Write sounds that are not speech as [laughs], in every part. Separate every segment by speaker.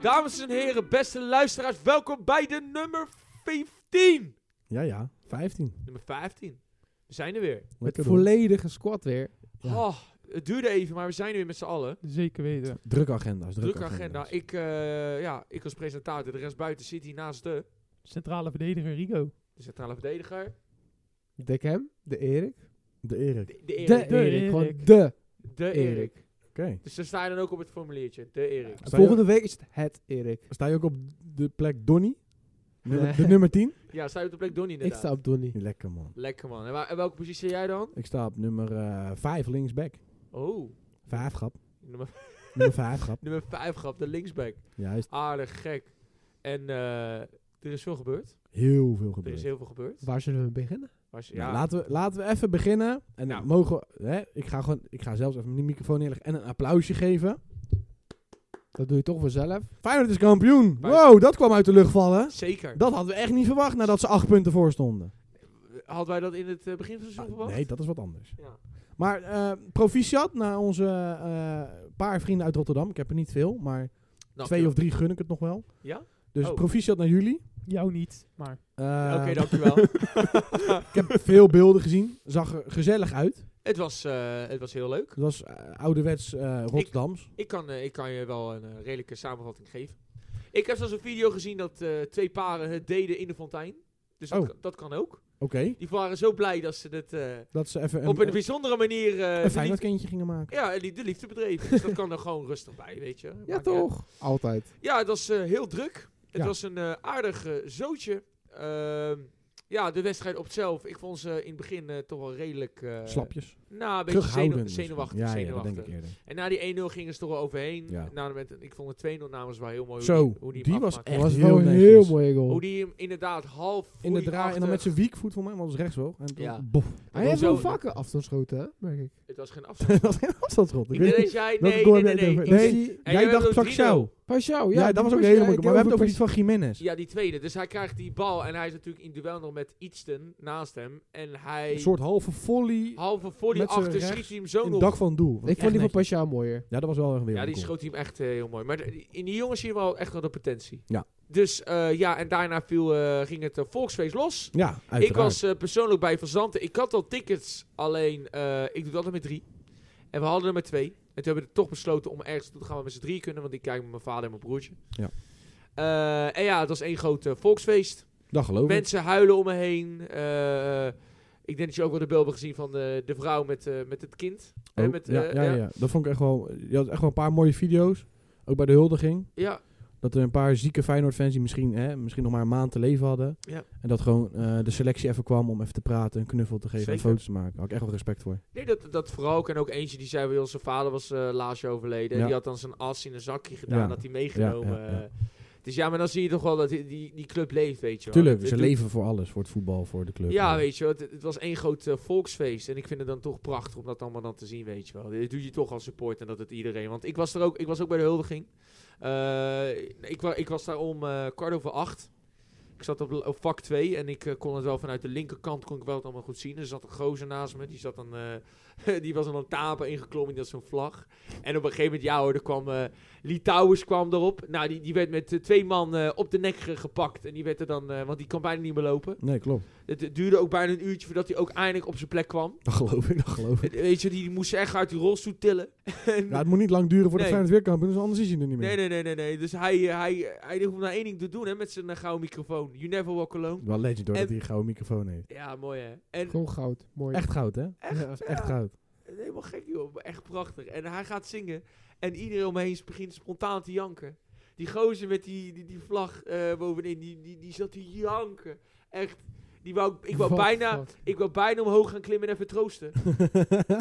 Speaker 1: Dames en heren, beste luisteraars, welkom bij de nummer 15.
Speaker 2: Ja, ja. 15.
Speaker 1: Nummer 15. We zijn er weer.
Speaker 2: Lekker doen.
Speaker 3: Volledige squad weer.
Speaker 2: Ja.
Speaker 1: Oh, het duurde even, maar we zijn er weer met z'n allen.
Speaker 3: Zeker weten.
Speaker 2: Drukke agenda's.
Speaker 1: Drukke
Speaker 2: Drukke
Speaker 1: agenda.
Speaker 2: agenda's.
Speaker 1: Ik, eh, ja, ik als presentator, de rest buiten zit hier naast de,
Speaker 4: Centrale verdediger Rigo.
Speaker 1: de centrale verdediger.
Speaker 3: De Cam, de Erik.
Speaker 2: De Erik.
Speaker 1: De, de
Speaker 3: De,
Speaker 1: Erik.
Speaker 3: Erik.
Speaker 1: De,
Speaker 4: Erik.
Speaker 3: Gewoon de
Speaker 1: Erik.
Speaker 3: Erik.
Speaker 2: Oké.
Speaker 1: Dus dan sta je dan ook op het formuliertje. De Erik.
Speaker 2: Sta je-
Speaker 3: Volgende week is het het Erik.
Speaker 2: Sta je ook op de plek Donny? Nummer-
Speaker 3: Nee.
Speaker 2: De nummer 10?
Speaker 1: Ja, sta je op de plek Donnie
Speaker 3: Ik
Speaker 1: inderdaad.
Speaker 3: sta op Donnie.
Speaker 2: Lekker man.
Speaker 1: Lekker man. En, waar- en welke positie jij dan?
Speaker 2: Ik sta op nummer 5 linksback.
Speaker 1: Oh,
Speaker 2: Vijf grap.
Speaker 1: nummer,
Speaker 2: Nummer vijf
Speaker 1: [laughs]
Speaker 2: grap.
Speaker 1: nummer 5 gaf, de linksback.
Speaker 2: Juist.
Speaker 1: Aardig gek. En eh, er is veel gebeurd.
Speaker 2: Heel
Speaker 1: Er
Speaker 2: veel
Speaker 1: is
Speaker 2: gebeurd.
Speaker 1: heel veel gebeurd.
Speaker 3: Waar zullen we beginnen?
Speaker 1: Als je-
Speaker 2: Nou,
Speaker 1: ja,
Speaker 2: laten, we, laten we even beginnen. En
Speaker 1: Nou.
Speaker 2: mogen we- hè, ik, ga gewoon, ik ga zelfs even mijn microfoon neerleggen en een applausje geven.
Speaker 3: Dat doe je toch vanzelf.
Speaker 2: Feyenoord is kampioen.
Speaker 1: Fijn.
Speaker 2: Wow, dat kwam uit de lucht vallen.
Speaker 1: zeker.
Speaker 2: Dat hadden we echt niet verwacht nadat ze acht punten voor stonden.
Speaker 1: Hadden wij dat in het eh, begin van het seizoen verwacht?
Speaker 2: Ah, nee, dat is wat anders.
Speaker 1: Ja.
Speaker 2: Maar eh, proficiat naar onze eh, paar vrienden uit Rotterdam. Ik heb er niet veel, maar
Speaker 1: Nou,
Speaker 2: twee of drie gun ik het nog wel.
Speaker 1: Ja?
Speaker 2: Dus
Speaker 1: Oh.
Speaker 2: proficiat naar jullie.
Speaker 4: Jou niet, maar
Speaker 2: Eh,
Speaker 1: Oké, dankjewel.
Speaker 2: [laughs] Ik heb veel beelden gezien. Zag er gezellig uit.
Speaker 1: het, was, eh, het was heel leuk.
Speaker 2: Het was eh, ouderwets eh, Rotterdams.
Speaker 1: Ik kan, eh, ik kan je wel een eh, redelijke samenvatting geven. Ik heb zelfs een video gezien dat eh, twee paren het deden in de fontein. Dus dat,
Speaker 2: Oh.
Speaker 1: kan- dat kan ook.
Speaker 2: Oké.
Speaker 1: Die waren zo blij dat ze het eh,
Speaker 2: Dat ze even een,
Speaker 1: op een bijzondere manier... eh,
Speaker 2: een
Speaker 1: de liefde,
Speaker 2: Feyenoordkindje gingen maken.
Speaker 1: ja, en die- de liefde bedreven. dus dat kan er gewoon rustig bij, weet je. Maakt
Speaker 3: Ja,
Speaker 1: niet
Speaker 3: toch? Altijd.
Speaker 1: Ja, het was eh, heel druk. Het
Speaker 2: Ja.
Speaker 1: was een eh, aardig eh, zootje. Ehm, ja, de wedstrijd op zelf. Ik vond ze in het begin eh, toch wel redelijk... eh,
Speaker 2: Slapjes.
Speaker 1: Nou, een beetje
Speaker 2: Terughoudend.
Speaker 1: zenu-
Speaker 2: misschien.
Speaker 1: zenuwachtig.
Speaker 2: Ja, ja, dat
Speaker 1: zenuwachtig.
Speaker 2: denk ik eerder.
Speaker 1: en na die 1-0 gingen ze toch wel overheen. Nou,
Speaker 2: Ja.
Speaker 1: Na de met, ik vond de 2-0 namens wel heel mooi.
Speaker 2: Zo,
Speaker 1: hoe die, hoe die, hem
Speaker 2: die was
Speaker 1: afmaakte.
Speaker 3: Dat
Speaker 2: Echt
Speaker 3: was
Speaker 2: heel
Speaker 3: wel een
Speaker 2: netjes.
Speaker 3: heel mooie goal.
Speaker 1: Hoe die hem inderdaad half
Speaker 2: In de draai.
Speaker 1: draai
Speaker 2: En dan met zijn wiekvoet voor mij, want dat is rechts wel. En toen [laughs]
Speaker 1: Ja.
Speaker 2: bof.
Speaker 3: Hij heeft
Speaker 1: Zo-
Speaker 3: wel vaker afstandsschoten, hè? merk ik.
Speaker 1: Het was geen
Speaker 2: [laughs]
Speaker 1: afstand.
Speaker 2: dat was geen afstandsschot. Ik
Speaker 1: ik
Speaker 2: weet
Speaker 1: denk
Speaker 2: niet.
Speaker 1: dat jij...
Speaker 2: welke
Speaker 1: Nee,
Speaker 2: goal
Speaker 1: nee,
Speaker 2: heb
Speaker 1: nee.
Speaker 2: jij het
Speaker 1: nee.
Speaker 2: over?
Speaker 1: Ik-
Speaker 3: Ik
Speaker 2: Nee.
Speaker 3: zie-
Speaker 1: En
Speaker 2: Jij
Speaker 1: jij
Speaker 2: dacht
Speaker 1: hebt
Speaker 2: op
Speaker 1: ook 3-0.
Speaker 2: Paxiao.
Speaker 3: Pashao, Oh ja.
Speaker 2: Ja,
Speaker 3: die
Speaker 2: dat was ook
Speaker 3: was-
Speaker 2: een hele
Speaker 3: ja,
Speaker 2: moeilijke.
Speaker 3: ik
Speaker 2: Maar we hebben
Speaker 3: heb ook
Speaker 2: het over die van Jiménez.
Speaker 1: Ja, die tweede. Dus hij krijgt die bal en hij is natuurlijk in duel nog met Eatston naast hem. En
Speaker 2: Een
Speaker 1: hij...
Speaker 2: soort halve volley
Speaker 1: Halve voor die
Speaker 2: Met z'n
Speaker 1: achter
Speaker 2: rechts
Speaker 1: schiet hij hem zo
Speaker 2: in het
Speaker 1: nog.
Speaker 2: dak van het doel. Wat
Speaker 3: Ik
Speaker 2: echt
Speaker 3: vond die van
Speaker 2: netjes.
Speaker 3: Pashao mooier.
Speaker 2: Ja, dat was wel een
Speaker 1: Ja,
Speaker 2: wereldgoal.
Speaker 1: die schoot hij hem echt eh, heel mooi. Maar de- in die jongens zie je wel echt wel de potentie.
Speaker 2: Ja.
Speaker 1: Dus eh, ja, en daarna viel, eh, ging het eh, volksfeest los.
Speaker 2: Ja, uiteraard.
Speaker 1: Ik was eh, persoonlijk bij Van Zanten. Ik had al tickets, alleen eh, ik doe het altijd met drie. En we hadden er met twee. En toen hebben we toch besloten om ergens naartoe te gaan waar we met z'n drie kunnen. Want ik kijk met mijn vader en mijn broertje.
Speaker 2: Ja.
Speaker 1: Eh, en ja, het was één groot eh, volksfeest.
Speaker 2: Dat geloof ik.
Speaker 1: Mensen huilen om me heen. Eh, ik denk dat je ook wel de beelden hebt gezien van de, de vrouw met, eh, met het kind. Eh,
Speaker 2: Oh,
Speaker 1: met,
Speaker 2: ja,
Speaker 1: eh,
Speaker 2: ja,
Speaker 1: ja.
Speaker 2: ja, ja. dat vond ik echt wel. Je had echt wel een paar mooie video's. Ook bij de huldiging.
Speaker 1: Ja,
Speaker 2: Dat er een paar zieke Feyenoord-fans die misschien, hè, misschien nog maar een maand te leven hadden.
Speaker 1: Ja.
Speaker 2: En dat gewoon eh, de selectie even kwam om even te praten, een knuffel te geven en
Speaker 1: Zeker.
Speaker 2: foto's te maken. Daar had ik echt wel respect voor.
Speaker 1: Nee, dat, dat vooral ook. En ook eentje die zei bij ons, zijn vader was eh laatst jaar overleden.
Speaker 2: Ja.
Speaker 1: Die had dan zijn as in een zakje gedaan,
Speaker 2: Ja.
Speaker 1: had hij meegenomen.
Speaker 2: Ja, ja, ja.
Speaker 1: eh. Dus ja, maar dan zie je toch wel dat die, die, die club leeft, weet je wel.
Speaker 2: Tuurlijk,
Speaker 1: Het-
Speaker 2: ze
Speaker 1: het
Speaker 2: leven voor alles. Voor het voetbal, voor de club.
Speaker 1: doet- Ja, weet je wel. Het, het was één groot eh, volksfeest. En ik vind het dan toch prachtig om dat allemaal dan te zien, weet je wel. Dit doe je toch als support en dat het iedereen... Want ik was er ook, ik was ook bij de huldiging. Eh, ik, wa- ik was daar om eh, kwart over acht. Ik zat op, op vak 2 en ik eh, kon het wel vanuit de linkerkant kon ik wel het allemaal goed zien. Er zat een gozer naast me, die, zat dan, eh, [laughs] die was aan een tapen ingeklommen, die had zo'n vlag. En op een gegeven moment, ja hoor, er kwam, eh Litouwers kwam erop. Nou, die, die werd met eh, twee man eh, op de nek ge- gepakt. En die werd er dan, eh, want die kon bijna niet meer lopen.
Speaker 2: Nee, klopt.
Speaker 1: Het, het duurde ook bijna een uurtje voordat hij ook eindelijk op zijn plek kwam.
Speaker 2: Dat geloof ik, dat geloof ik.
Speaker 1: Het- weet je, die, die moest echt uit die rolstoel tillen. En-
Speaker 2: Ja, het moet niet lang duren voordat
Speaker 1: Nee.
Speaker 2: Feyenoord weer kampioen is, anders is je er niet meer.
Speaker 1: nee, nee, nee, nee, nee. Dus hij, eh, hij, hij hoeft maar één ding te doen hè, met zijn eh, gouden microfoon. You never walk alone.
Speaker 2: Wel legend hoor,
Speaker 1: En-
Speaker 2: dat hij een gouden microfoon heeft.
Speaker 1: Ja, mooi hè. En
Speaker 3: Gewoon goud. Mooi.
Speaker 2: Echt goud, hè?
Speaker 3: Ja.
Speaker 2: Dat is echt goud.
Speaker 1: Helemaal gek, joh. Maar Echt prachtig. En hij gaat zingen. En iedereen omheen begint spontaan te janken. Die gozer met die, die, die vlag eh, bovenin, die, die, die zat te janken. Echt. Die wou, ik, wou
Speaker 3: Wat
Speaker 1: bijna,
Speaker 3: fuck.
Speaker 1: ik wou bijna omhoog gaan klimmen en even
Speaker 2: [laughs]
Speaker 1: troosten.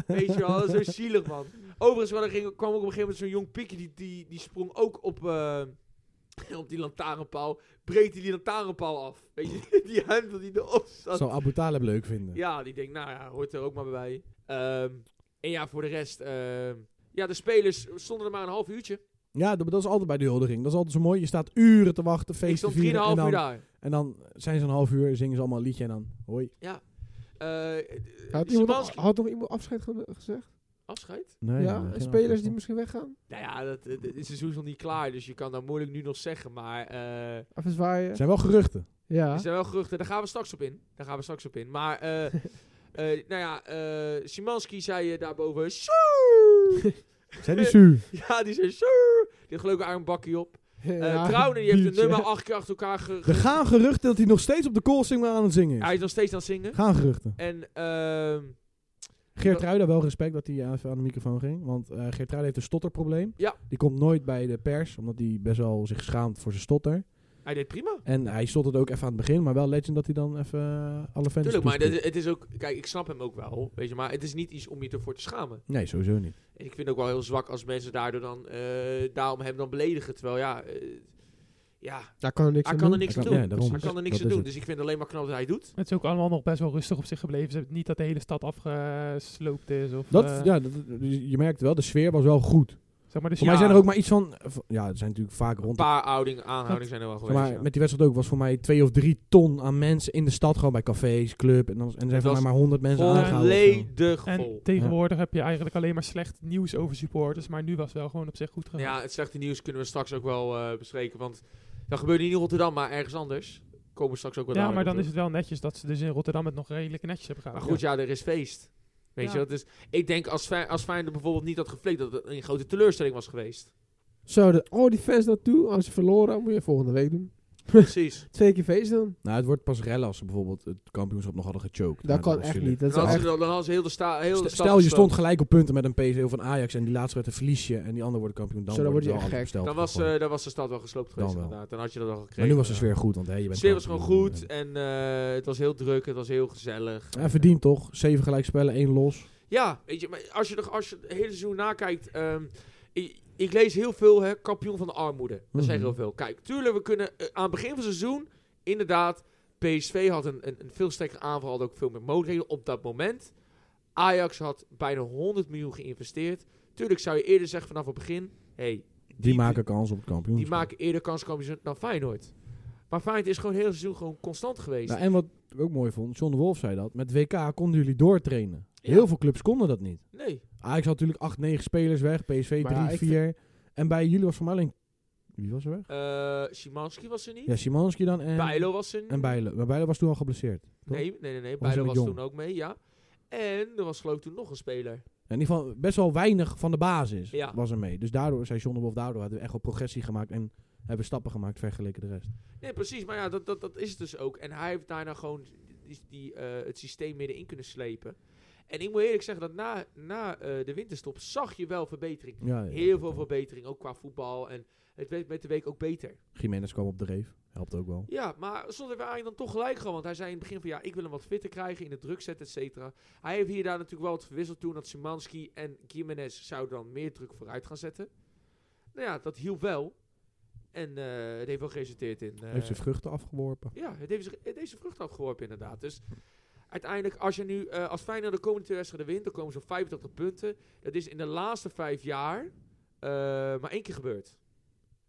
Speaker 1: Weet je wel, dat is zo zielig, man. Overigens wel, er ging, kwam ook op een gegeven moment zo'n jong pikje, die, die, die sprong ook op, eh, op die lantaarnpaal. Breedte die lantaarnpaal af. Weet je, [laughs] die hendel die erop zat.
Speaker 2: Zou Abu Talib leuk vinden.
Speaker 1: Ja, die denkt, nou ja, hoort er ook maar bij. Ehm, en ja, voor de rest. ehm, ja, de spelers stonden er maar een half uurtje.
Speaker 2: Ja, dat dat is altijd bij de huldiging. Dat is altijd zo mooi. Je staat uren te wachten,
Speaker 1: Ik
Speaker 2: feesten
Speaker 1: stond
Speaker 2: vieren.
Speaker 1: 3,5
Speaker 2: en
Speaker 1: uur
Speaker 2: dan,
Speaker 1: daar.
Speaker 2: en dan zijn ze een half uur, zingen ze allemaal een liedje en dan hoi.
Speaker 1: Eh, eh,
Speaker 3: Had iemand,
Speaker 1: Szymanski-
Speaker 3: had nog iemand afscheid ge- gezegd?
Speaker 1: Afscheid?
Speaker 2: Nee,
Speaker 3: ja,
Speaker 2: nee,
Speaker 3: en
Speaker 2: geen
Speaker 3: spelers
Speaker 2: afscheid.
Speaker 3: die misschien weggaan?
Speaker 1: Nou ja, dat, eh, de- het seizoen is nog niet klaar, dus je kan dat moeilijk nu nog zeggen. Maar eh,
Speaker 3: Even
Speaker 2: Het
Speaker 3: zwaaien.
Speaker 2: zijn wel geruchten.
Speaker 3: Ja.
Speaker 1: er zijn wel geruchten, daar gaan we straks op in. Daar gaan we straks op in. Maar,
Speaker 2: [laughs]
Speaker 1: eh, eh, nou ja, eh Szymanski zei eh, daarboven...
Speaker 2: [laughs]
Speaker 1: "Sjoe!"
Speaker 2: [laughs] Zijn die zuur?
Speaker 1: ja, die zei... "Sjoe!" Die had gelukkig een bakje op. Eh
Speaker 3: [laughs] Ja,
Speaker 1: Trouwner, die heeft
Speaker 3: [laughs] biertje.
Speaker 1: een nummer acht keer achter elkaar ge-
Speaker 2: Er gaan geruchten dat hij nog steeds op de koolsingel aan het zingen
Speaker 1: Hij
Speaker 2: is.
Speaker 1: is nog steeds aan het zingen.
Speaker 2: Gaan geruchten.
Speaker 1: En ehm,
Speaker 2: Geert Ruida wel respect dat hij eh, even aan de microfoon ging. Want eh Geert Ruida heeft een stotterprobleem.
Speaker 1: Ja.
Speaker 2: Die komt nooit bij de pers, omdat hij best wel zich schaamt voor zijn stotter.
Speaker 1: hij deed prima.
Speaker 2: En hij stotterde ook even aan het begin, maar wel legend dat hij dan even eh, alle fans
Speaker 1: Tuurlijk, maar
Speaker 2: toespreekt.
Speaker 1: dat- het is ook... Kijk, ik snap hem ook wel, weet je. Maar het is niet iets om je ervoor te schamen.
Speaker 2: Nee, sowieso niet.
Speaker 1: En ik vind het ook wel heel zwak als mensen daardoor dan, eh, daarom hem dan beledigen. Terwijl ja, eh, ja
Speaker 3: Daar kan er niks
Speaker 1: hij
Speaker 3: aan
Speaker 1: kan er
Speaker 3: doen.
Speaker 1: niks
Speaker 2: Hij
Speaker 1: aan
Speaker 2: kan-
Speaker 1: doen.
Speaker 2: ja, daarom.
Speaker 1: hij kan er niks
Speaker 2: Dat
Speaker 1: aan
Speaker 2: is
Speaker 1: doen.
Speaker 2: het.
Speaker 1: Dus ik vind het alleen maar knap dat hij het doet.
Speaker 4: Het is ook allemaal nog best wel rustig op zich gebleven. Ze hebben niet dat de hele stad afgesloopt is. Of,
Speaker 2: Dat,
Speaker 4: eh,
Speaker 2: ja, dat, je merkt wel, de sfeer was wel goed.
Speaker 4: zeg maar, dus
Speaker 2: Voor
Speaker 4: ja,
Speaker 2: mij zijn er ook maar iets van... eh, v- Ja, er zijn natuurlijk vaak
Speaker 1: Een
Speaker 2: rond...
Speaker 1: paar ouding, aanhoudingen zijn er wel geweest.
Speaker 2: Maar
Speaker 1: ja.
Speaker 2: met die wedstrijd ook was voor mij twee of drie ton aan mensen in de stad. Gewoon bij cafés, club. En, dan, en er zijn
Speaker 1: Het
Speaker 2: voor mij
Speaker 1: was
Speaker 2: maar honderd mensen aangehouden. of zo.
Speaker 1: Volledig vol.
Speaker 4: En tegenwoordig heb je eigenlijk alleen maar slecht nieuws over supporters. Maar nu was wel gewoon op zich goed gegaan.
Speaker 1: Ja, het slechte nieuws kunnen we straks ook wel eh, bespreken. Want dat gebeurt niet in Rotterdam, maar ergens anders. Komen we straks ook wel
Speaker 4: Ja,
Speaker 1: dadelijk
Speaker 4: maar
Speaker 1: op
Speaker 4: dan
Speaker 1: terug.
Speaker 4: is het wel netjes dat ze dus in Rotterdam het nog redelijk netjes hebben
Speaker 1: Maar
Speaker 4: gehouden.
Speaker 1: goed, ja, er is feest. Weet
Speaker 4: Ja.
Speaker 1: je, dat is, ik denk als, Fey- als Feyenoord bijvoorbeeld niet had geflikt, dat het een grote teleurstelling was
Speaker 2: [laughs]
Speaker 1: geweest.
Speaker 3: Zo, de, oh, die fans naartoe. Als je verloren, moet je volgende week doen.
Speaker 1: Precies.
Speaker 3: Twee keer feest dan.
Speaker 2: Nou, het wordt pas rellen als ze bijvoorbeeld het kampioenschap nog hadden gechoked.
Speaker 3: Dat
Speaker 2: Nou, was
Speaker 3: kan echt
Speaker 2: natuurlijk-
Speaker 1: Dan
Speaker 3: niet. Dat is wel
Speaker 1: hadden
Speaker 3: echt...
Speaker 1: ze- dan hadden ze heel de, sta, heel de
Speaker 2: St-
Speaker 1: stad
Speaker 2: Stel, je
Speaker 1: gesloopt.
Speaker 2: stond gelijk op punten met een PSV van Ajax en die laatste werd een verliesje en die ander wordt kampioen. Dan
Speaker 3: Zo, dan
Speaker 2: wordt
Speaker 3: word je
Speaker 2: het wel
Speaker 3: echt
Speaker 2: anders
Speaker 1: Dan
Speaker 2: besteld.
Speaker 1: was, eh, dan was de stad wel gesloopt geweest,
Speaker 2: wel.
Speaker 1: inderdaad. Dan had je dat al gekregen.
Speaker 2: maar nu was de
Speaker 1: ja.
Speaker 2: sfeer goed, want hey, je bent
Speaker 1: sfeer was gewoon
Speaker 2: kampioen.
Speaker 1: goed en eh, het was heel druk, het was heel gezellig.
Speaker 2: Ja, verdiend toch? Zeven gelijkspellen, één los.
Speaker 1: Ja, weet je, maar als je, er- als je het hele seizoen nakijkt... ehm, ik, ik lees heel veel, hè, kampioen van de armoede. Dat zeggen
Speaker 2: Mhm.
Speaker 1: heel veel. Kijk, tuurlijk, we kunnen eh, aan het begin van het seizoen... Inderdaad, PSV had een, een, een veel sterkere aanval, had ook veel meer mogelijkheden op dat moment. Ajax had bijna 100 miljoen geïnvesteerd. Tuurlijk zou je eerder zeggen vanaf het begin... Hey,
Speaker 2: Die, maken kans op het kampioen.
Speaker 1: Die maken eerder kanskampioen dan Feyenoord. Maar Feyenoord is gewoon heel seizoen gewoon constant geweest.
Speaker 2: Nou, en wat ik ook mooi vond, John de Wolf zei dat, met WK konden jullie doortrainen.
Speaker 1: Ja.
Speaker 2: Heel veel clubs konden dat niet.
Speaker 1: nee.
Speaker 2: Ajax had natuurlijk acht, negen spelers weg, PSV
Speaker 3: Maar ja,
Speaker 2: drie,
Speaker 3: ik
Speaker 2: vier. En bij jullie was voor mij alleen... Wie was er weg?
Speaker 1: Eh Szymanski was er niet.
Speaker 2: Ja, Simanski dan en...
Speaker 1: Bijlo was er niet.
Speaker 2: En Bijlo. Maar Bijlo was toen al geblesseerd. toch?
Speaker 1: Nee, nee, nee. nee.
Speaker 2: was
Speaker 1: Bijlo
Speaker 2: nog
Speaker 1: was
Speaker 2: jong.
Speaker 1: toen ook mee, ja. En er was geloof ik toen nog een speler.
Speaker 2: In ieder geval best wel weinig van de basis
Speaker 1: Ja.
Speaker 2: was er mee. Dus daardoor, zei John de Wolf, daardoor hadden we echt wel progressie gemaakt en hebben we stappen gemaakt vergeleken de rest.
Speaker 1: Nee, precies. Maar ja, dat, dat, dat is het dus ook. En hij heeft daarna gewoon die, die, eh, het systeem middenin kunnen slepen. En ik moet eerlijk zeggen dat na, na eh, de winterstop zag je wel verbetering.
Speaker 2: Ja, ja,
Speaker 1: Heel veel
Speaker 2: ja.
Speaker 1: verbetering, ook qua voetbal. En het werd met de week ook beter.
Speaker 2: Jiménez kwam op de reef. Helpt ook wel.
Speaker 1: Ja, maar stond er eigenlijk dan toch gelijk gewoon. Want hij zei in het begin van ja, ik wil hem wat fitter krijgen, in de druk zetten, et cetera. Hij heeft hier daar natuurlijk wel het verwisseld toen dat Simanski en Jiménez zouden dan meer druk vooruit gaan zetten. Nou ja, dat hielp wel. En eh, het heeft wel geresulteerd in. eh,
Speaker 2: Heeft zijn vruchten afgeworpen.
Speaker 1: ja, het heeft, zich- het heeft zijn vrucht afgeworpen inderdaad. Dus uiteindelijk, als je nu eh, als Feyenoord de komende twee wedstrijden wint, dan komen ze op 85 punten. Dat is in de laatste vijf jaar eh, maar één keer gebeurd.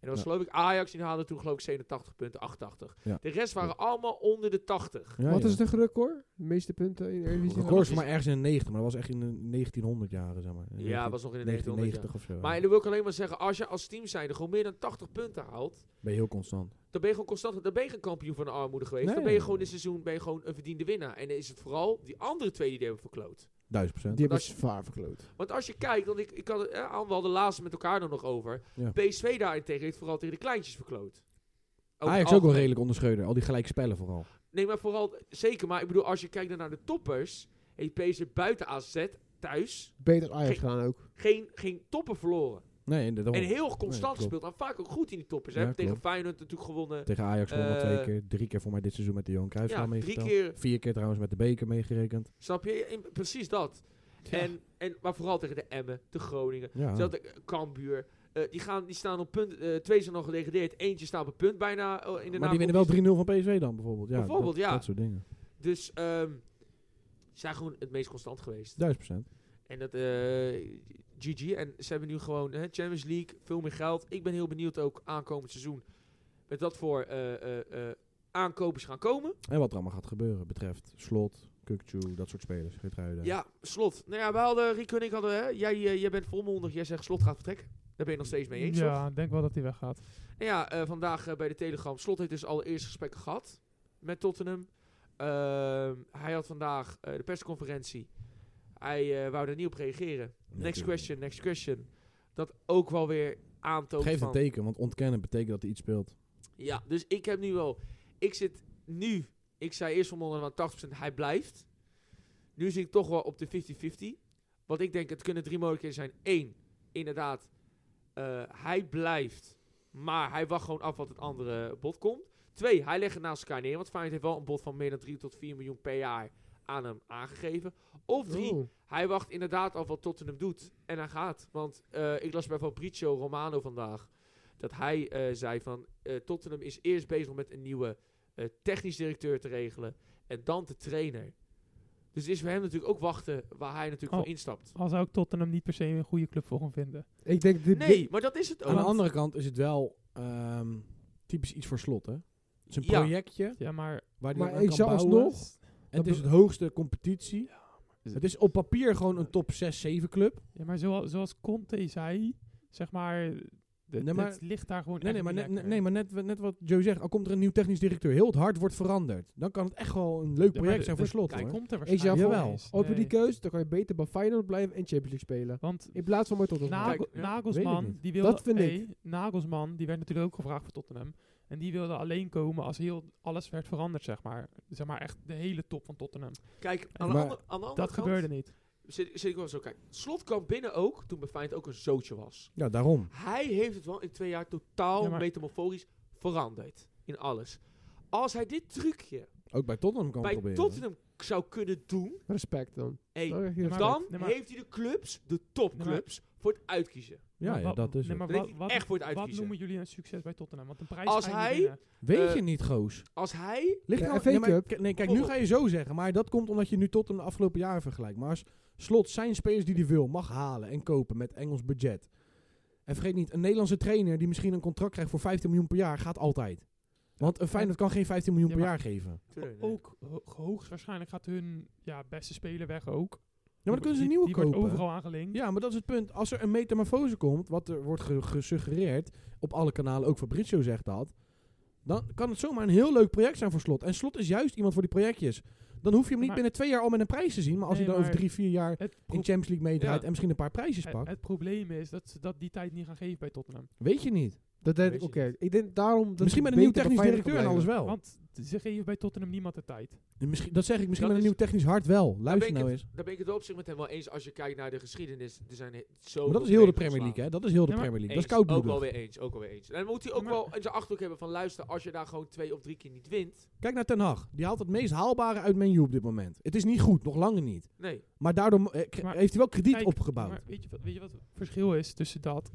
Speaker 1: En dat was
Speaker 2: Ja.
Speaker 1: geloof ik Ajax, die haalde toen geloof ik 87 punten, 88.
Speaker 2: Ja.
Speaker 1: De rest waren allemaal onder de 80.
Speaker 2: Ja,
Speaker 3: Wat
Speaker 2: ja.
Speaker 3: is de record? De meeste punten in de Eredivisie?
Speaker 2: record is voor mij ergens in de 90, maar dat was echt in de 1900 jaren, zeg maar.
Speaker 1: Ja, was nog in de 1900
Speaker 2: 1990 of zo.
Speaker 1: Maar dan wil ik alleen maar zeggen, als je als team zijnde gewoon meer dan 80 punten haalt,
Speaker 2: ben je heel constant.
Speaker 1: dan ben je gewoon constant, dan ben je geen kampioen van de armoede geweest.
Speaker 2: Nee,
Speaker 1: dan ben je
Speaker 2: nee,
Speaker 1: gewoon
Speaker 2: nee.
Speaker 1: dit seizoen ben je gewoon een verdiende winnaar. En dan is het vooral die andere twee die die hebben verkloot.
Speaker 2: Duizend procent.
Speaker 3: Die hebben
Speaker 1: als je-
Speaker 3: zwaar verkloot.
Speaker 1: Want als je kijkt, want ik, ik had het eh, aan, we hadden laatst met elkaar er nog over.
Speaker 2: Ja.
Speaker 1: PSV daarentegen heeft vooral tegen de kleintjes verkloot. Over
Speaker 2: Ajax
Speaker 1: het
Speaker 2: ook wel
Speaker 1: algemeen.
Speaker 2: redelijk onderscheuder. Al die gelijke spellen vooral.
Speaker 1: Nee, maar vooral, zeker. Maar ik bedoel, als je kijkt dan naar de toppers, heeft PSV buiten AZ thuis
Speaker 3: Beter Ajax gaan ook.
Speaker 1: geen, geen toppen verloren.
Speaker 2: Oh, Nee, daarom.
Speaker 1: En heel constant
Speaker 2: klopt.
Speaker 1: gespeeld. En vaak ook goed in die toppers. Ze
Speaker 2: Ja,
Speaker 1: hebben tegen
Speaker 2: klopt.
Speaker 1: Feyenoord natuurlijk gewonnen.
Speaker 2: Tegen Ajax wel
Speaker 1: Eh,
Speaker 2: twee keer. Drie keer voor mij dit seizoen met de Johan Cruijffschaal
Speaker 1: Ja, drie
Speaker 2: meegeteld.
Speaker 1: keer.
Speaker 2: Vier keer trouwens met de beker meegerekend.
Speaker 1: Snap je? In- precies dat. En, en, maar vooral tegen de Emmen, de Groningen.
Speaker 2: Ja.
Speaker 1: Zelfs de Kambuur. eh, die, gaan, die staan op punt. eh, twee zijn al gedegradeerd. Eentje staat op punt bijna. eh, in de
Speaker 2: maar die winnen
Speaker 1: nacompetitie.
Speaker 2: wel 3-0 van PSV dan bijvoorbeeld. Ja,
Speaker 1: Bijvoorbeeld,
Speaker 2: dat,
Speaker 1: ja.
Speaker 2: Dat soort dingen.
Speaker 1: Dus ehm ze zijn gewoon het meest constant geweest.
Speaker 2: Duizend procent.
Speaker 1: En dat eh GG. En ze hebben nu gewoon hè, Champions League, veel meer geld. Ik ben heel benieuwd ook aankomend seizoen. Met wat voor eh, eh, eh, aankopen ze gaan komen.
Speaker 2: En wat er allemaal gaat gebeuren betreft slot, Kukchu, dat soort spelers. Geertruiden.
Speaker 1: Ja, slot. Nou ja, we hadden, Rico en ik hadden, hè, jij, eh, jij bent volmondig, jij zegt slot gaat vertrekken. Daar ben je nog steeds mee eens, toch?
Speaker 4: Ja, ik denk wel dat hij weggaat.
Speaker 1: Nou ja, eh, vandaag eh, bij de Telegram. Slot heeft dus allereerst gesprekken gehad met Tottenham. Ehm, hij had vandaag eh, de persconferentie. Hij eh, wou er niet op reageren. Next
Speaker 2: Natuurlijk.
Speaker 1: question, next question. Dat ook wel weer aantoont
Speaker 2: Geef
Speaker 1: van...
Speaker 2: een teken, want ontkennen betekent dat hij iets speelt.
Speaker 1: Ja, dus ik heb nu wel... Ik zit nu... Ik zei eerst van onder de 80% hij blijft. Nu zit ik toch wel op de 50-50. Want ik denk, het kunnen drie mogelijkheden zijn. Eén, inderdaad, eh, hij blijft. Maar hij wacht gewoon af wat het andere bod komt. Twee, hij legt het naast elkaar neer. Want Feyenoord heeft wel een bod van meer dan 3 tot 4 miljoen per jaar aan hem aangegeven. Of drie,
Speaker 3: Oh.
Speaker 1: hij wacht inderdaad af wat Tottenham doet. En hij gaat. Want eh, ik las bij Fabrizio Romano vandaag. Dat hij eh, zei van eh, Tottenham is eerst bezig met een nieuwe eh, technisch directeur te regelen. En dan de trainer. Dus het is voor hem natuurlijk ook wachten waar hij natuurlijk
Speaker 4: Oh.
Speaker 1: voor instapt.
Speaker 4: Al zou ik Tottenham niet per se een goede club voor hem vinden.
Speaker 3: Ik denk dit,
Speaker 1: Nee, maar dat is het ook.
Speaker 2: Aan de andere kant is het wel ehm, typisch iets voor slot, hè? Het is een
Speaker 1: Ja.
Speaker 2: projectje
Speaker 4: Ja, maar
Speaker 2: waar hij
Speaker 3: Maar
Speaker 2: aan
Speaker 3: ik
Speaker 2: kan
Speaker 3: zou
Speaker 2: bouwen.
Speaker 3: alsnog-
Speaker 2: En het is het hoogste competitie. Het is op papier gewoon een top 6-7 club.
Speaker 4: Ja, maar zoals, zoals Conte zei, zeg maar, d-
Speaker 2: Nee, maar-
Speaker 4: het ligt daar gewoon
Speaker 2: Nee, nee, maar,
Speaker 4: echt niet
Speaker 2: net,
Speaker 4: lekker.
Speaker 2: nee, maar net, net wat Joe zegt. Al komt er een nieuw technisch directeur. Heel het hart wordt veranderd. Dan kan het echt wel een leuk
Speaker 4: Ja, maar
Speaker 2: project
Speaker 4: de-
Speaker 2: zijn
Speaker 4: de-
Speaker 2: voor slot,
Speaker 4: Hij
Speaker 2: hoor.
Speaker 4: komt er
Speaker 3: Ik zou
Speaker 4: waarschijnlijk
Speaker 2: jawel.
Speaker 4: wel eens.
Speaker 3: Over die
Speaker 4: Nee.
Speaker 3: keuze, dan kan je beter bij Feyenoord blijven en Champions League spelen.
Speaker 4: Want
Speaker 3: In plaats van bij Tottenham.
Speaker 4: Nagel-
Speaker 2: Kijk, weet ik
Speaker 4: Nagelsman,
Speaker 2: niet.
Speaker 4: die wilde,
Speaker 3: Dat vind ik.
Speaker 4: hey, Nagelsman, die werd natuurlijk ook gevraagd voor Tottenham. En die wilde alleen komen als heel alles werd veranderd, zeg maar. Zeg maar echt de hele top van Tottenham.
Speaker 1: Oh, Kijk, aan, de, andere,
Speaker 2: Maar-
Speaker 1: aan de andere
Speaker 4: Dat
Speaker 1: kant
Speaker 4: gebeurde niet.
Speaker 1: Zit, zit ik wel zo, kijk. Slot kwam binnen ook toen bij Feyenoord ook een zootje was.
Speaker 2: Ja, daarom.
Speaker 1: Hij heeft het wel in twee jaar totaal
Speaker 4: Ja, maar-
Speaker 1: metamorforisch veranderd. In alles. Als hij dit trucje
Speaker 2: Ook bij Tottenham kan
Speaker 1: bij
Speaker 2: proberen.
Speaker 1: Tottenham k- zou kunnen doen...
Speaker 3: Respect dan.
Speaker 1: Hey,
Speaker 3: Dan krijg je
Speaker 4: Ja,
Speaker 3: respect.
Speaker 4: maar-
Speaker 1: dan
Speaker 4: nee,
Speaker 1: heeft hij de clubs, de topclubs, voor het uitkiezen.
Speaker 2: Ja,
Speaker 4: Maar
Speaker 2: ja,
Speaker 4: wa-
Speaker 2: dat is
Speaker 4: nee,
Speaker 2: het.
Speaker 4: maar
Speaker 1: Dan
Speaker 4: wat,
Speaker 1: heeft hij
Speaker 4: wat,
Speaker 1: echt voor het
Speaker 4: wat
Speaker 1: uitkiezen.
Speaker 4: noemen jullie een succes bij Tottenham? Want een prijs
Speaker 1: Als
Speaker 4: ga je niet
Speaker 1: hij-
Speaker 4: winnen.
Speaker 2: Weet
Speaker 1: eh,
Speaker 2: je niet, Goos?
Speaker 1: Als hij...
Speaker 2: Ligt
Speaker 3: Ja,
Speaker 2: nou-
Speaker 3: FA
Speaker 2: nee, maar
Speaker 3: Cup.
Speaker 2: k- nee, kijk, nu
Speaker 4: Oh.
Speaker 2: ga je zo zeggen. Maar dat komt omdat je nu tot een afgelopen jaren vergelijkt. Maar als slot zijn spelers die hij wil, mag halen en kopen met Engels budget. En vergeet niet, een Nederlandse trainer die misschien een contract krijgt voor 15 miljoen per jaar, gaat altijd. Want een Feyenoord kan geen 15 miljoen
Speaker 4: Ja,
Speaker 2: per
Speaker 4: maar-
Speaker 2: jaar geven.
Speaker 4: Ook ho- hoogstwaarschijnlijk gaat hun ja, beste speler weg ook.
Speaker 2: Ja, maar dan kunnen ze een
Speaker 4: Die-
Speaker 2: nieuwe
Speaker 4: die
Speaker 2: kopen.
Speaker 4: wordt overal aangelinkt.
Speaker 2: Ja, maar dat is het punt. Als er een metamorfose komt, wat er wordt ge- gesuggereerd, op alle kanalen, ook Fabrizio zegt dat, dan kan het zomaar een heel leuk project zijn voor Slot. En Slot is juist iemand voor die projectjes. Dan hoef je hem niet
Speaker 4: Maar-
Speaker 2: binnen twee jaar al met een prijs te zien, maar als
Speaker 4: Nee,
Speaker 2: hij dan over
Speaker 4: maar- Eh,
Speaker 2: drie, vier jaar
Speaker 4: Het,
Speaker 2: in
Speaker 4: pro-
Speaker 2: Champions League meedraait
Speaker 1: Ja.
Speaker 2: en misschien een paar prijsjes
Speaker 4: het-
Speaker 2: pakt,
Speaker 4: het probleem is dat ze dat die tijd niet gaan geven bij Tottenham.
Speaker 2: weet je niet.
Speaker 3: Dat
Speaker 1: Weet
Speaker 3: deed,
Speaker 1: je
Speaker 3: oké.
Speaker 1: niet.
Speaker 3: Ik denk daarom... Dat
Speaker 2: misschien met
Speaker 3: het
Speaker 2: een nieuw
Speaker 3: beter
Speaker 2: technisch
Speaker 3: bij Feyenoord
Speaker 2: directeur en alles
Speaker 3: kan
Speaker 2: wel.
Speaker 4: Want ze geven bij Tottenham niemand de tijd.
Speaker 2: En misschien, dat zeg ik, misschien
Speaker 1: Dat
Speaker 2: met een nieuw technisch hart wel.
Speaker 1: Daar ben,
Speaker 2: Luister
Speaker 1: ik
Speaker 2: nou
Speaker 1: het,
Speaker 2: eens.
Speaker 1: daar ben ik het wel op zich met hem wel eens als je kijkt naar de geschiedenis. Er zijn zo.
Speaker 2: Maar dat is heel de Premier League, hè. Dat is heel de
Speaker 4: Ja, maar-
Speaker 2: Premier League. Dat
Speaker 1: Eens,
Speaker 2: is koud
Speaker 1: Ook wel weer eens, ook wel weer eens. En dan moet hij ook
Speaker 4: Maar-
Speaker 1: wel in zijn achterhoek hebben van luister, als je daar gewoon twee of drie keer niet wint.
Speaker 2: Kijk naar Ten Hag. Die haalt het meest haalbare uit menu op dit moment. Het is niet goed, nog langer niet.
Speaker 1: Nee.
Speaker 2: Maar daardoor mo- eh, k-
Speaker 4: Maar-
Speaker 2: heeft hij wel krediet
Speaker 4: Kijk,
Speaker 2: opgebouwd.
Speaker 4: Maar weet je, wat, weet je wat het verschil is tussen dat?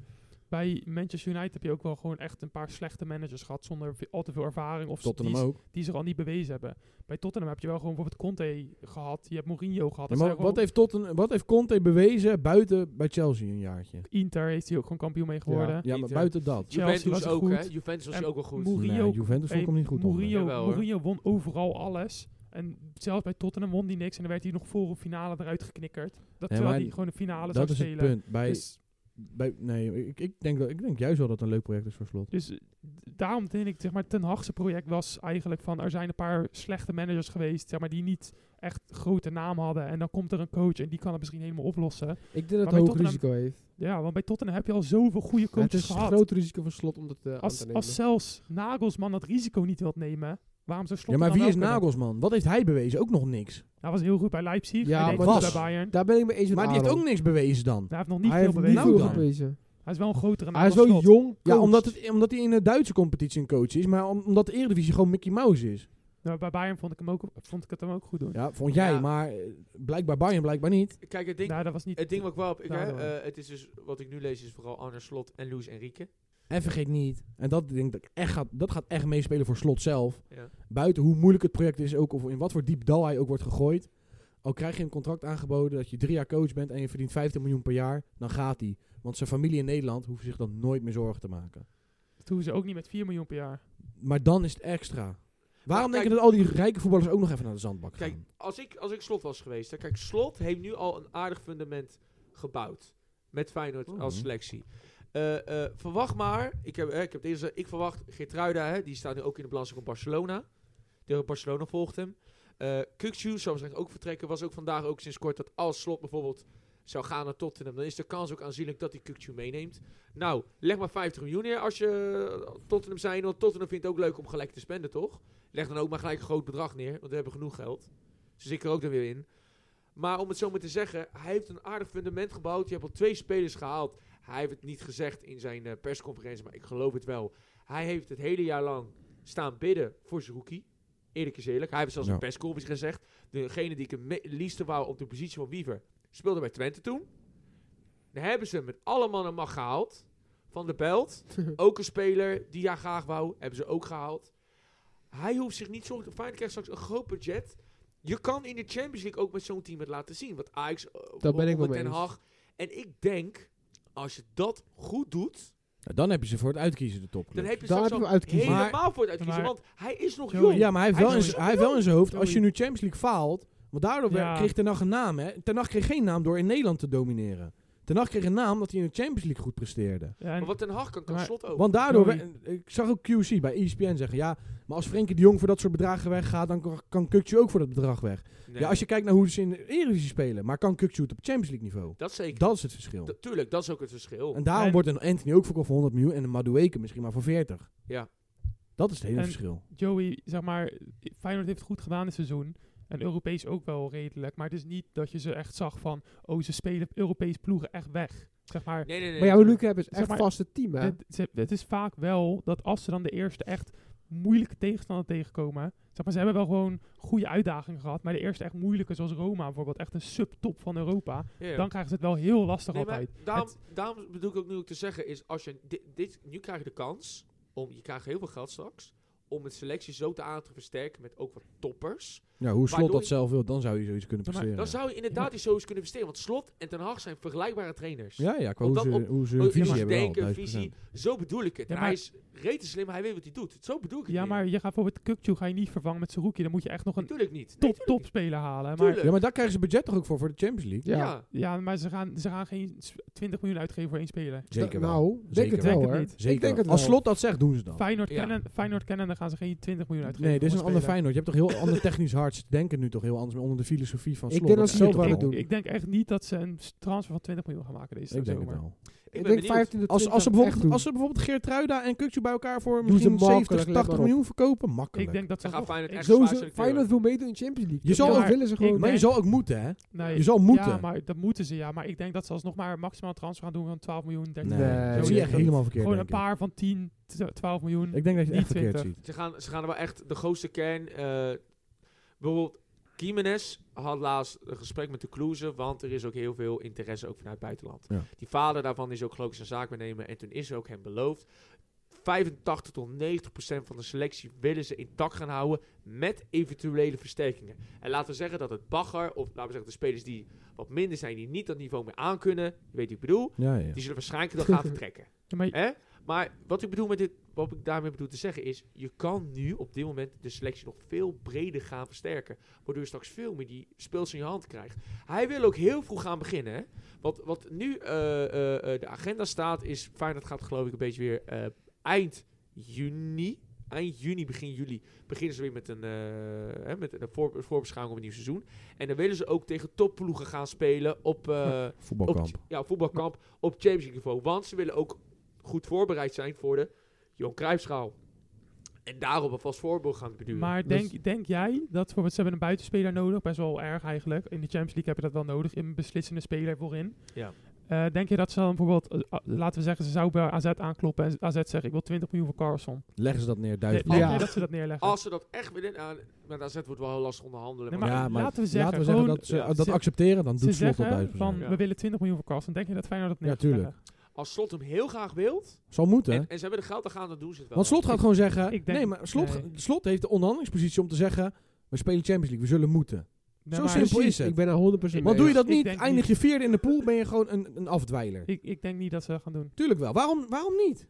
Speaker 4: Bij Manchester United heb je ook wel gewoon echt een paar slechte managers gehad zonder ve- al te veel ervaring of
Speaker 2: Tottenham
Speaker 4: die,
Speaker 2: ook.
Speaker 4: die zich al niet bewezen hebben. Bij Tottenham heb je wel gewoon bijvoorbeeld Conte gehad, je hebt Mourinho gehad.
Speaker 2: Ja, maar
Speaker 4: Dat zijn
Speaker 2: wat,
Speaker 4: gewoon-
Speaker 2: heeft Totten, wat heeft Conte bewezen buiten bij Chelsea een jaartje?
Speaker 4: Inter heeft hij ook gewoon kampioen mee geworden.
Speaker 2: Ja, maar
Speaker 1: Inter.
Speaker 2: buiten dat.
Speaker 4: Chelsea
Speaker 1: Juventus
Speaker 4: was
Speaker 1: ook,
Speaker 4: goed.
Speaker 1: hè? Juventus was
Speaker 4: En
Speaker 1: je ook wel goed.
Speaker 4: Moe- Mourinho-
Speaker 2: Nee, Juventus vond ik hem niet goed. onder.
Speaker 4: Mourinho,
Speaker 1: Jawel, hoor.
Speaker 4: Mourinho won overal alles. En zelfs bij Tottenham won hij niks en dan werd hij nog voor een finale eruit geknikkerd. Dat terwijl
Speaker 2: maar
Speaker 4: hij gewoon de finale
Speaker 2: Dat
Speaker 4: zou
Speaker 2: is het
Speaker 4: spelen.
Speaker 2: punt. Bij,
Speaker 4: Dus,
Speaker 2: bij, nee, ik, ik, denk dat, ik denk juist wel dat het een leuk project is voor slot.
Speaker 4: dus eh, d- daarom denk ik, zeg maar, Ten Hagse project was eigenlijk van, er zijn een paar slechte managers geweest, zeg maar, die niet echt grote naam hadden. En dan komt er een coach en die kan het misschien helemaal oplossen.
Speaker 3: Ik denk dat
Speaker 4: bij
Speaker 3: het hoog
Speaker 4: Tottenham-
Speaker 3: risico heeft.
Speaker 4: Ja, want bij Tottenham heb je al zoveel goede
Speaker 3: Het
Speaker 4: coaches
Speaker 3: is een
Speaker 4: gehad.
Speaker 3: groot risico voor slot om dat eh, aan te
Speaker 4: als,
Speaker 3: nemen.
Speaker 4: als zelfs Nagelsman dat risico niet wilt nemen, waarom zou
Speaker 2: Ja,
Speaker 4: Slot
Speaker 2: maar
Speaker 4: het
Speaker 2: wie
Speaker 4: dan
Speaker 2: is
Speaker 4: wel kunnen? Nou,
Speaker 2: Nagelsman? Wat heeft hij bewezen? Ook nog niks.
Speaker 4: Hij was heel goed bij Leipzig.
Speaker 3: Ja,
Speaker 4: Ja, hij deed
Speaker 2: maar
Speaker 4: goed
Speaker 2: was.
Speaker 4: bij Bayern.
Speaker 3: Daar ben ik mee eens met
Speaker 2: Maar die heeft
Speaker 3: Aaron.
Speaker 2: ook niks bewezen dan.
Speaker 4: Hij heeft nog niet
Speaker 3: Hij
Speaker 4: veel
Speaker 3: heeft niet
Speaker 4: bewezen.
Speaker 2: Nou
Speaker 3: veel
Speaker 2: dan.
Speaker 3: gewezen.
Speaker 4: Hij is wel een grotere naam
Speaker 3: Hij is
Speaker 4: dan
Speaker 3: wel
Speaker 4: Slot.
Speaker 3: jong.
Speaker 2: Ja,
Speaker 3: coach.
Speaker 2: omdat, het, omdat hij in de Duitse competitie een coach is, maar om- omdat de Eredivisie gewoon Mickey Mouse is.
Speaker 4: Nou, bij Bayern vond ik, hem ook, vond ik het hem ook goed doen.
Speaker 2: Ja, vond jij,
Speaker 1: Ja.
Speaker 2: maar eh, blijkbaar Bayern, blijkbaar niet.
Speaker 1: Kijk, het ding,
Speaker 4: Nou, dat was niet...
Speaker 1: het ding wat ik wel heb, ik, hè,
Speaker 4: Daardoor.
Speaker 1: eh, het is dus, wat ik nu lees is vooral Arne Slot en Luis Enrique.
Speaker 2: En vergeet niet, en dat, denk ik dat, echt gaat, dat gaat echt meespelen voor slot zelf.
Speaker 1: Ja.
Speaker 2: buiten hoe moeilijk het project is, ook of in wat voor diep dal hij ook wordt gegooid. Al krijg je een contract aangeboden dat je drie jaar coach bent en je verdient 15 miljoen per jaar, dan gaat hij. Want zijn familie in Nederland hoeft zich dan nooit meer zorgen te maken.
Speaker 4: Dat doen ze ook niet met 4 miljoen per jaar.
Speaker 2: Maar dan is het extra.
Speaker 1: kijk-
Speaker 2: Waarom denk je dat al die rijke voetballers ook nog even naar de zandbak gaan?
Speaker 1: Kijk, als ik, als ik Slot was geweest... Hè, kijk, Slot heeft nu al een aardig fundament gebouwd. Met Feyenoord
Speaker 2: Mhm.
Speaker 1: als selectie. Eh, eh, verwacht maar... Ik, heb, hè, ik, heb deze, ik verwacht Geertruida, hè, die staat nu ook in de balans van Barcelona. De Barcelona volgt hem. Eh Kukçu zou waarschijnlijk ook vertrekken. Was ook vandaag ook sinds kort dat als Slot bijvoorbeeld zou gaan naar Tottenham... dan is de kans ook aanzienlijk dat hij Kukçu meeneemt. Nou, leg maar 50 miljoen neer als je eh, Tottenham zijn. Want Tottenham vindt het ook leuk om gelijk te spenden, toch? Leg dan ook maar gelijk een groot bedrag neer, want we hebben genoeg geld. Ze zit er ook dan weer in. Maar om het zo maar te zeggen, hij heeft een aardig fundament gebouwd. Je hebt al twee spelers gehaald. Hij heeft het niet gezegd in zijn eh, persconferentie, maar ik geloof het wel. Hij heeft het hele jaar lang staan bidden voor zijn rookie. Eerlijk is eerlijk. Hij heeft zelfs
Speaker 2: Ja.
Speaker 1: een persconferentie gezegd. Degene die ik het me- liefste wou op de positie van Wiever, speelde bij Twente toen. Dan hebben ze hem met alle mannen mag gehaald. Van de
Speaker 3: [laughs]
Speaker 1: Belt, ook een speler die hij graag wou, hebben ze ook gehaald. Hij hoeft zich niet zorgen. Feyenoord krijgt straks een groot budget. Je kan in de Champions League ook met zo'n team het laten zien. Wat Ajax, eh,
Speaker 3: ben ik wel
Speaker 1: onder
Speaker 3: mee
Speaker 1: Den
Speaker 3: eens.
Speaker 1: Haag. En ik denk, als je dat goed doet,
Speaker 2: Nou, dan heb je ze voor het uitkiezen, de
Speaker 1: dan
Speaker 2: topclub.
Speaker 1: heb je
Speaker 3: Daar
Speaker 1: straks
Speaker 3: heb je
Speaker 1: al
Speaker 3: hem uitkiezen.
Speaker 1: helemaal voor het uitkiezen.
Speaker 4: maar-
Speaker 1: want hij is nog
Speaker 4: Joey,
Speaker 1: jong.
Speaker 2: Ja, maar hij heeft,
Speaker 4: Hij
Speaker 2: wel in,
Speaker 4: is
Speaker 2: zijn- hij heeft wel in zijn hoofd, als je
Speaker 4: Joey.
Speaker 2: nu Champions League faalt... Want daardoor werd-
Speaker 4: Ja.
Speaker 2: kreeg Ten Hag een naam, hè. Ten Hag kreeg geen naam door in Nederland te domineren. Ten Hag kreeg een naam dat hij in de Champions League goed presteerde.
Speaker 4: Ja, en-
Speaker 1: maar wat Den Haag kan, kan
Speaker 4: Maar-
Speaker 1: slot ook.
Speaker 2: Want daardoor...
Speaker 4: Joey.
Speaker 2: we- ik zag ook QC bij E ESPN zeggen... Ja, maar als Frenkie de Jong voor dat soort bedragen weggaat... dan kan- kan Kukçu ook voor dat bedrag weg.
Speaker 1: Nee,
Speaker 2: Ja, als je kijkt naar hoe ze in de Eredivisie spelen... maar kan Kukçu het op Champions League niveau?
Speaker 1: dat zeker.
Speaker 2: Dat is het verschil.
Speaker 1: Da- tuurlijk, dat is ook het verschil.
Speaker 2: En daarom
Speaker 4: En-
Speaker 2: wordt een Anthony ook verkocht voor 100 miljoen en een Madueke misschien maar voor 40.
Speaker 1: Ja.
Speaker 2: Dat is het hele
Speaker 4: En-
Speaker 2: verschil.
Speaker 4: Joey, zeg maar, Feyenoord heeft het goed gedaan dit seizoen. En Europees ook wel redelijk. Maar het is niet dat je ze echt zag van, oh, ze spelen Europees ploegen echt weg. Zeg maar,
Speaker 1: Nee, nee, nee.
Speaker 3: Maar ja,
Speaker 1: tuurlijk.
Speaker 3: Luc hebben is
Speaker 4: Zeg
Speaker 3: echt
Speaker 4: maar,
Speaker 3: vast het team, hè?
Speaker 4: het, ze- het is vaak wel dat als ze dan de eerste echt moeilijke tegenstander tegenkomen. Zeg maar, ze hebben wel gewoon goede uitdagingen gehad. Maar de eerste echt moeilijke, zoals Roma bijvoorbeeld, echt een subtop van Europa.
Speaker 1: Ja, ja.
Speaker 4: Dan krijgen ze het wel heel lastig
Speaker 1: Nee, maar
Speaker 4: altijd.
Speaker 1: daarom, daarom bedoel ik ook nu ook te zeggen is als je dit, dit nu krijg je de kans om je krijgt heel veel geld straks om het selectie zo te aan te versterken met ook wat toppers.
Speaker 2: Ja, hoe Slot
Speaker 1: Waardoor
Speaker 2: dat
Speaker 1: je-
Speaker 2: zelf wil, dan zou je zoiets kunnen
Speaker 4: Maar
Speaker 2: presteren.
Speaker 1: Dan zou je inderdaad die zo eens kunnen besteden, want Slot en Ten Hag zijn vergelijkbare trainers.
Speaker 2: Ja, ja, qua
Speaker 1: Want
Speaker 2: hoe
Speaker 1: dat
Speaker 2: ze,
Speaker 1: op-
Speaker 2: hoe ze
Speaker 1: Ook
Speaker 2: hun
Speaker 1: hoe
Speaker 2: visie
Speaker 3: dus
Speaker 1: ze
Speaker 2: hebben wel,
Speaker 1: denken,
Speaker 2: 1000%.
Speaker 1: visie. Zo bedoel ik het.
Speaker 4: Ja,
Speaker 1: en
Speaker 4: maar-
Speaker 1: hij is rete slim, hij weet wat hij doet. Zo bedoel ik het.
Speaker 4: Ja,
Speaker 1: meer.
Speaker 4: maar je gaat bijvoorbeeld Kukcu ga je niet vervangen met Seruki. Dan moet je echt nog een top,
Speaker 1: natuurlijk niet. Nee,
Speaker 4: top topspeler halen. Maar,
Speaker 1: tuurlijk.
Speaker 2: Ja, maar daar krijgen ze budget toch ook voor, voor de Champions League?
Speaker 1: ja.
Speaker 3: ja.
Speaker 4: ja, maar ze gaan, ze gaan geen s- 20 miljoen uitgeven voor één speler.
Speaker 2: Zeker wel.
Speaker 3: Nou, denk
Speaker 2: Zeker
Speaker 3: het wel,
Speaker 4: wel.
Speaker 3: hoor.
Speaker 4: Denk het
Speaker 2: Zeker
Speaker 3: Ik denk
Speaker 2: wel.
Speaker 3: het
Speaker 2: Als
Speaker 3: wel.
Speaker 2: Slot dat zegt, doen ze dat.
Speaker 4: Feyenoord,
Speaker 1: Ja.
Speaker 4: kennen, Feyenoord kennen, dan gaan ze geen 20 miljoen
Speaker 2: Oh.
Speaker 4: uitgeven.
Speaker 2: Nee, dit is
Speaker 4: voor
Speaker 2: een ander
Speaker 4: speler.
Speaker 2: Feyenoord. Je hebt toch heel ander technisch hard denken nu toch heel anders meer onder de filosofie van
Speaker 3: Ik
Speaker 2: Slot.
Speaker 3: denk dat
Speaker 2: is
Speaker 3: ze dat
Speaker 2: toch
Speaker 3: wel
Speaker 2: wel-
Speaker 3: doen.
Speaker 4: Ik denk echt niet dat ze een s- transfer van 20 miljoen gaan maken deze
Speaker 2: Ik denk het
Speaker 4: zomer.
Speaker 2: wel.
Speaker 1: Ik ben
Speaker 3: Ik denk
Speaker 1: benieuwd.
Speaker 3: 15 tot
Speaker 2: Als, als, ze
Speaker 3: 20 echt
Speaker 2: bijvoorbeeld,
Speaker 3: doen.
Speaker 2: als ze bijvoorbeeld Geertruida en Kukçu bij elkaar voor
Speaker 3: Doen ze
Speaker 2: misschien 70,
Speaker 3: makkelijk, let
Speaker 2: 80
Speaker 3: maar op.
Speaker 2: miljoen verkopen, makkelijk.
Speaker 4: Ik denk dat ze
Speaker 1: Dan gaat
Speaker 4: nog-
Speaker 1: Feyenoord
Speaker 4: ik-
Speaker 1: echt
Speaker 3: Zo
Speaker 1: zwaar
Speaker 3: ze,
Speaker 1: selecteren.
Speaker 3: Feyenoord wil meedoen in de Champions League.
Speaker 2: Je zal-
Speaker 3: dat
Speaker 4: maar
Speaker 3: willen ze
Speaker 4: ik
Speaker 3: gewoon.
Speaker 4: denk-
Speaker 2: Maar je zal ook moeten, hè?
Speaker 4: Nee,
Speaker 2: Je zal moeten.
Speaker 4: Ja, maar dat moeten ze, ja. Maar ik denk dat ze alsnog maar maximaal transfer gaan doen van 12 miljoen, 13
Speaker 2: Nee,
Speaker 4: miljoen.
Speaker 3: Nee,
Speaker 2: dat
Speaker 4: Zo
Speaker 2: zie je
Speaker 4: is
Speaker 2: echt
Speaker 4: het.
Speaker 2: helemaal verkeerd.
Speaker 4: Gewoon een
Speaker 2: denk ik.
Speaker 4: paar van 10, tw- 12 miljoen.
Speaker 2: Ik denk dat je het echt
Speaker 4: Niet
Speaker 2: verkeerd
Speaker 4: 20.
Speaker 2: ziet.
Speaker 1: Ze gaan, ze gaan er wel echt de grootste kern. eh, bijvoorbeeld, Jiménez had laatst een gesprek met de Kloeze, want er is ook heel veel interesse ook vanuit het buitenland.
Speaker 2: Ja.
Speaker 1: Die vader daarvan is ook geloof ik zijn zaak benemen en toen is er ook hem beloofd. 85 tot 90 procent van de selectie willen ze intact gaan houden met eventuele versterkingen. En laten we zeggen dat het bagger, of laten we zeggen de spelers die wat minder zijn, die niet dat niveau meer aankunnen, je weet wie ik bedoel,
Speaker 2: Ja, ja.
Speaker 1: die zullen waarschijnlijk dan
Speaker 2: [laughs]
Speaker 1: gaan vertrekken.
Speaker 4: Ja, maar,
Speaker 1: Hè? Maar wat ik bedoel met dit, wat ik daarmee bedoel te zeggen is, je kan nu op dit moment de selectie nog veel breder gaan versterken. Waardoor je straks veel meer die speels in je hand krijgt. Hij wil ook heel vroeg gaan beginnen. Hè? Wat, wat nu eh, eh, eh, de agenda staat, is Feyenoord gaat geloof ik een beetje weer eh, eind juni. Eind juni, begin juli beginnen ze weer met een, eh, hè, met een voor, voorbeschouwing op een nieuw seizoen. En dan willen ze ook tegen topploegen gaan spelen op, eh, op,
Speaker 2: Voetbalkamp.
Speaker 1: ja, voetbalkamp op Champions League niveau. Want ze willen ook goed voorbereid zijn voor de Johan Cruijffschaal. En daarop een vast voorbeeld gaan beduren.
Speaker 4: maar
Speaker 3: Dus-
Speaker 4: denk, denk jij dat bijvoorbeeld, ze hebben een buitenspeler nodig, best wel erg eigenlijk. In de Champions League heb je dat wel nodig, een beslissende speler voorin.
Speaker 1: Ja.
Speaker 4: Eh, denk je dat ze dan bijvoorbeeld, eh, ah, laten we zeggen, ze zou bij AZ aankloppen en AZ zegt, ik wil 20 miljoen voor Carlson.
Speaker 2: Leggen ze dat neer,
Speaker 4: Denk
Speaker 2: duizend
Speaker 4: denk
Speaker 3: Ja.
Speaker 4: jij dat ze dat neerleggen?
Speaker 1: Als ze dat echt willen, nou, maar dan wordt het wel heel lastig onderhandelen.
Speaker 4: Nee,
Speaker 1: maar
Speaker 4: maar-
Speaker 2: Ja, maar laten we zeggen,
Speaker 4: gewoon- eh,
Speaker 2: dat ze
Speaker 1: ja,
Speaker 2: dat
Speaker 4: ze-
Speaker 2: accepteren, dan
Speaker 4: ze
Speaker 2: doet Slot dat
Speaker 4: zeggen
Speaker 2: duizend
Speaker 4: van,
Speaker 1: Ja.
Speaker 4: we willen 20 miljoen voor Carlson. Denk je dat Feyenoord dat neer
Speaker 2: Ja,
Speaker 4: gaat leggen?
Speaker 2: tuurlijk.
Speaker 1: als Slot hem heel graag wil,
Speaker 2: Zal moeten, hè?
Speaker 1: en, en ze hebben de geld te gaan, dan doen ze het wel.
Speaker 2: Want Slot gaat gewoon zeggen...
Speaker 4: ik denk-
Speaker 2: nee, maar Slot,
Speaker 4: nee.
Speaker 2: Slot heeft de onderhandelingspositie om te zeggen... We spelen Champions League, we zullen moeten.
Speaker 4: Nee,
Speaker 2: Zo
Speaker 4: maar-
Speaker 2: simpel is het.
Speaker 3: Ik ben er 100% mee.
Speaker 2: Want doe je dat
Speaker 4: dus ik
Speaker 2: niet,
Speaker 4: denk
Speaker 2: eindig je vierde in de pool... ben je gewoon een, een afdwijler.
Speaker 4: Ik, ik denk niet dat ze dat gaan doen.
Speaker 2: Tuurlijk wel. Waarom, waarom niet?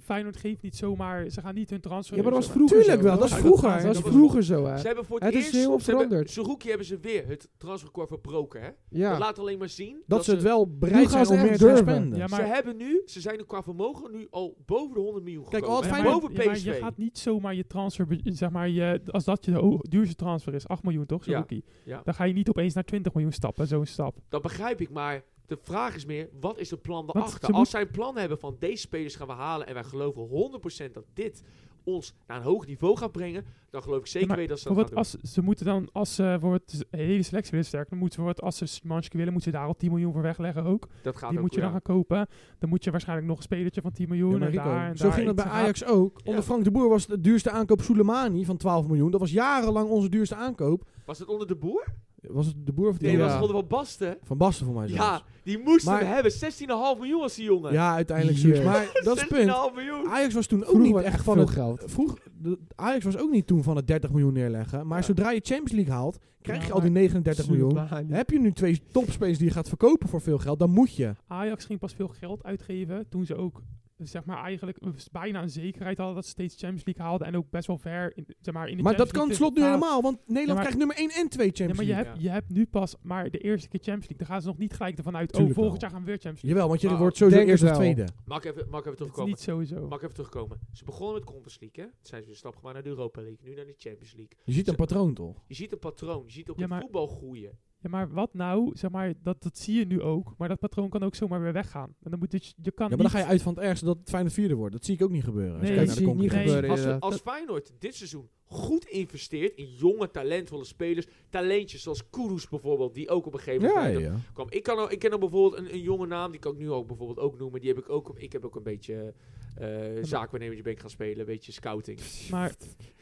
Speaker 4: Feyenoord geeft niet zomaar, ze gaan niet hun transfer.
Speaker 3: Ja, maar dat was
Speaker 4: zomaar-
Speaker 3: vroeger
Speaker 2: Tuurlijk
Speaker 3: zo.
Speaker 2: wel, dat is vroeger.
Speaker 3: Dat was
Speaker 1: Dat was
Speaker 3: vroeger zo, hè.
Speaker 1: Ze hebben voor het,
Speaker 3: Het is
Speaker 1: eerst...
Speaker 3: heel
Speaker 1: ze hebben-
Speaker 3: veranderd.
Speaker 1: Zerouki hebben ze weer het transferkort verbroken, hè? Dat
Speaker 3: Ja.
Speaker 1: laat alleen maar zien dat,
Speaker 2: Dat ze het wel
Speaker 3: Nu
Speaker 2: bereid
Speaker 3: gaan
Speaker 2: zijn
Speaker 3: ze
Speaker 2: om
Speaker 3: echt
Speaker 2: meer te
Speaker 3: durven.
Speaker 2: spenden.
Speaker 4: Ja, maar-
Speaker 1: Ze hebben nu... Ze zijn qua vermogen nu al boven de 100 miljoen
Speaker 2: Kijk,
Speaker 1: gekomen.
Speaker 2: al het
Speaker 1: En
Speaker 4: Ja,
Speaker 2: Feyenoord-
Speaker 1: boven
Speaker 4: ja, maar
Speaker 1: PSV.
Speaker 4: je gaat niet zomaar je transfer, zeg maar, je, als dat je de ho- duurste transfer is, 8 miljoen toch, zo'n
Speaker 1: Ja,
Speaker 4: rookie.
Speaker 1: ja.
Speaker 4: Dan ga je niet opeens naar 20 miljoen stappen, zo'n stap.
Speaker 1: Dat begrijp ik, maar de vraag is meer, wat is het plan
Speaker 4: ze
Speaker 1: daarachter?
Speaker 4: moet-
Speaker 1: Als zij een plan hebben van deze spelers gaan we halen en wij geloven 100% dat dit ons naar een hoog niveau gaat brengen, dan geloof ik zeker
Speaker 4: Ja, maar
Speaker 1: weten dat ze dat gaan
Speaker 4: Bijvoorbeeld,
Speaker 1: doen.
Speaker 4: als ze moeten dan, als ze voor het hele selectie willen sterken, dan moeten ze voor het, als ze Szymanski willen, moeten ze daar al 10 miljoen voor wegleggen ook.
Speaker 1: Dat gaat
Speaker 4: Die
Speaker 1: ook,
Speaker 4: moet je
Speaker 1: ja.
Speaker 4: dan gaan kopen. Dan moet je waarschijnlijk nog een spelertje van 10 miljoen
Speaker 2: Ja, maar
Speaker 4: en
Speaker 2: Rico,
Speaker 4: daar en
Speaker 2: zo
Speaker 4: daar
Speaker 2: ging dat
Speaker 4: iets
Speaker 2: bij
Speaker 4: aan.
Speaker 2: Ajax ook. Onder
Speaker 1: Ja.
Speaker 2: Frank de Boer was de duurste aankoop Soleimani van 12 miljoen. Dat was jarenlang onze duurste aankoop.
Speaker 1: Was het onder de boer?
Speaker 2: Was het de Boer of die
Speaker 1: Nee,
Speaker 3: Ja.
Speaker 1: dat was
Speaker 2: andere?
Speaker 1: het onder Van Basten.
Speaker 2: Van Basten voor mij zelfs.
Speaker 1: Ja, die moesten
Speaker 2: Maar-
Speaker 1: we hebben. 16,5 miljoen was die jongen.
Speaker 2: Ja, uiteindelijk
Speaker 3: Jezus.
Speaker 2: zoiets. Maar dat is het punt.
Speaker 1: 16,5
Speaker 4: Ah.
Speaker 1: miljoen.
Speaker 2: Ajax was toen ook
Speaker 3: Vroeger
Speaker 2: niet
Speaker 3: was
Speaker 2: echt
Speaker 3: echt
Speaker 2: van
Speaker 3: veel
Speaker 2: het...
Speaker 3: geld.
Speaker 2: Vroeg, de- Ajax was ook niet toen van het 30 miljoen neerleggen. Maar
Speaker 1: Ja.
Speaker 2: zodra je Champions League haalt, krijg
Speaker 4: Ja,
Speaker 2: je al die
Speaker 4: maar
Speaker 2: 39 miljoen. Heb je nu twee topspelers die je gaat verkopen voor veel geld, dan moet je.
Speaker 4: Ajax ging pas veel geld uitgeven toen ze ook zeg maar eigenlijk bijna een zekerheid hadden dat ze steeds Champions League haalden en ook best wel ver in, zeg maar, in de
Speaker 2: Maar dat kan
Speaker 4: Champions League
Speaker 2: slot nu
Speaker 4: te-
Speaker 2: helemaal, want Nederland
Speaker 4: maar-
Speaker 2: krijgt nummer 1 en 2 Champions
Speaker 4: Ja, maar
Speaker 2: League.
Speaker 4: je
Speaker 1: League.
Speaker 4: hebt, je hebt nu pas maar de eerste keer Champions League. Dan gaan ze nog niet gelijk ervan uit,
Speaker 2: Tuurlijk
Speaker 4: oh, volgend
Speaker 2: wel.
Speaker 4: jaar gaan we weer Champions League.
Speaker 2: Jawel, want je
Speaker 1: Maar-
Speaker 2: wordt sowieso
Speaker 3: Denk het
Speaker 2: eerst of
Speaker 3: wel.
Speaker 2: tweede.
Speaker 1: Mag ik even, mag ik even
Speaker 4: Dat is
Speaker 1: terugkomen?
Speaker 4: niet sowieso.
Speaker 1: Mag ik even terugkomen? Ze begonnen met Conference League, hè? Toen zijn ze weer een stap gemaakt naar de Europa League, nu naar de Champions League.
Speaker 2: Je ziet een
Speaker 1: Ze-
Speaker 2: patroon toch?
Speaker 1: Je ziet een patroon, je ziet ook
Speaker 4: Ja,
Speaker 1: het
Speaker 4: maar-
Speaker 1: voetbal groeien.
Speaker 4: Ja, maar wat nou? Zeg maar, dat, dat zie je nu ook. Maar dat patroon kan ook zomaar weer weggaan. En dan moet het, je kan
Speaker 2: Ja, maar dan
Speaker 4: niet-
Speaker 2: ga je uit van het ergste dat het Feyenoord vierde wordt. Dat zie ik ook niet gebeuren. Als je
Speaker 4: Nee,
Speaker 2: kijkt
Speaker 4: dat
Speaker 2: naar de
Speaker 3: zie ik niet
Speaker 2: concurrentie.
Speaker 3: gebeuren.
Speaker 1: Als,
Speaker 3: inderdaad.
Speaker 1: als Feyenoord dit seizoen goed investeert in jonge, talentvolle spelers, talentjes zoals Kudus bijvoorbeeld, die ook op een gegeven moment
Speaker 2: Ja, ja, ja.
Speaker 1: kwam. Ik, kan, al- ik ken al bijvoorbeeld een, een jonge naam, die kan ik nu ook bijvoorbeeld ook noemen. Die heb ik ook, ik heb ook een beetje eh zaakwaarnemertje ben ik gaan spelen, een beetje scouting.
Speaker 4: Maar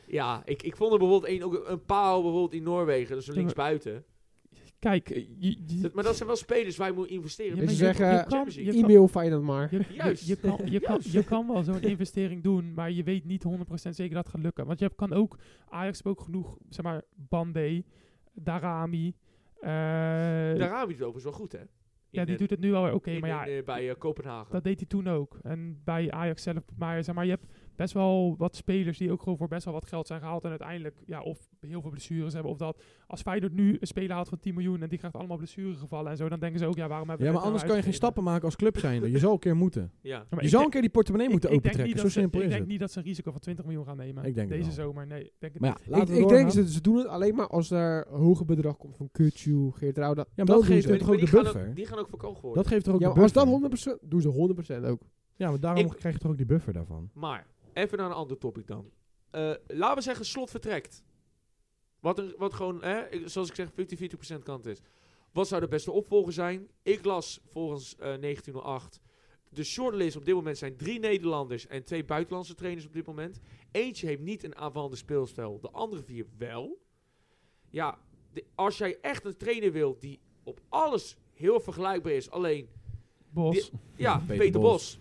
Speaker 1: Ja, ik, ik vond er bijvoorbeeld een, ook een paal bijvoorbeeld in Noorwegen, dus een
Speaker 4: Ja, maar-
Speaker 1: linksbuiten.
Speaker 4: kijk, eh, je, je,
Speaker 1: Dat- Maar dat zijn wel spelers waar je moet
Speaker 4: ja,
Speaker 1: investeren.
Speaker 4: maar
Speaker 3: ze
Speaker 4: je-
Speaker 3: zeggen,
Speaker 4: je kan-
Speaker 1: Champions
Speaker 4: je
Speaker 1: League.
Speaker 4: kan-
Speaker 3: E-mail Feyenoord maar.
Speaker 4: Je, je-
Speaker 1: Juist.
Speaker 4: je kan, je, kan, je
Speaker 1: Juist.
Speaker 4: kan wel zo'n investering doen, maar je weet niet 100% zeker dat het gaat lukken. Want je hebt- kan ook, Ajax heeft ook genoeg, zeg maar, Bandé, Darami. eh,
Speaker 1: Daarami doet het overigens wel goed, hè? In,
Speaker 4: ja, die
Speaker 1: eh,
Speaker 4: doet het nu wel weer oké,
Speaker 1: in-
Speaker 4: maar ja,
Speaker 1: in, eh, bij eh, Kopenhagen.
Speaker 4: dat deed hij toen ook. En bij Ajax zelf, maar zeg maar, je hebt best wel wat spelers die ook gewoon voor best wel wat geld zijn gehaald. En uiteindelijk, ja, of heel veel blessures hebben, of dat. Als Feyenoord nu een speler haalt van 10 miljoen en die krijgt allemaal blessure gevallen en zo, dan denken ze ook, ja, waarom hebben we
Speaker 2: Ja, maar
Speaker 4: dit nou
Speaker 2: anders kan je geen
Speaker 4: uitgegeven?
Speaker 2: stappen maken als club zijnde. Je zal een keer moeten.
Speaker 1: Ja.
Speaker 4: Ja, maar
Speaker 2: Je zal
Speaker 4: ik denk-
Speaker 2: een keer die portemonnee moeten
Speaker 4: ik, ik denk
Speaker 2: opentrekken.
Speaker 4: niet
Speaker 2: Zo
Speaker 4: dat ze-
Speaker 2: simpel
Speaker 4: Ik
Speaker 2: is
Speaker 4: denk
Speaker 2: het.
Speaker 4: niet dat ze een risico van 20 miljoen gaan nemen.
Speaker 2: Ik denk het
Speaker 4: Deze
Speaker 2: wel.
Speaker 4: zomer, nee. Ik denk het
Speaker 2: Maar
Speaker 4: niet.
Speaker 2: ja,
Speaker 3: Ik,
Speaker 2: laten we
Speaker 3: ik denk,
Speaker 2: doorgaan.
Speaker 3: ze, ze doen het alleen maar als er een hoger bedrag komt van Kutsu, Geert Rauda.
Speaker 2: Ja, maar dat geeft
Speaker 1: Maar
Speaker 2: toch ook
Speaker 1: die,
Speaker 2: de
Speaker 1: gaan ook,
Speaker 2: buffer?
Speaker 1: die gaan ook verkocht worden.
Speaker 2: Dat geeft toch ook
Speaker 3: Ja,
Speaker 2: de
Speaker 3: maar als dat
Speaker 2: buffer?
Speaker 3: 100% doen ze 100% ook.
Speaker 2: Ja, maar daarom
Speaker 1: Ik-
Speaker 2: krijg je toch ook die buffer daarvan?
Speaker 1: Maar, even naar een ander topic dan. Eh, laten we zeggen, slot vertrekt. Wat, een, wat gewoon, hè, ik- zoals ik zeg, 50-40% kant is. Wat zou de beste opvolger zijn? Ik las volgens eh, 1908. De shortlist op dit moment zijn drie Nederlanders en twee buitenlandse trainers op dit moment. Eentje heeft niet een aanvallende speelstijl, de andere vier wel. Ja, de- als jij echt een trainer wil die op alles heel vergelijkbaar is, alleen
Speaker 4: Bos.
Speaker 1: Die- ja, Peter,
Speaker 2: Peter
Speaker 1: Bos. Dat-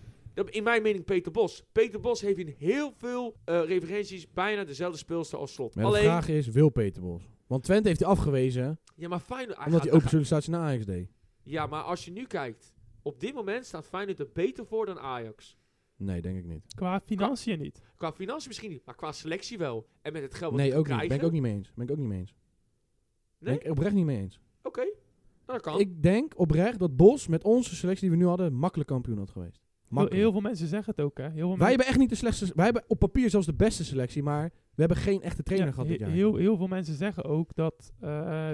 Speaker 1: In mijn mening Peter Bos. Peter Bos heeft in heel veel eh, referenties bijna dezelfde speelster als slot.
Speaker 2: Maar
Speaker 1: Alleen,
Speaker 2: de vraag is, wil Peter Bos? Want Twente heeft hij afgewezen,
Speaker 1: ja, maar Feyenoord... hij
Speaker 2: omdat
Speaker 1: gaat-
Speaker 2: hij
Speaker 1: hij
Speaker 2: open sollicitatie naar Ajax deed.
Speaker 1: gaat- ja, maar als je nu kijkt, op dit moment staat Feyenoord er beter voor dan Ajax.
Speaker 2: Nee, denk ik niet.
Speaker 1: Oh,
Speaker 4: Qua financiën niet.
Speaker 1: Qua financiën misschien niet, maar qua selectie wel. En met het geld wat
Speaker 2: Nee,
Speaker 1: ze
Speaker 2: ook niet.
Speaker 1: krijgen.
Speaker 2: Ben ik ook niet mee eens. Ben ik ook niet mee eens.
Speaker 1: Nee?
Speaker 2: Ben ik oprecht niet mee eens.
Speaker 1: Oké, nou, dat kan.
Speaker 2: Ik denk oprecht dat Bos met onze selectie die we nu hadden, makkelijk kampioen had geweest.
Speaker 4: Heel,
Speaker 2: Makkelijk.
Speaker 4: heel veel mensen zeggen het ook, hè. Heel veel
Speaker 2: Wij
Speaker 4: mensen-
Speaker 2: hebben echt niet de slechtste. Wij hebben op papier zelfs de beste selectie, maar we hebben geen echte trainer
Speaker 4: ja,
Speaker 2: gehad dit
Speaker 4: he-
Speaker 2: jaar.
Speaker 4: Heel, heel veel mensen zeggen ook dat eh,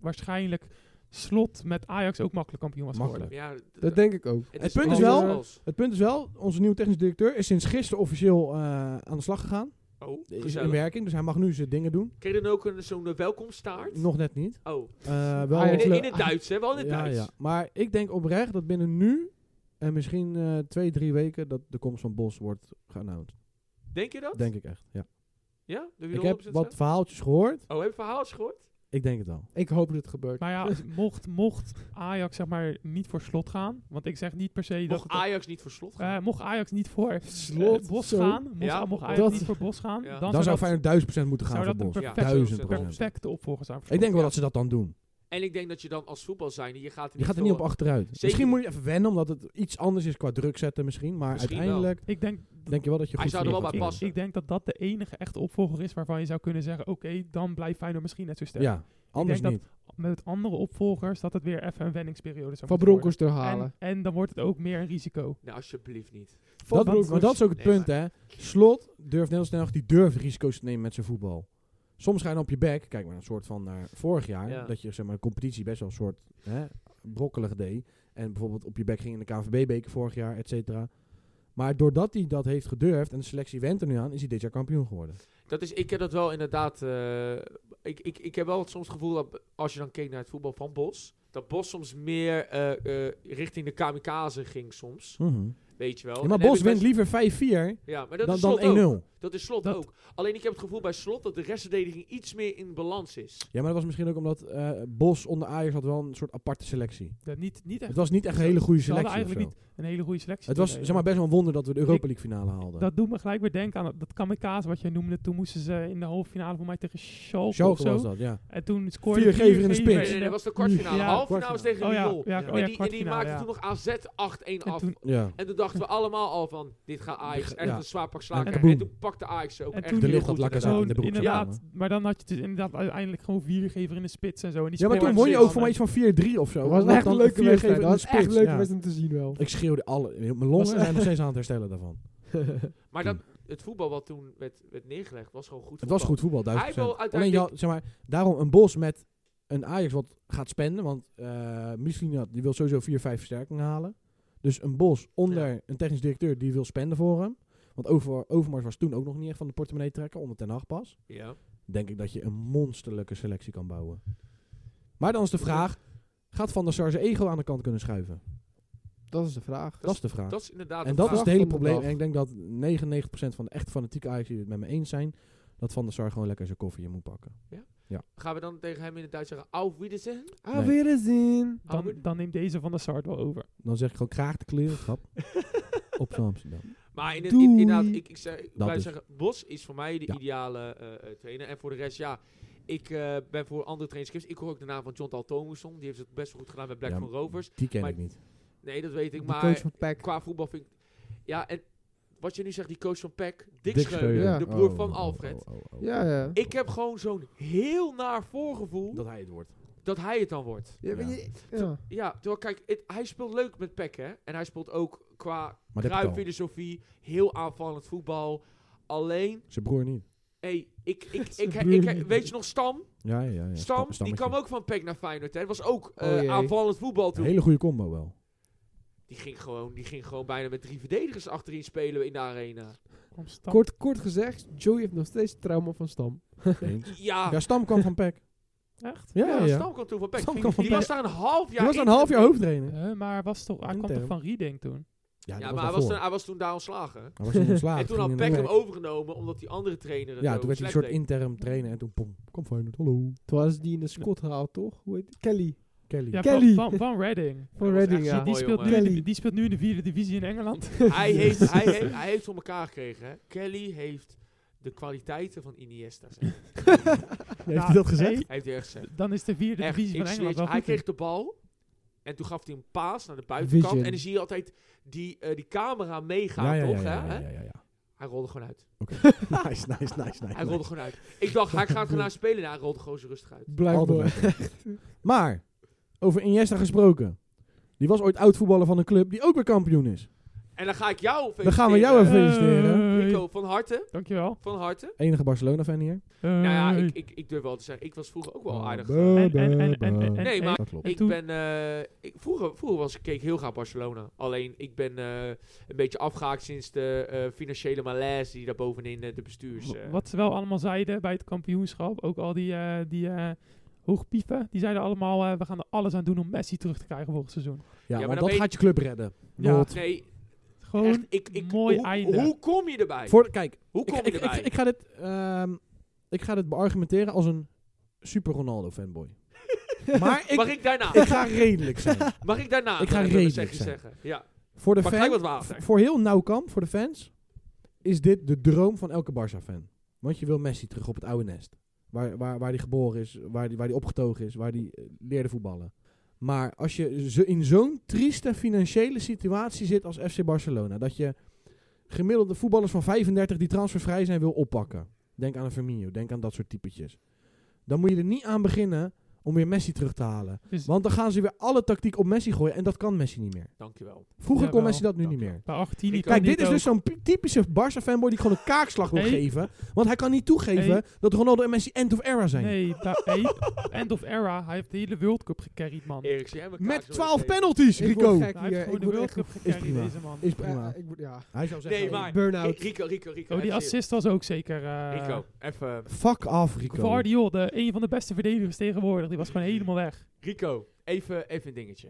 Speaker 4: waarschijnlijk Slot met Ajax ook makkelijk kampioen was geworden.
Speaker 2: Makkelijk.
Speaker 1: Ja, d-
Speaker 3: Dat denk ik ook.
Speaker 1: het
Speaker 2: Het punt
Speaker 3: is
Speaker 1: alles
Speaker 3: wel-
Speaker 1: als-
Speaker 2: Het punt is wel, onze nieuwe technisch directeur is sinds gisteren officieel eh, aan de slag gegaan.
Speaker 1: Oh,
Speaker 2: Is in
Speaker 1: gezellig.
Speaker 2: werking, dus hij mag nu zijn dingen doen.
Speaker 1: Kreeg je dan ook een- zo'n eh, welkomstaart?
Speaker 2: Nog net niet.
Speaker 1: Oh,
Speaker 2: Eh, wel
Speaker 3: Ajax-
Speaker 1: in,
Speaker 3: le-
Speaker 1: in het Duits, hè? Wel in het
Speaker 2: ja,
Speaker 1: Duits.
Speaker 2: ja. Maar ik denk oprecht dat binnen nu en misschien eh, twee, drie weken dat de komst van Bos wordt geannounced.
Speaker 1: Denk je dat?
Speaker 2: Denk ik echt, ja.
Speaker 1: ja? Doe je
Speaker 2: Ik
Speaker 1: er
Speaker 2: heb
Speaker 1: 100%
Speaker 2: wat
Speaker 1: aan?
Speaker 2: verhaaltjes gehoord.
Speaker 1: Oh, heb je verhaal eens gehoord?
Speaker 2: Ik denk het wel.
Speaker 3: Ik hoop dat het gebeurt.
Speaker 4: Maar ja, als-
Speaker 2: [laughs]
Speaker 4: mocht, mocht Ajax zeg maar niet voor Slot gaan, want ik zeg niet per se dat...
Speaker 1: Mocht Ajax niet voor slot gaan?
Speaker 4: eh, mocht Ajax niet voor eh,
Speaker 3: Slot,
Speaker 4: Bos
Speaker 3: zo.
Speaker 4: gaan, mocht,
Speaker 1: Ja.
Speaker 4: mocht Ajax
Speaker 3: Dat-
Speaker 4: niet voor Bos gaan,
Speaker 1: Ja.
Speaker 2: Dan,
Speaker 4: dan,
Speaker 2: zou
Speaker 4: zou dat
Speaker 2: Feyenoord duizend procent moeten gaan
Speaker 4: zou
Speaker 2: voor
Speaker 4: dat een
Speaker 2: Bos.
Speaker 1: Ja,
Speaker 4: perfecte,
Speaker 2: Duizend procent.
Speaker 4: perfecte opvolger zijn voor
Speaker 2: Ik denk wel
Speaker 1: Ja.
Speaker 2: dat ze dat dan doen.
Speaker 1: En ik denk dat je dan als voetbal zijnde, je gaat er
Speaker 2: Je
Speaker 1: niet,
Speaker 2: gaat er niet op
Speaker 1: veel- eh,
Speaker 2: achteruit.
Speaker 1: Zeker
Speaker 2: Misschien
Speaker 1: niet.
Speaker 2: moet je even wennen, omdat het iets anders is qua druk zetten misschien. Maar
Speaker 1: Misschien
Speaker 2: uiteindelijk...
Speaker 4: Ik denk
Speaker 2: Denk je wel dat je
Speaker 1: Hij
Speaker 2: goed
Speaker 1: zou er wel
Speaker 2: verdedigd
Speaker 1: bij
Speaker 2: wordt?
Speaker 1: passen.
Speaker 4: Ik denk dat dat de enige echte opvolger is waarvan je zou kunnen zeggen... oké, dan blijft Feyenoord misschien net zo sterk.
Speaker 2: Ja, anders
Speaker 4: dat-
Speaker 2: niet.
Speaker 4: Met andere opvolgers dat het weer even een wenningsperiode zou
Speaker 3: Van
Speaker 4: moeten worden.
Speaker 3: Broncos te halen.
Speaker 4: En, en dan wordt het ook meer een risico.
Speaker 1: Nee, alsjeblieft niet.
Speaker 2: Dat, maar dat is ook het
Speaker 1: Nee,
Speaker 2: punt, hè. Slot durft net als Den Haag, die durft risico's te nemen met zijn voetbal. Soms ga je dan op je bek, kijk maar een soort van naar vorig jaar,
Speaker 1: Ja.
Speaker 2: dat je zeg maar, de competitie best wel een soort hè, brokkelig deed. En bijvoorbeeld op je bek ging in de KNVB-beker vorig jaar, et cetera. Maar doordat hij dat heeft gedurfd en de selectie went er nu aan, is hij dit jaar kampioen geworden.
Speaker 1: Dat is, ik heb dat wel inderdaad. eh, ik, ik, ik heb wel soms het gevoel dat als je dan keek naar het voetbal van Bos. Dat Bos soms meer eh, eh, richting de kamikaze ging soms. Weet je wel. Mhm. Oh,
Speaker 2: Ja, maar
Speaker 1: En heb
Speaker 2: Bos
Speaker 1: ik
Speaker 2: wint
Speaker 1: best-
Speaker 2: liever 5-4
Speaker 1: Ja, maar dat
Speaker 2: dan,
Speaker 1: is
Speaker 2: dan
Speaker 1: slot ook.
Speaker 2: 1-0.
Speaker 1: Dat is slot
Speaker 4: Dat-
Speaker 1: ook. Alleen ik heb het gevoel bij slot dat de restverdediging iets meer in balans is.
Speaker 2: Ja, maar dat was misschien ook omdat eh, Bos onder Ajax had wel een soort aparte selectie.
Speaker 4: Dat eh, niet, niet echt
Speaker 2: Het was niet echt een hele goede
Speaker 4: Ze hadden
Speaker 2: selectie. of zo.
Speaker 4: eigenlijk een hele goede selectie.
Speaker 2: Het was
Speaker 4: Nee,
Speaker 2: zeg maar, best wel een wonder dat we de Europa
Speaker 4: Ik-
Speaker 2: League finale haalden.
Speaker 4: Dat doet me gelijk weer denken aan dat- dat kamikaze wat jij noemde. Toen moesten ze in de halve finale voor mij tegen Schalke,
Speaker 2: Schalke
Speaker 4: of zo.
Speaker 2: was dat, ja.
Speaker 4: En toen scoorde
Speaker 2: Vier gever in de
Speaker 1: Nee,
Speaker 2: spits.
Speaker 1: nee, nee, dat was de kwartfinale.
Speaker 4: Ja,
Speaker 1: Halve finale was tegen
Speaker 4: Oh ja,
Speaker 1: Lyon.
Speaker 2: Ja.
Speaker 4: ja, oh ja,
Speaker 1: en die, en die
Speaker 4: kwartfinale,
Speaker 1: maakte
Speaker 4: ja.
Speaker 1: toen nog AZ 8-1
Speaker 4: En
Speaker 1: af.
Speaker 4: toen-
Speaker 2: ja.
Speaker 1: En toen dachten we allemaal al van, dit gaat Ajax echt
Speaker 2: Ja.
Speaker 1: een zwaar pak slagen.
Speaker 4: En
Speaker 1: En,
Speaker 2: kaboom.
Speaker 1: toen pakte Ajax ze ook
Speaker 4: En
Speaker 1: echt
Speaker 4: toen-
Speaker 1: heel
Speaker 4: De lucht
Speaker 1: goed
Speaker 2: had lakker
Speaker 1: inderdaad.
Speaker 2: zaten.
Speaker 4: Zo'n-
Speaker 2: in de broek
Speaker 4: inderdaad,
Speaker 2: kwamen.
Speaker 4: maar dan had je dus inderdaad uiteindelijk gewoon viergever in de spits en zo. En die
Speaker 2: ja, maar
Speaker 4: speelde-
Speaker 2: toen won je ook
Speaker 1: Zeeland,
Speaker 2: voor mij iets van 4-3 of zo.
Speaker 3: Dat was
Speaker 2: Omdat
Speaker 3: echt een
Speaker 2: dan
Speaker 3: leuke
Speaker 2: vier geven
Speaker 3: wedstrijd.
Speaker 2: in
Speaker 3: Dat
Speaker 2: de
Speaker 3: was echt een
Speaker 2: spits,
Speaker 3: leuke
Speaker 2: ja.
Speaker 3: wedstrijd om te zien wel.
Speaker 2: Ik schreeuwde alle... Mijn longen
Speaker 3: Was-
Speaker 2: zijn nog steeds aan het herstellen daarvan.
Speaker 1: Maar dat, het voetbal wat toen werd, werd neergelegd was gewoon goed
Speaker 2: Het was
Speaker 1: voetbal.
Speaker 2: goed voetbal, duizend
Speaker 1: Hij wil
Speaker 2: procent. Alleen,
Speaker 1: uiteindelijk-
Speaker 2: ja, zeg maar, daarom een Bos met een Ajax wat gaat spenden. Want eh misschien had, die wil sowieso 4, 5 versterkingen halen. Dus een Bos onder een technisch directeur die wil spenden voor hem. Want Over, Overmars was toen ook nog niet echt van de portemonnee trekken, onder ten acht pas.
Speaker 1: Ja.
Speaker 2: denk ik dat je een monsterlijke selectie kan bouwen. Maar dan is de vraag, gaat Van der Sar zijn ego aan de kant kunnen schuiven?
Speaker 3: [laughs] Dat is de [laughs] vraag.
Speaker 2: Dat is de vraag.
Speaker 1: Dat is inderdaad
Speaker 2: en
Speaker 1: een
Speaker 2: dat is
Speaker 1: vraag.
Speaker 2: het
Speaker 3: van
Speaker 2: hele
Speaker 3: de
Speaker 2: probleem.
Speaker 3: dag.
Speaker 2: En ik denk dat 99% van de echt fanatieke Ajax die het met me eens zijn, dat Van der Sar gewoon lekker zijn koffie in moet pakken.
Speaker 1: Gaan we dan tegen hem in het Duits zeggen, dus, auf Wiedersehen?
Speaker 3: Ah, weer eens in.
Speaker 4: dan, dan neemt deze van de Sart wel over.
Speaker 2: Dan zeg ik gewoon kraag de klerenschap op zijn Amsterdam.
Speaker 1: Maar in,
Speaker 3: Doei.
Speaker 1: in, inderdaad, ik, ik zou ik
Speaker 2: Dat
Speaker 1: wou
Speaker 2: dus.
Speaker 1: zeggen, Bos is voor mij de
Speaker 2: Ja.
Speaker 1: ideale eh, eh, trainer. En voor de rest, ja, ik eh, ben voor andere trainerships. Ik hoor ook de naam van John Daltomuson. Die heeft het best wel goed gedaan bij
Speaker 2: Ja,
Speaker 1: Blackburn Rovers.
Speaker 2: Die ken
Speaker 1: Maar-
Speaker 2: ik niet.
Speaker 1: Nee, dat weet ik.
Speaker 3: De
Speaker 1: maar
Speaker 3: coach van PEC.
Speaker 1: qua voetbal vind ik... Ja, en wat je nu zegt, die coach van PEC, Dick,
Speaker 2: Dick
Speaker 1: Schreuder,
Speaker 2: Schreuder.
Speaker 1: de broer
Speaker 2: Oh,
Speaker 1: van
Speaker 2: oh,
Speaker 1: Alfred.
Speaker 2: oh, oh, oh.
Speaker 3: Ja, ja.
Speaker 1: Ik heb gewoon zo'n heel naar voorgevoel
Speaker 2: Dat hij het wordt.
Speaker 1: dat hij het dan wordt.
Speaker 3: Ja, maar
Speaker 2: Ja.
Speaker 3: je- ja.
Speaker 1: Ja, terwijl kijk, het- hij speelt leuk met Peck, hè. En hij speelt ook qua
Speaker 2: Maar dat heb ik al.
Speaker 1: filosofie heel aanvallend voetbal. Alleen,
Speaker 2: Zijn broer niet.
Speaker 1: hey, ik,
Speaker 2: [laughs]
Speaker 1: ik, ik,
Speaker 3: Zijn
Speaker 1: ik,
Speaker 3: broer
Speaker 1: ik-
Speaker 3: niet.
Speaker 1: weet je nog Stam?
Speaker 2: Ja, ja, ja.
Speaker 1: Stam,
Speaker 2: ja. Sta-
Speaker 1: die
Speaker 2: stammetje.
Speaker 1: kwam ook van Peck naar Feyenoord, hè. Dat was ook
Speaker 3: Oh
Speaker 1: eh,
Speaker 3: jee.
Speaker 1: aanvallend voetbal
Speaker 2: Een
Speaker 1: toen.
Speaker 2: hele goede
Speaker 1: [laughs]
Speaker 2: combo wel.
Speaker 1: Die, ging gewoon, die ging gewoon bijna met drie verdedigers achterin spelen in de arena.
Speaker 4: Kwam Stam-
Speaker 3: Kort, kort gezegd, Joey heeft nog steeds trauma van Stam.
Speaker 2: Eens.
Speaker 1: Ja,
Speaker 2: Ja, Stam kwam van Peck.
Speaker 4: Echt?
Speaker 2: Ja,
Speaker 1: ja,
Speaker 2: ja. ja.
Speaker 1: Stam kwam toen van Peck.
Speaker 2: Stam
Speaker 1: Ging-
Speaker 2: kwam van
Speaker 1: Die was
Speaker 2: Peck.
Speaker 1: daar een half jaar
Speaker 2: Die was
Speaker 1: in.
Speaker 2: een half jaar hoofdtrainer.
Speaker 4: Eh, maar was toch, hij kwam
Speaker 2: Interim.
Speaker 4: toch van Riedink toen?
Speaker 1: Ja,
Speaker 2: Ja,
Speaker 1: maar
Speaker 2: dat
Speaker 1: hij was,
Speaker 2: daarvoor.
Speaker 1: toen, hij was toen daar ontslagen.
Speaker 2: Hij was toen ontslagen.
Speaker 1: en toen had
Speaker 2: ging
Speaker 1: Peck
Speaker 2: in de
Speaker 1: hem
Speaker 2: werk.
Speaker 1: overgenomen, omdat die andere trainer het
Speaker 2: Ja,
Speaker 1: zo
Speaker 2: toen werd hij
Speaker 1: slecht
Speaker 2: een soort
Speaker 1: deed.
Speaker 2: interim trainer en toen pom, kom Feyenoord, hallo.
Speaker 3: Toen was die in de Scot gehaald, toch? Hoe heet die? Kelly.
Speaker 2: Kelly.
Speaker 4: Ja,
Speaker 3: Kelly.
Speaker 4: Van, van, van Reading.
Speaker 3: Van
Speaker 1: Dat was echt
Speaker 3: Reading,
Speaker 1: zo
Speaker 3: ja.
Speaker 4: die,
Speaker 1: mooi,
Speaker 4: speelt
Speaker 1: jongen.
Speaker 4: nu, in de-
Speaker 3: Kelly.
Speaker 4: die speelt nu in de vierde divisie in
Speaker 2: [laughs]
Speaker 4: Engeland.
Speaker 3: [laughs]
Speaker 1: hij, heeft, hij, heeft, hij heeft voor elkaar gekregen. Hè? Kelly heeft de kwaliteiten van Iniesta. zeg. Hij
Speaker 2: Heeft
Speaker 4: Nou,
Speaker 2: hij dat gezegd?
Speaker 4: nee,
Speaker 1: heeft hij echt
Speaker 2: [laughs]
Speaker 1: gezegd.
Speaker 4: dan is de vierde
Speaker 1: Echt,
Speaker 4: divisie
Speaker 1: ik
Speaker 4: van
Speaker 1: zweer
Speaker 4: Engeland
Speaker 1: het je,
Speaker 4: wel
Speaker 1: hij
Speaker 4: goed in.
Speaker 1: kreeg de bal en toen gaf hij een paas naar de buitenkant.
Speaker 3: Vision.
Speaker 1: En dan zie je altijd die, eh, die camera meegaan,
Speaker 2: ja, ja,
Speaker 1: toch?
Speaker 2: ja,
Speaker 1: hè?
Speaker 2: ja, ja, ja, ja.
Speaker 1: Hij rolde gewoon uit. [laughs]
Speaker 2: Nice, nice, nice, nice.
Speaker 1: Hij rolde gewoon uit. Ik dacht, hij gaat ernaar spelen. Nou, hij rolde gewoon zo rustig
Speaker 2: [laughs]
Speaker 1: uit.
Speaker 3: Blijkbaar.
Speaker 2: Altijd leuk. Maar, over Iniesta gesproken. Die was ooit oud voetballer van een club die ook weer kampioen is.
Speaker 1: En dan ga ik jou
Speaker 2: Dan gaan we jou even
Speaker 1: feliciteren,
Speaker 2: feliciteren.
Speaker 4: Hey,
Speaker 1: Nico, van harte.
Speaker 4: Eh, Dankjewel.
Speaker 1: Van harte.
Speaker 2: Enige Barcelona-fan hier.
Speaker 1: Nou ja,
Speaker 4: Hey.
Speaker 1: ik, ik, ik durf wel te zeggen, ik was vroeger ook wel aardig.
Speaker 2: Bah,
Speaker 4: En- en-
Speaker 2: bah,
Speaker 4: en- en-
Speaker 2: bah.
Speaker 4: en-
Speaker 1: Nee, maar-
Speaker 2: Dat klopt.
Speaker 1: Ik
Speaker 4: toen-
Speaker 1: ben, eh, ik, vroeger, vroeger was ik, keek heel graag Barcelona. Alleen ik ben eh, een beetje afgehaakt sinds de eh, financiële malaise die daar bovenin eh, de bestuurs. eh,
Speaker 4: Wa- Wat ze wel allemaal zeiden bij het kampioenschap, ook al die, eh die eh, hoogpieven, die zeiden allemaal, eh, we gaan er alles aan doen om Messi terug te krijgen volgend seizoen.
Speaker 1: maar
Speaker 2: Ja, maar
Speaker 1: dan
Speaker 2: dat
Speaker 1: weet-
Speaker 2: gaat je club redden.
Speaker 4: Ja,
Speaker 2: Not.
Speaker 1: Nee,
Speaker 4: Gewoon,
Speaker 1: echt, ik, ik,
Speaker 4: mooi
Speaker 1: hoe,
Speaker 4: einde.
Speaker 1: Hoe kom je erbij?
Speaker 2: Voor, kijk,
Speaker 1: hoe
Speaker 2: ik,
Speaker 1: kom
Speaker 2: ik,
Speaker 1: je
Speaker 2: ik,
Speaker 1: erbij?
Speaker 2: ik ga dit, ehm, ik ga dit beargumenteren als een super
Speaker 1: [laughs]
Speaker 2: Ronaldo-fanboy. maar ik,
Speaker 1: mag ik daarna?
Speaker 2: ik ga redelijk zijn.
Speaker 1: mag ik daarna?
Speaker 2: ik ga
Speaker 1: eh, een
Speaker 2: redelijk
Speaker 1: zegje
Speaker 2: zijn.
Speaker 1: zeggen? Ja.
Speaker 2: Voor de
Speaker 1: Pak gelijk wat
Speaker 2: fan,
Speaker 1: water.
Speaker 2: voor heel Nauwkamp, voor de fans, is dit de droom van elke Barça-fan. Want je wil Messi terug op het oude nest. Waar, waar, waar hij geboren is, waar hij waar die opgetogen is, waar hij eh, leerde voetballen. Maar als je zo- in zo'n trieste financiële situatie zit als FC Barcelona, dat je gemiddelde voetballers van 35 die transfervrij zijn wil oppakken. Denk aan een Firmino, denk aan dat soort typetjes. Dan moet je er niet aan beginnen om weer Messi terug te halen.
Speaker 4: Dus-
Speaker 2: Want dan gaan ze weer alle tactiek op Messi gooien en dat kan Messi niet meer.
Speaker 1: Dankjewel.
Speaker 2: Vroeger kon
Speaker 4: Jawel.
Speaker 2: Messi dat nu niet meer.
Speaker 4: Bij 18
Speaker 1: Ik-
Speaker 4: kan
Speaker 2: Kijk, dit
Speaker 4: dit
Speaker 2: is
Speaker 4: ook.
Speaker 2: dus zo'n p- typische Barca fanboy die gewoon een kaakslag wil
Speaker 4: Hey.
Speaker 2: geven. Want hij kan niet toegeven
Speaker 4: Hey.
Speaker 2: dat Ronaldo en Messi end of era zijn.
Speaker 4: Nee, daar- hey, end of era. Hij heeft de hele World Cup gecarried, man.
Speaker 1: Erik, zie jij mijn kaas
Speaker 2: Met
Speaker 1: door
Speaker 2: 12
Speaker 1: de
Speaker 2: penalties,
Speaker 3: Ik word
Speaker 2: Rico.
Speaker 3: gek
Speaker 4: Hij heeft
Speaker 3: hier.
Speaker 4: gewoon
Speaker 3: Ik
Speaker 4: de
Speaker 3: word
Speaker 4: World
Speaker 3: echt...
Speaker 4: Cup gecarried,
Speaker 2: prima.
Speaker 4: deze man.
Speaker 2: Is
Speaker 3: eh,
Speaker 2: prima.
Speaker 3: ik word- Ja.
Speaker 2: Hij zou zeggen,
Speaker 1: Nee,
Speaker 2: hey,
Speaker 1: maar-
Speaker 3: Burn-out.
Speaker 1: tape. Eh, Rico, Rico, Rico.
Speaker 4: Oh, die
Speaker 1: even
Speaker 4: assist was ook zeker... eh,
Speaker 1: serieus. Rico, even.
Speaker 2: fuck af, Rico.
Speaker 4: Guardiol, de, een van de beste verdedigers tegenwoordig. Die was gewoon helemaal weg.
Speaker 1: Rico, even, even een dingetje.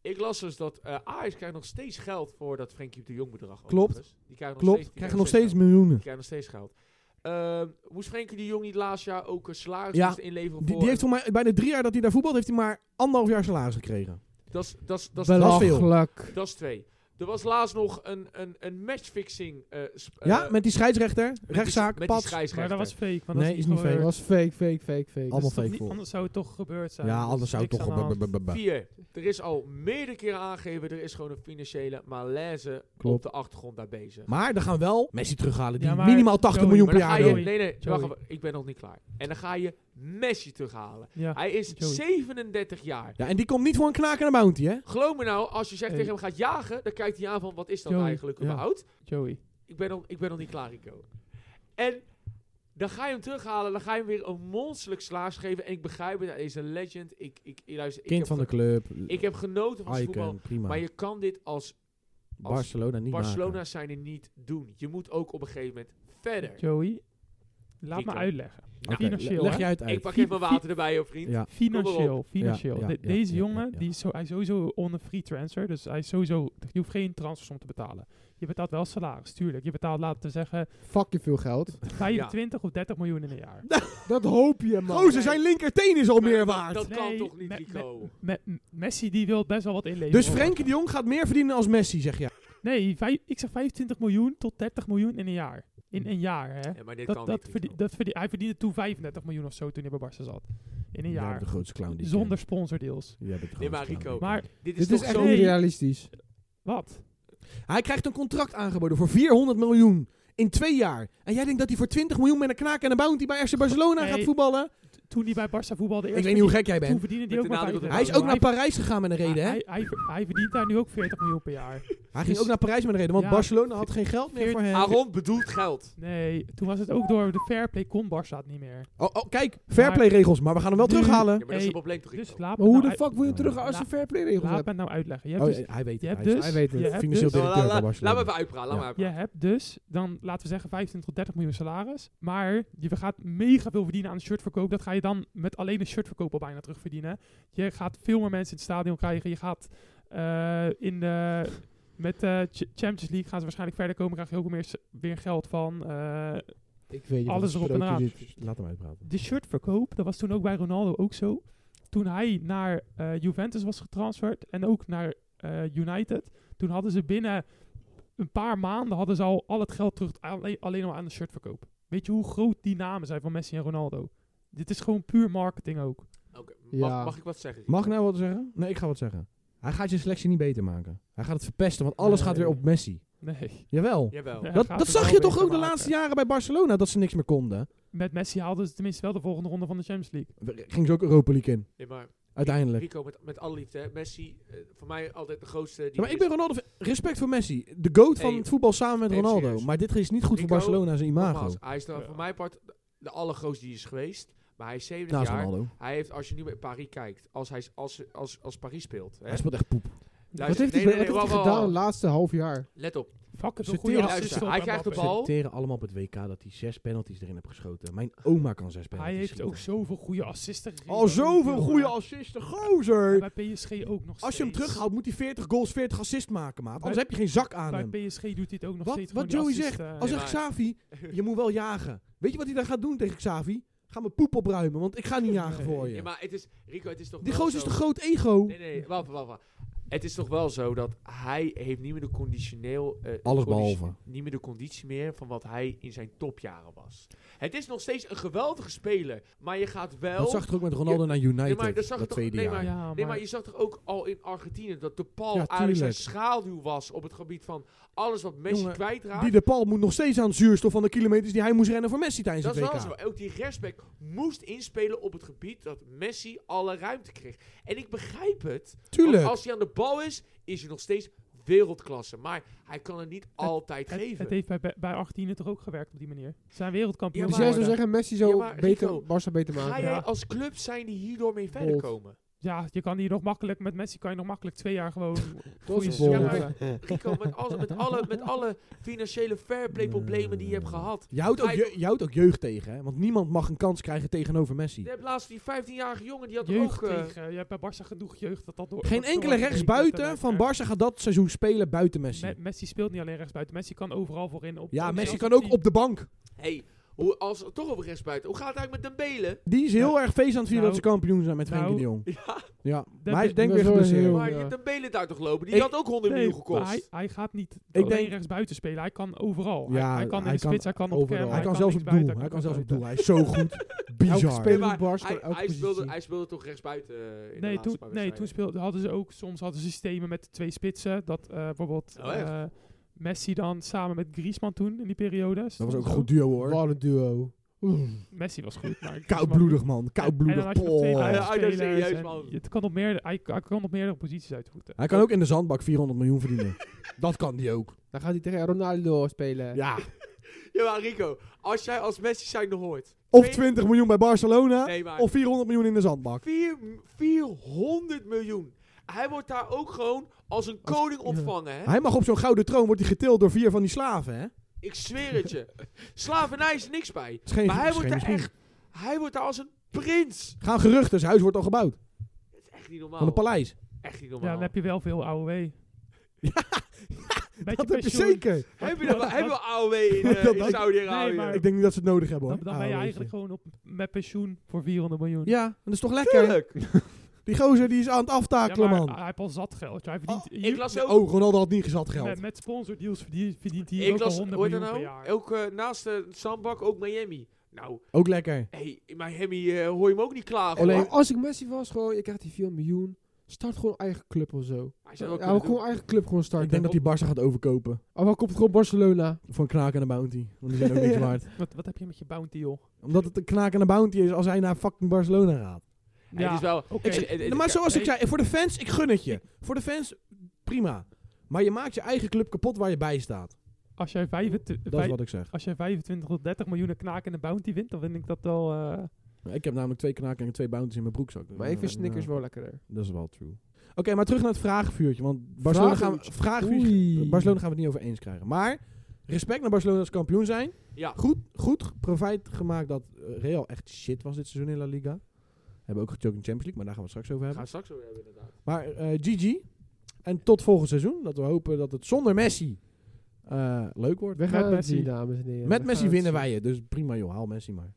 Speaker 1: Ik las dus dat eh Ajax krijgt nog steeds geld voor dat Frenkie de Jong bedrag.
Speaker 2: Klopt.
Speaker 1: overigens. Die krijgen nog
Speaker 2: Klopt,
Speaker 1: steeds, die
Speaker 2: krijgen nog steeds
Speaker 1: Die
Speaker 2: miljoenen.
Speaker 1: krijgen nog steeds geld. Ehm, moest Frenkie de Jong niet laatst jaar ook een salaris
Speaker 2: Ja,
Speaker 1: moesten inleveren
Speaker 2: Die,
Speaker 1: voor...
Speaker 2: die heeft voor mij, bijna drie jaar dat hij daar voetbalt, heeft hij maar anderhalf jaar salaris gekregen.
Speaker 1: Dat is- dat is- dat is-
Speaker 3: Belachelijk.
Speaker 1: dat is twee. Er was laatst nog een, een, een matchfixing... eh, sp-
Speaker 2: ja,
Speaker 1: eh,
Speaker 2: met die scheidsrechter,
Speaker 1: met die-
Speaker 2: rechtszaak,
Speaker 1: met die
Speaker 2: pad.
Speaker 1: scheidsrechter.
Speaker 4: Maar dat was fake. Want
Speaker 2: Nee,
Speaker 4: dat
Speaker 2: is niet fake.
Speaker 3: Dat
Speaker 4: gebeurd.
Speaker 3: was fake, fake, fake, fake.
Speaker 2: Allemaal
Speaker 3: Dus-
Speaker 4: Toch
Speaker 2: fake
Speaker 4: niet-
Speaker 2: voor.
Speaker 4: Anders zou het toch gebeurd zijn.
Speaker 2: Ja,
Speaker 4: Er is
Speaker 2: anders zou het
Speaker 4: niks
Speaker 2: toch...
Speaker 4: aan de hand.
Speaker 2: b- b- b- b-
Speaker 1: Vier. Er is al meerdere keren aangegeven, er is gewoon een financiële malaise op
Speaker 2: Klopt.
Speaker 1: de achtergrond daar bezig.
Speaker 2: Maar dan gaan we wel Messi terughalen, die
Speaker 4: Ja, maar
Speaker 2: minimaal 80
Speaker 4: Joey,
Speaker 2: miljoen
Speaker 1: Maar
Speaker 2: per
Speaker 1: dan
Speaker 2: jaar
Speaker 1: ga je,
Speaker 4: Joey.
Speaker 2: wil.
Speaker 1: nee, nee,
Speaker 4: Joey.
Speaker 1: wacht even, ik ben nog niet klaar. En dan ga je Messi terughalen.
Speaker 4: Ja.
Speaker 1: Hij is
Speaker 4: Joey.
Speaker 1: 37 jaar.
Speaker 2: Ja, en die komt niet voor een knaak en een bounty, hè?
Speaker 1: Geloof me nou, als je zegt
Speaker 4: Hey.
Speaker 1: tegen hem gaat jagen, dan kijkt hij aan van wat is dat
Speaker 4: Joey,
Speaker 1: eigenlijk
Speaker 4: ja.
Speaker 1: überhaupt.
Speaker 4: Joey.
Speaker 1: Ik, ben nog, ik ben nog niet klaar, Rico. En dan ga je hem terughalen, dan ga je hem weer een monsterlijk slaas geven. En ik begrijp het, hij is een legend. Ik, ik, ik, luister, ik, heb,
Speaker 2: Kind van de
Speaker 1: ge-
Speaker 2: club,
Speaker 1: ik heb genoten van zijn voetbal.
Speaker 2: icon, prima.
Speaker 1: Maar je kan dit als
Speaker 2: Barcelona niet
Speaker 1: Barcelona
Speaker 2: maken.
Speaker 1: zijn er niet doen. Je moet ook op een gegeven moment verder.
Speaker 4: Joey. Laat
Speaker 1: Rico.
Speaker 4: me uitleggen.
Speaker 2: Oké,
Speaker 4: Financieel,
Speaker 2: Leg
Speaker 4: hè?
Speaker 2: je uit
Speaker 1: Ik
Speaker 2: uit.
Speaker 1: pak even mijn water erbij, hoor, vriend. Kom
Speaker 2: Ja.
Speaker 1: maar
Speaker 4: Financieel, financieel.
Speaker 2: Ja, ja,
Speaker 4: De-
Speaker 2: ja,
Speaker 4: deze
Speaker 2: ja,
Speaker 4: jongen,
Speaker 2: ja.
Speaker 4: Die is zo, hij is sowieso on een free transfer. Dus hij is sowieso, je hoeft geen transfersom te betalen. Je betaalt wel salaris, tuurlijk. Je betaalt, laten we zeggen,
Speaker 3: Fucking veel geld.
Speaker 4: 25 of 30 miljoen in een jaar.
Speaker 3: Dat hoop je, man.
Speaker 2: Gozer, zijn linkerteen is al
Speaker 1: Maar
Speaker 2: meer
Speaker 1: dat-
Speaker 2: waard.
Speaker 1: Dat kan
Speaker 4: Nee,
Speaker 1: toch niet,
Speaker 4: me-
Speaker 1: Rico?
Speaker 4: Me- M- Messi die wil best wel wat inleveren.
Speaker 2: Dus Frenkie de Jong gaat meer verdienen als Messi, zeg je.
Speaker 4: Nee, vij- ik zeg 25 miljoen tot 30 miljoen in een jaar. In een jaar, hè.
Speaker 1: Ja, maar dit kan
Speaker 4: Dat, dat
Speaker 1: niet,
Speaker 4: verdie-
Speaker 1: Rico.
Speaker 4: dat verdie- hij verdiende toen 35 miljoen of zo toen hij bij Barca zat. In een
Speaker 2: Jij
Speaker 4: jaar.
Speaker 2: bent de grootste clown die ik
Speaker 4: Zonder sponsordeals.
Speaker 2: ken. Jij bent de
Speaker 1: Nee,
Speaker 2: grootste
Speaker 1: maar
Speaker 2: clown die
Speaker 1: Rico.
Speaker 2: ik ken.
Speaker 4: Maar
Speaker 1: Dit is
Speaker 3: Dit
Speaker 1: toch
Speaker 3: is
Speaker 1: zo
Speaker 3: echt
Speaker 4: zo-
Speaker 3: niet realistisch.
Speaker 4: wat?
Speaker 2: Hij krijgt een contract aangeboden voor 400 miljoen in twee jaar. En jij denkt dat hij voor 20 miljoen met een knaak en een bounty bij FC Barcelona
Speaker 4: Nee.
Speaker 2: gaat voetballen?
Speaker 4: Toen hij bij Barca voetbalde eerst...
Speaker 2: Ik weet niet hoe gek jij
Speaker 4: Toen
Speaker 2: bent.
Speaker 4: verdiende
Speaker 1: Met
Speaker 4: hij
Speaker 1: de
Speaker 4: ook maar
Speaker 1: nadruk op de
Speaker 2: Hij is
Speaker 4: 35
Speaker 2: ook
Speaker 4: miljoen.
Speaker 2: naar Parijs gegaan met een reden, hè?
Speaker 4: Hij, hij, ver- hij verdient daar nu ook 40 miljoen per jaar.
Speaker 2: Hij ging
Speaker 4: dus-
Speaker 2: ook naar Parijs met een reden, want
Speaker 4: Ja.
Speaker 2: Barcelona had geen geld meer voor hem.
Speaker 1: Aaron bedoelt geld.
Speaker 4: Nee, toen was het ook door de fairplay kon Barca het niet meer.
Speaker 2: Oh, oh, kijk, fairplay-regels, maar we gaan hem wel
Speaker 4: Nu-
Speaker 1: Ja, maar
Speaker 2: terughalen.
Speaker 1: dat is
Speaker 4: Hey,
Speaker 1: het probleem toch, Rico?
Speaker 4: Dus laat
Speaker 3: Maar
Speaker 4: me
Speaker 3: hoe
Speaker 4: nou
Speaker 3: de fuck wil je terug als je
Speaker 4: Laat-
Speaker 3: fairplay-regels
Speaker 4: uit, laat
Speaker 3: hebt?
Speaker 4: me nou uitleggen. Je hebt
Speaker 2: Oh,
Speaker 4: dus,
Speaker 2: hij weet
Speaker 4: je
Speaker 2: het.
Speaker 4: hebt
Speaker 2: Hij is
Speaker 4: dus,
Speaker 3: hij weet het.
Speaker 4: je hebt
Speaker 2: financieel
Speaker 4: dus-
Speaker 1: Nou,
Speaker 2: directeur
Speaker 1: la- la-
Speaker 2: bij
Speaker 1: laat me
Speaker 2: Barcelona.
Speaker 1: even uitpraten, laat me
Speaker 2: Ja.
Speaker 4: Je
Speaker 1: uitpraten.
Speaker 4: hebt dus dan, laten we zeggen, 25 tot 30 miljoen salaris. Maar je gaat mega veel verdienen aan shirtverkoop. Dat ga je dan met alleen een shirtverkoop al bijna terugverdienen. Je gaat veel meer mensen in het stadion krijgen. Je gaat eh, in de... Met de Ch- Champions League gaan ze waarschijnlijk verder komen. Krijg je ook meer, s- weer geld van. eh,
Speaker 3: Ik weet niet.
Speaker 4: Alles
Speaker 3: wat
Speaker 4: erop en
Speaker 3: sprookje
Speaker 4: eraan.
Speaker 3: dit is.
Speaker 2: Laat hem uitpraten.
Speaker 4: de shirtverkoop, dat was toen ook bij Ronaldo ook zo. Toen hij naar eh, Juventus was getransferd en ook naar eh, United, toen hadden ze binnen een paar maanden hadden ze al al het geld terug, alleen, alleen al aan de shirtverkoop. Weet je hoe groot die namen zijn van Messi en Ronaldo? Dit is gewoon puur marketing ook.
Speaker 1: Oké, mag,
Speaker 3: Ja.
Speaker 1: mag ik wat zeggen? Rico?
Speaker 2: Mag ik nou wat zeggen? Nee, ik ga wat zeggen. Hij gaat je selectie niet beter maken. Hij gaat het verpesten, want alles
Speaker 4: Nee.
Speaker 2: gaat weer op Messi.
Speaker 4: Nee.
Speaker 2: Jawel.
Speaker 1: Jawel.
Speaker 4: Ja.
Speaker 2: Dat,
Speaker 4: gaat
Speaker 2: dat
Speaker 4: het
Speaker 2: zag
Speaker 4: wel
Speaker 2: je toch
Speaker 4: beter
Speaker 2: ook de
Speaker 4: maken.
Speaker 2: laatste jaren bij Barcelona, dat ze niks meer konden.
Speaker 4: Met Messi haalden ze tenminste wel de volgende ronde van de Champions League.
Speaker 2: Ging ze ook Europa League in,
Speaker 1: Nee, maar
Speaker 2: uiteindelijk.
Speaker 1: Rico, met, met alle liefde, hè, Messi, eh, voor mij altijd de grootste. Die
Speaker 2: Ja, maar
Speaker 1: er
Speaker 2: ik ben
Speaker 1: is.
Speaker 2: Ronaldo, respect voor Messi. De goat van
Speaker 1: Hey,
Speaker 2: het voetbal samen met
Speaker 1: even
Speaker 2: Ronaldo.
Speaker 1: serieus.
Speaker 2: Maar dit is niet goed voor
Speaker 1: Rico,
Speaker 2: Barcelona zijn imago.
Speaker 1: Nogmaals, hij is dan
Speaker 4: Ja.
Speaker 1: voor mijn part de allergrootste die is geweest. Maar hij is 70
Speaker 2: Naast
Speaker 1: jaar.
Speaker 2: Ronaldo.
Speaker 1: Hij heeft, als je nu bij Paris kijkt, als hij als, als, als Paris speelt. Hè?
Speaker 2: Hij speelt echt poep.
Speaker 1: Luister,
Speaker 3: Wat heeft hij
Speaker 1: nee,
Speaker 3: wat
Speaker 1: nee,
Speaker 3: heeft hij
Speaker 1: wacht, wacht,
Speaker 3: gedaan de
Speaker 1: wacht.
Speaker 3: laatste half jaar?
Speaker 1: Let op.
Speaker 4: Fuck, het is een
Speaker 2: Zitten
Speaker 4: goede
Speaker 2: hier-
Speaker 4: assist.
Speaker 1: Luister,
Speaker 4: op
Speaker 1: hij krijgt de
Speaker 4: Mbappé.
Speaker 1: bal.
Speaker 2: Ze teren allemaal op het WK dat hij zes penalties erin heeft geschoten. Mijn oma kan zes penalties
Speaker 4: Hij heeft ook
Speaker 2: schieten.
Speaker 4: zoveel goede assisten gegeven.
Speaker 2: Al zoveel goede assisten, gozer!
Speaker 4: Bij PSG ook nog
Speaker 2: Als je hem
Speaker 4: steeds.
Speaker 2: terughaalt, moet hij 40 goals, 40 assist maken, maat. Anders
Speaker 4: Bij-
Speaker 2: heb je geen zak aan
Speaker 4: Bij
Speaker 2: hem.
Speaker 4: PSG doet hij het ook nog
Speaker 2: Wat,
Speaker 4: steeds.
Speaker 2: wat
Speaker 4: gewoon eh,
Speaker 2: Joey
Speaker 4: die
Speaker 2: zegt,
Speaker 4: assisten.
Speaker 2: als
Speaker 1: Nee,
Speaker 2: zegt
Speaker 1: maar-
Speaker 4: [laughs]
Speaker 2: Xavi, je moet wel jagen. Weet je wat hij dan gaat doen tegen Xavi? Ga mijn poep opruimen, want ik ga niet jagen
Speaker 4: [laughs] Nee.
Speaker 2: voor
Speaker 1: Ja,
Speaker 2: je.
Speaker 1: maar het is, Rico, het is toch
Speaker 2: Die
Speaker 1: wel
Speaker 2: gozer is
Speaker 1: zo-
Speaker 2: te groot ego.
Speaker 1: Nee, nee, wacht, wacht, wacht. het is toch wel zo dat hij heeft niet meer de conditioneel... eh,
Speaker 2: Alles
Speaker 1: condi-
Speaker 2: behalve.
Speaker 1: Niet meer de conditie meer van wat hij in zijn topjaren was. Het is nog steeds een geweldige speler, maar je gaat wel...
Speaker 2: Dat zag je toch ook met Ronaldo naar United,
Speaker 1: Nee, maar
Speaker 2: dat,
Speaker 1: dat zag je toch-
Speaker 2: tweede
Speaker 1: nee,
Speaker 2: jaar.
Speaker 1: maar-
Speaker 4: ja, maar,
Speaker 1: Nee, maar je zag toch ook al in Argentinië dat de Paul
Speaker 2: Ja,
Speaker 1: eigenlijk zijn
Speaker 2: tuurlijk.
Speaker 1: schaduw was op het gebied van alles wat Messi
Speaker 2: Jongen,
Speaker 1: kwijtraakt.
Speaker 2: Die de Paul moet nog steeds aan het zuurstof van de kilometers die hij moest rennen voor Messi tijdens
Speaker 1: Dat is
Speaker 2: het
Speaker 1: wel
Speaker 2: WK.
Speaker 1: zo. Ook die rechtsback moest inspelen op het gebied dat Messi alle ruimte kreeg. En ik begrijp het.
Speaker 2: Tuurlijk.
Speaker 1: Want als hij aan de bal is, is hij nog steeds wereldklasse. Maar hij kan het niet altijd
Speaker 4: het,
Speaker 1: geven.
Speaker 4: het heeft bij, bij- bij 18 toch ook gewerkt op die manier. Ze zijn wereldkampioen
Speaker 1: Ja,
Speaker 3: dus
Speaker 1: maar-
Speaker 3: jij
Speaker 4: geworden.
Speaker 3: zou zeggen, Messi zou
Speaker 1: Ja, maar Rico,
Speaker 3: beter, Barca beter
Speaker 1: Ga
Speaker 3: maken.
Speaker 1: jij
Speaker 4: Ja.
Speaker 1: als club zijn die hierdoor mee verder
Speaker 3: Bold.
Speaker 1: komen?
Speaker 4: Ja, je kan hier nog makkelijk, met Messi kan je nog makkelijk twee jaar
Speaker 2: [laughs]
Speaker 4: gewoon
Speaker 3: Dat
Speaker 4: goede
Speaker 3: is
Speaker 4: seizoen
Speaker 1: bol.
Speaker 3: bold.
Speaker 1: Ja, maar- Rico, met, alle, met,
Speaker 4: [laughs]
Speaker 1: alle, met alle financiële fairplay problemen die je hebt gehad.
Speaker 2: Je houdt, ook
Speaker 1: Hij-
Speaker 2: je, je houdt ook jeugd tegen, hè? want niemand mag een kans krijgen tegenover Messi.
Speaker 1: Je hebt laatst die 15-jarige jongen, die had er
Speaker 4: jeugd
Speaker 1: ook... eh,
Speaker 4: tegen. Je hebt bij Barca genoeg jeugd dat dat door.
Speaker 2: Geen
Speaker 4: dat door-
Speaker 2: enkele rechtsbuiten van
Speaker 4: Me-
Speaker 2: Barça gaat dat seizoen spelen buiten Messi.
Speaker 4: Messi speelt niet alleen rechtsbuiten. Messi kan overal voorin. Op,
Speaker 2: Ja,
Speaker 4: op-
Speaker 2: Messi
Speaker 4: zelfs
Speaker 2: kan
Speaker 4: op
Speaker 2: ook
Speaker 4: tien.
Speaker 2: op de bank.
Speaker 1: hey, hoe, als we toch op rechtsbuiten. Hoe gaat het eigenlijk met Dembele?
Speaker 2: Die is heel erg feest aan het vieren
Speaker 4: Nou,
Speaker 2: dat ze kampioen zijn met Frenkie
Speaker 4: nou,
Speaker 2: de Jong.
Speaker 1: Ja,
Speaker 2: Ja,
Speaker 4: dat
Speaker 2: maar hij is
Speaker 4: is-
Speaker 2: denk ik weer
Speaker 3: dat is wel
Speaker 2: geblesseerd.
Speaker 3: heel-
Speaker 1: maar
Speaker 3: ja.
Speaker 1: Dembele daar toch lopen? Die
Speaker 4: Ik-
Speaker 1: had ook 100
Speaker 4: Nee,
Speaker 1: miljoen
Speaker 4: maar
Speaker 1: gekost.
Speaker 4: hij, hij gaat niet
Speaker 2: denk-
Speaker 4: alleen rechtsbuiten spelen. Hij kan overal.
Speaker 2: Ja,
Speaker 4: hij, hij kan in
Speaker 2: hij
Speaker 4: de spits,
Speaker 2: kan
Speaker 4: hij kan op
Speaker 2: Overal.
Speaker 4: cam,
Speaker 2: Hij kan zelfs op
Speaker 4: linksbuiten,
Speaker 2: doel. Hij kan zelfs op doel.
Speaker 4: rechtsbuiten.
Speaker 2: Hij is zo goed.
Speaker 3: Elke
Speaker 2: Bizar.
Speaker 3: speler
Speaker 1: maar
Speaker 3: doet Barca,
Speaker 1: Hij,
Speaker 3: elke
Speaker 1: hij speelde,
Speaker 3: positie.
Speaker 1: hij speelde toch rechtsbuiten eh, in de
Speaker 4: Nee,
Speaker 1: laatste
Speaker 4: toen,
Speaker 1: paar
Speaker 4: nee, toen
Speaker 1: wedstrijden?
Speaker 4: speelde, hadden ze ook soms hadden ze systemen met twee spitsen. Dat eh, bijvoorbeeld
Speaker 1: Oh, echt?
Speaker 4: eh, Messi dan samen met Griezmann toen in die periode.
Speaker 2: Dat was ook een
Speaker 4: Zo.
Speaker 2: goed duo hoor.
Speaker 3: Wat een duo.
Speaker 4: Messi was
Speaker 2: [laughs]
Speaker 4: goed. Maar
Speaker 2: Koudbloedig man.
Speaker 4: En
Speaker 2: Koudbloedig. Oh.
Speaker 4: dan had je nog twee
Speaker 2: Paul.
Speaker 1: Ja, ja, dat is
Speaker 4: buitenspelers
Speaker 1: serieus,
Speaker 4: en
Speaker 1: man.
Speaker 4: Het kan op meerdere, hij, hij kan op meerdere posities uitvoeten.
Speaker 2: Hij kan ook in de zandbak 400 miljoen verdienen. dat kan die ook.
Speaker 3: Dan gaat hij tegen Ronaldo spelen.
Speaker 2: Ja.
Speaker 1: Ja, maar Rico, als jij als Messi zijn hoort...
Speaker 2: Of
Speaker 1: Twee-
Speaker 2: 20 miljoen bij Barcelona.
Speaker 1: Nee, maar-
Speaker 2: Of 400 miljoen in de zandbak.
Speaker 1: Vier- 400 miljoen. Hij wordt daar ook gewoon als een koning ontvangen, hè?
Speaker 2: Hij mag op zo'n gouden troon wordt hij getild door vier van die slaven, hè? Het
Speaker 1: Ik zweer het je. Slavernij is niks bij.
Speaker 2: is geen,
Speaker 1: Maar hij
Speaker 2: het is
Speaker 1: wordt
Speaker 2: geen
Speaker 1: daar
Speaker 2: misschien.
Speaker 1: echt... Hij wordt daar als een prins.
Speaker 2: Gaan geruchten, zijn huis wordt al gebouwd.
Speaker 1: Dat is echt niet normaal.
Speaker 2: Van een paleis.
Speaker 1: Echt niet
Speaker 4: Ja,
Speaker 1: normaal.
Speaker 4: dan heb je wel veel
Speaker 2: [laughs]
Speaker 4: AOW. Ja,
Speaker 2: Dat heb je
Speaker 4: [laughs]
Speaker 2: zeker.
Speaker 1: Hebben we dat- hebben we AOW in, eh,
Speaker 2: Dat
Speaker 1: in
Speaker 2: dacht ik.
Speaker 1: Saudi-Arabië?
Speaker 4: Nee, maar-
Speaker 2: Ik denk niet dat ze het nodig hebben,
Speaker 4: Dan,
Speaker 2: hoor. Ah,
Speaker 4: dan ben je
Speaker 2: AOW.
Speaker 4: eigenlijk gewoon op, met pensioen voor 400 miljoen.
Speaker 2: Ja, en dat is toch lekker?
Speaker 1: Tuurlijk.
Speaker 2: Die gozer die is aan het
Speaker 4: Ja,
Speaker 2: aftakelen,
Speaker 4: maar
Speaker 2: man.
Speaker 4: hij heeft al zat geld. Hij verdient,
Speaker 2: Oh,
Speaker 1: Ik las ook...
Speaker 2: Oh, Ronaldo had niet gezat geld.
Speaker 4: met, met sponsordeals verdient, verdient hij
Speaker 1: Ik
Speaker 4: ook al
Speaker 1: las,
Speaker 4: 100
Speaker 1: hoor je
Speaker 4: miljoen
Speaker 1: dat
Speaker 4: per
Speaker 1: nou?
Speaker 4: jaar.
Speaker 1: Ook eh, naast de zandbak ook Miami. Nou,
Speaker 2: Ook lekker.
Speaker 1: hey, in Miami eh, hoor je hem ook niet klagen.
Speaker 3: Alleen,
Speaker 1: hoor.
Speaker 3: als ik Messi was, gewoon, je krijgt die 4 miljoen. Start gewoon eigen club of zo.
Speaker 1: Hij
Speaker 3: Ja,
Speaker 1: zou wel
Speaker 3: gewoon
Speaker 1: kunnen doen.
Speaker 3: eigen club gewoon
Speaker 2: ik
Speaker 3: starten.
Speaker 2: denk dat die Barca gaat overkopen.
Speaker 3: Oh, waar komt gewoon Barcelona?
Speaker 2: Voor een knaak en een bounty. Want die zijn
Speaker 3: [laughs]
Speaker 2: ook niks
Speaker 3: Ja.
Speaker 2: waard.
Speaker 4: Wat, wat heb je met je bounty, joh?
Speaker 2: Omdat het een knaak en een bounty is als hij naar fucking Barcelona gaat.
Speaker 1: Hey, het is wel...
Speaker 4: oké.
Speaker 1: het- het- het-
Speaker 4: eh,
Speaker 2: maar zoals ik
Speaker 1: hey,
Speaker 2: zei, voor de fans, ik gun het je. Voor de fans, prima. Maar je maakt je eigen club kapot waar je bij staat.
Speaker 4: Als jij 25,
Speaker 2: Dat is wat ik zeg.
Speaker 4: als jij 25 tot 30 miljoen knaken en bounty wint, dan vind ik dat wel... eh,
Speaker 2: Ik heb namelijk twee knaken en twee bounties in mijn broekzak. Eh,
Speaker 3: Maar ik vind
Speaker 2: Ja,
Speaker 3: Snickers
Speaker 2: ja,
Speaker 3: wel lekkerder.
Speaker 2: Dat is wel true. Oké, maar terug naar het vragenvuurtje. Want Barcelona gaan, we,
Speaker 3: Vragenvuurtje.
Speaker 2: vragenvuurtje-
Speaker 3: Oei.
Speaker 2: Barcelona gaan we het niet over eens krijgen. Maar respect naar Barcelona als kampioen zijn.
Speaker 1: Ja,
Speaker 2: Goed, goed profijt gemaakt dat eh, Real echt shit was dit seizoen in La Liga. Hebben ook gechokt in de Champions League, maar daar gaan we het straks over
Speaker 1: gaan
Speaker 2: hebben.
Speaker 1: we straks over hebben inderdaad.
Speaker 2: Maar eh GG. En tot volgend seizoen. Dat we hopen dat het zonder Messi eh, leuk wordt.
Speaker 3: We gaan het
Speaker 4: Messi.
Speaker 3: zien, dames en heren.
Speaker 2: Met
Speaker 3: We
Speaker 2: Messi
Speaker 3: gaan het
Speaker 2: winnen
Speaker 3: zien.
Speaker 2: wij het. Dus prima joh, haal Messi maar.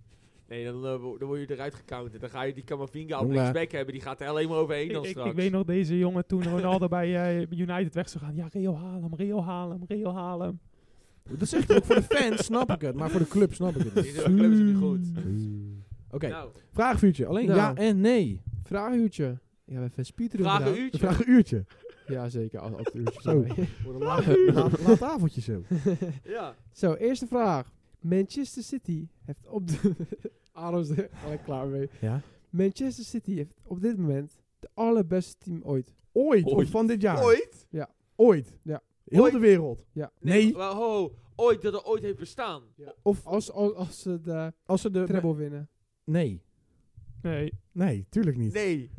Speaker 1: Nee, dan, eh, wo- dan word je eruit gecounterd. Dan ga je die Camavinga op
Speaker 2: Jongen.
Speaker 1: linksback hebben. Die gaat er alleen maar overheen
Speaker 4: ik,
Speaker 1: dan
Speaker 4: ik,
Speaker 1: straks.
Speaker 4: ik weet nog deze jongen toen Ronaldo bij eh, United weg zou gaan. Ja, Rio haal hem, Rio haal hem, Rio haal hem.
Speaker 2: Dat zegt hij ook voor de fans, snap ik het. Maar voor de club snap ik
Speaker 1: Die
Speaker 2: het
Speaker 1: [laughs]
Speaker 2: niet.
Speaker 1: doen- club is ook niet goed.
Speaker 2: Oké,
Speaker 1: Nou,
Speaker 2: vraagvuurtje. Alleen
Speaker 3: Nou.
Speaker 2: ja en nee.
Speaker 3: Vragenuurtje. Ja, we hebben even speedrun
Speaker 1: vraag een
Speaker 3: gedaan.
Speaker 1: uurtje.
Speaker 2: Vraag een uurtje.
Speaker 3: Ja, zeker. al- [laughs] Altijd uurtje.
Speaker 2: Zo.
Speaker 3: sorry.
Speaker 2: Voor een laat, [laughs] laat, laat avondje zo.
Speaker 1: Ja.
Speaker 3: [laughs] Zo, eerste vraag. Manchester City heeft op de... [laughs] Adams er gelijk klaar mee.
Speaker 2: Ja.
Speaker 3: Manchester City heeft op dit moment de allerbeste team ooit.
Speaker 2: Ooit, of
Speaker 1: Ooit.
Speaker 2: van dit jaar.
Speaker 1: Ooit?
Speaker 2: Ooit.
Speaker 3: Ja.
Speaker 2: Heel
Speaker 1: Ooit.
Speaker 2: de wereld.
Speaker 3: Ja.
Speaker 2: Nee,
Speaker 1: Wel, ho, ho. Ooit dat er ooit heeft bestaan.
Speaker 3: Of als, als, als ze de
Speaker 2: als ze de...
Speaker 3: treble winnen.
Speaker 2: Nee.
Speaker 4: Nee,
Speaker 2: Nee, tuurlijk niet.
Speaker 1: Nee,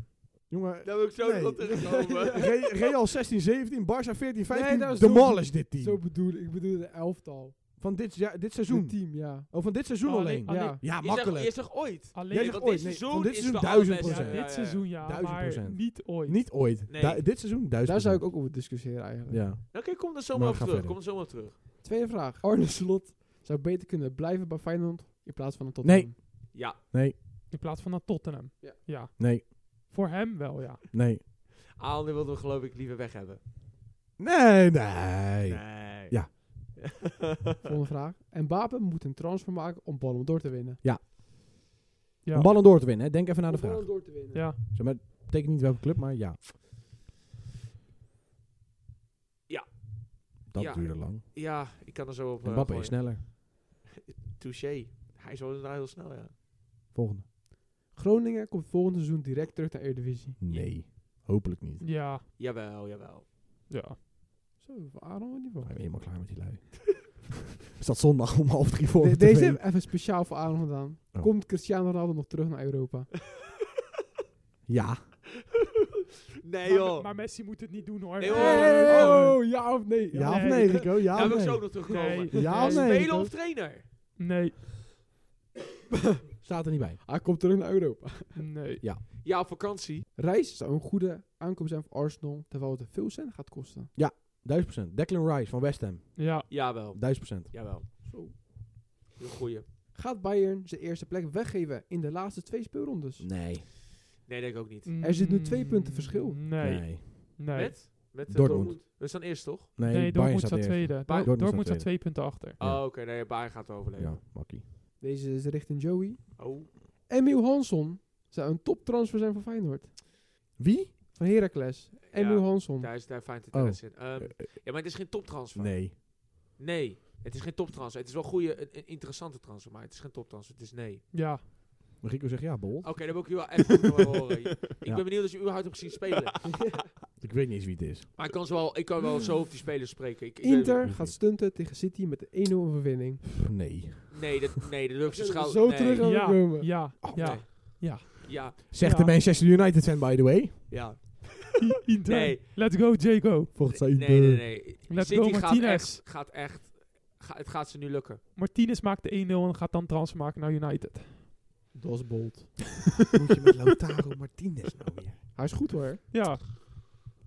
Speaker 2: Jongen,
Speaker 1: daar wil ik zo
Speaker 2: Nee.
Speaker 1: nog op
Speaker 2: [laughs]
Speaker 1: terugkomen.
Speaker 2: Re- Real 16-17, Barça 14-15.
Speaker 3: Nee, dat is
Speaker 2: demolish dit team.
Speaker 3: Zo bedoel ik. Ik bedoel de elftal.
Speaker 2: Van dit, ja, dit
Speaker 3: Het
Speaker 2: seizoen.
Speaker 3: team, ja.
Speaker 2: Oh, van dit seizoen
Speaker 4: Oh, nee.
Speaker 2: alleen.
Speaker 4: Ah,
Speaker 3: Ja.
Speaker 2: Ja,
Speaker 1: je, zegt, je
Speaker 2: makkelijk.
Speaker 1: zegt ooit.
Speaker 4: alleen
Speaker 2: Jij
Speaker 1: Nee,
Speaker 2: zegt
Speaker 1: want
Speaker 2: ooit.
Speaker 1: dit
Speaker 2: Nee,
Speaker 1: seizoen
Speaker 2: van dit
Speaker 1: is
Speaker 2: seizoen
Speaker 1: de
Speaker 2: 1000
Speaker 4: ja,
Speaker 1: allerbeste.
Speaker 2: procent.
Speaker 4: dit seizoen ja,
Speaker 2: Duizend
Speaker 4: maar
Speaker 2: procent.
Speaker 4: niet ooit.
Speaker 2: Niet ooit.
Speaker 1: Nee.
Speaker 2: Da- dit seizoen, duizend.
Speaker 3: Daar zou ik ook over discussiëren eigenlijk.
Speaker 2: Ja.
Speaker 1: Nou, Oké, kom er zomaar op
Speaker 2: ga
Speaker 1: terug.
Speaker 2: verder.
Speaker 1: Kom er zomaar op terug.
Speaker 3: Tweede vraag. Arne Slot zou beter kunnen blijven bij Feyenoord in plaats van een Tottenham.
Speaker 2: Nee.
Speaker 1: Ja.
Speaker 4: In plaats van naar Tottenham.
Speaker 3: Ja.
Speaker 4: ja.
Speaker 2: Nee.
Speaker 4: Voor hem wel, ja.
Speaker 2: Nee.
Speaker 1: Aander wilden we geloof ik liever weg hebben.
Speaker 2: Nee, nee.
Speaker 1: Nee.
Speaker 2: Ja.
Speaker 3: Volgende vraag. En Mbappé moet een transfer maken om Ballon door te winnen.
Speaker 4: Ja.
Speaker 2: Om ballen door te winnen, hè. denk even naar de
Speaker 3: Om
Speaker 2: vraag.
Speaker 3: Ballon door te winnen.
Speaker 4: Ja.
Speaker 2: Zeg maar, betekent niet welke club, maar ja.
Speaker 1: Ja.
Speaker 2: Dat
Speaker 1: Ja.
Speaker 2: duurde lang.
Speaker 1: [laughs] ja, ik kan er zo op.
Speaker 2: En
Speaker 1: eh,
Speaker 2: Mbappé
Speaker 1: gooien.
Speaker 2: is sneller.
Speaker 1: Touché. Hij is wel inderdaad heel snel, ja.
Speaker 2: Volgende.
Speaker 3: Groningen komt volgend seizoen direct terug naar Eredivisie.
Speaker 2: Nee, hopelijk niet.
Speaker 1: [laughs]
Speaker 4: Ja.
Speaker 1: Jawel, jawel.
Speaker 4: Ja.
Speaker 3: Zo, van Aaron in ieder
Speaker 2: Ik
Speaker 3: geval.
Speaker 2: ben helemaal klaar met die lui. [laughs] is dat zondag om half drie voor
Speaker 3: De-
Speaker 2: me te
Speaker 3: deze
Speaker 2: weten?
Speaker 3: even speciaal voor Aaron gedaan.
Speaker 2: Oh.
Speaker 3: Komt Cristiano Ronaldo nog terug naar Europa?
Speaker 1: [laughs]
Speaker 2: Ja.
Speaker 1: nee,
Speaker 4: Maar,
Speaker 1: joh.
Speaker 4: maar Messi moet het niet doen hoor.
Speaker 1: Nee, hoor.
Speaker 2: Hey,
Speaker 1: oh.
Speaker 3: oh, ja of nee?
Speaker 2: Ja of
Speaker 4: nee.
Speaker 2: nee, Rico? Ja,
Speaker 1: Daar wil
Speaker 2: of
Speaker 1: ik
Speaker 2: Ah, nee?
Speaker 1: zo ook nog terugkomen.
Speaker 4: Nee.
Speaker 2: Ja of nee?
Speaker 4: Nee.
Speaker 1: Speler
Speaker 2: Rico?
Speaker 1: of trainer?
Speaker 4: Nee.
Speaker 2: Staat er niet bij.
Speaker 3: Hij komt terug naar Europa.
Speaker 4: Nee.
Speaker 1: Ja, op vakantie.
Speaker 3: Reis zou een goede aankoop zijn voor Arsenal, terwijl het veel cent gaat kosten.
Speaker 2: 1000%. Declan Rice van West Ham.
Speaker 4: Ja.
Speaker 1: Jawel.
Speaker 2: 1000%.
Speaker 1: Jawel.
Speaker 3: Zo.
Speaker 1: Heel goeie.
Speaker 3: Gaat Bayern zijn eerste plek weggeven in de laatste twee speelrondes?
Speaker 2: Nee.
Speaker 1: Nee, denk ik ook
Speaker 4: Mm.
Speaker 1: niet.
Speaker 3: Er zit nu twee punten verschil.
Speaker 4: Nee. Nee.
Speaker 2: Nee.
Speaker 4: Nee,
Speaker 1: Met? Met eh,
Speaker 2: Dortmund.
Speaker 1: We staan eerst, toch?
Speaker 2: Nee, Bayern
Speaker 4: Dortmund
Speaker 2: staat
Speaker 4: staat
Speaker 2: eerst.
Speaker 4: tweede.
Speaker 1: Dortmund
Speaker 4: Dortmund, Dortmund
Speaker 2: staat
Speaker 4: staat twee punten achter.
Speaker 2: Ja.
Speaker 1: Oh, oké. Nee, Bayern gaat overleven.
Speaker 2: Ja, makkie.
Speaker 3: Deze is richting Joey.
Speaker 1: Oh.
Speaker 3: Emil Hansson zou een toptransfer zijn voor Feyenoord.
Speaker 2: Wie?
Speaker 3: Van Heracles. Emil Hansson.
Speaker 1: Daar is daar fijn te
Speaker 2: Oh.
Speaker 1: interesse in. Ehm, ja, maar het is geen toptransfer.
Speaker 2: Nee.
Speaker 1: Nee, het is geen toptransfer. Het is wel goede, een, een interessante transfer, maar het is geen toptransfer. Het is nee.
Speaker 4: Ja.
Speaker 2: Maar Rico zegt ja, Bol.
Speaker 1: Oké, dan wil ik u wel echt goed
Speaker 2: [laughs]
Speaker 1: door horen. Oh, Ik
Speaker 2: Ja.
Speaker 1: ben benieuwd als je überhaupt hebt gezien spelen.
Speaker 2: Ik weet niet eens wie het is.
Speaker 1: maar ik kan, zo wel, ik kan wel zo over die spelers spreken. Ik, ik weet-
Speaker 3: Inter gaat stunten tegen City met een 1-0 overwinning.
Speaker 2: Pff, nee.
Speaker 1: Nee, dat, nee, dat durf ik ze schouw.
Speaker 3: Zo
Speaker 1: nee.
Speaker 3: terug.
Speaker 4: Ja.
Speaker 3: Gaan we
Speaker 4: Ja.
Speaker 3: komen.
Speaker 4: Ja.
Speaker 1: Nee.
Speaker 4: Ja.
Speaker 1: Ja.
Speaker 2: Zegt
Speaker 4: Ja.
Speaker 2: de Manchester United fan, by the way.
Speaker 1: Ja.
Speaker 4: [laughs] Inter.
Speaker 1: Nee.
Speaker 4: Let's go, Jago.
Speaker 2: Volgens mij.
Speaker 1: Nee, nee, nee.
Speaker 4: Let's
Speaker 1: City
Speaker 4: go,
Speaker 1: gaat
Speaker 4: Martinez.
Speaker 1: echt, gaat echt ga- het gaat ze nu lukken.
Speaker 4: Martinez maakt de 1-0 en gaat dan transfer maken naar United.
Speaker 3: Dat is bold.
Speaker 2: Moet je met [laughs] Lautaro Martinez nou weer?
Speaker 3: Hij is goed hoor.
Speaker 4: Ja.
Speaker 3: Hij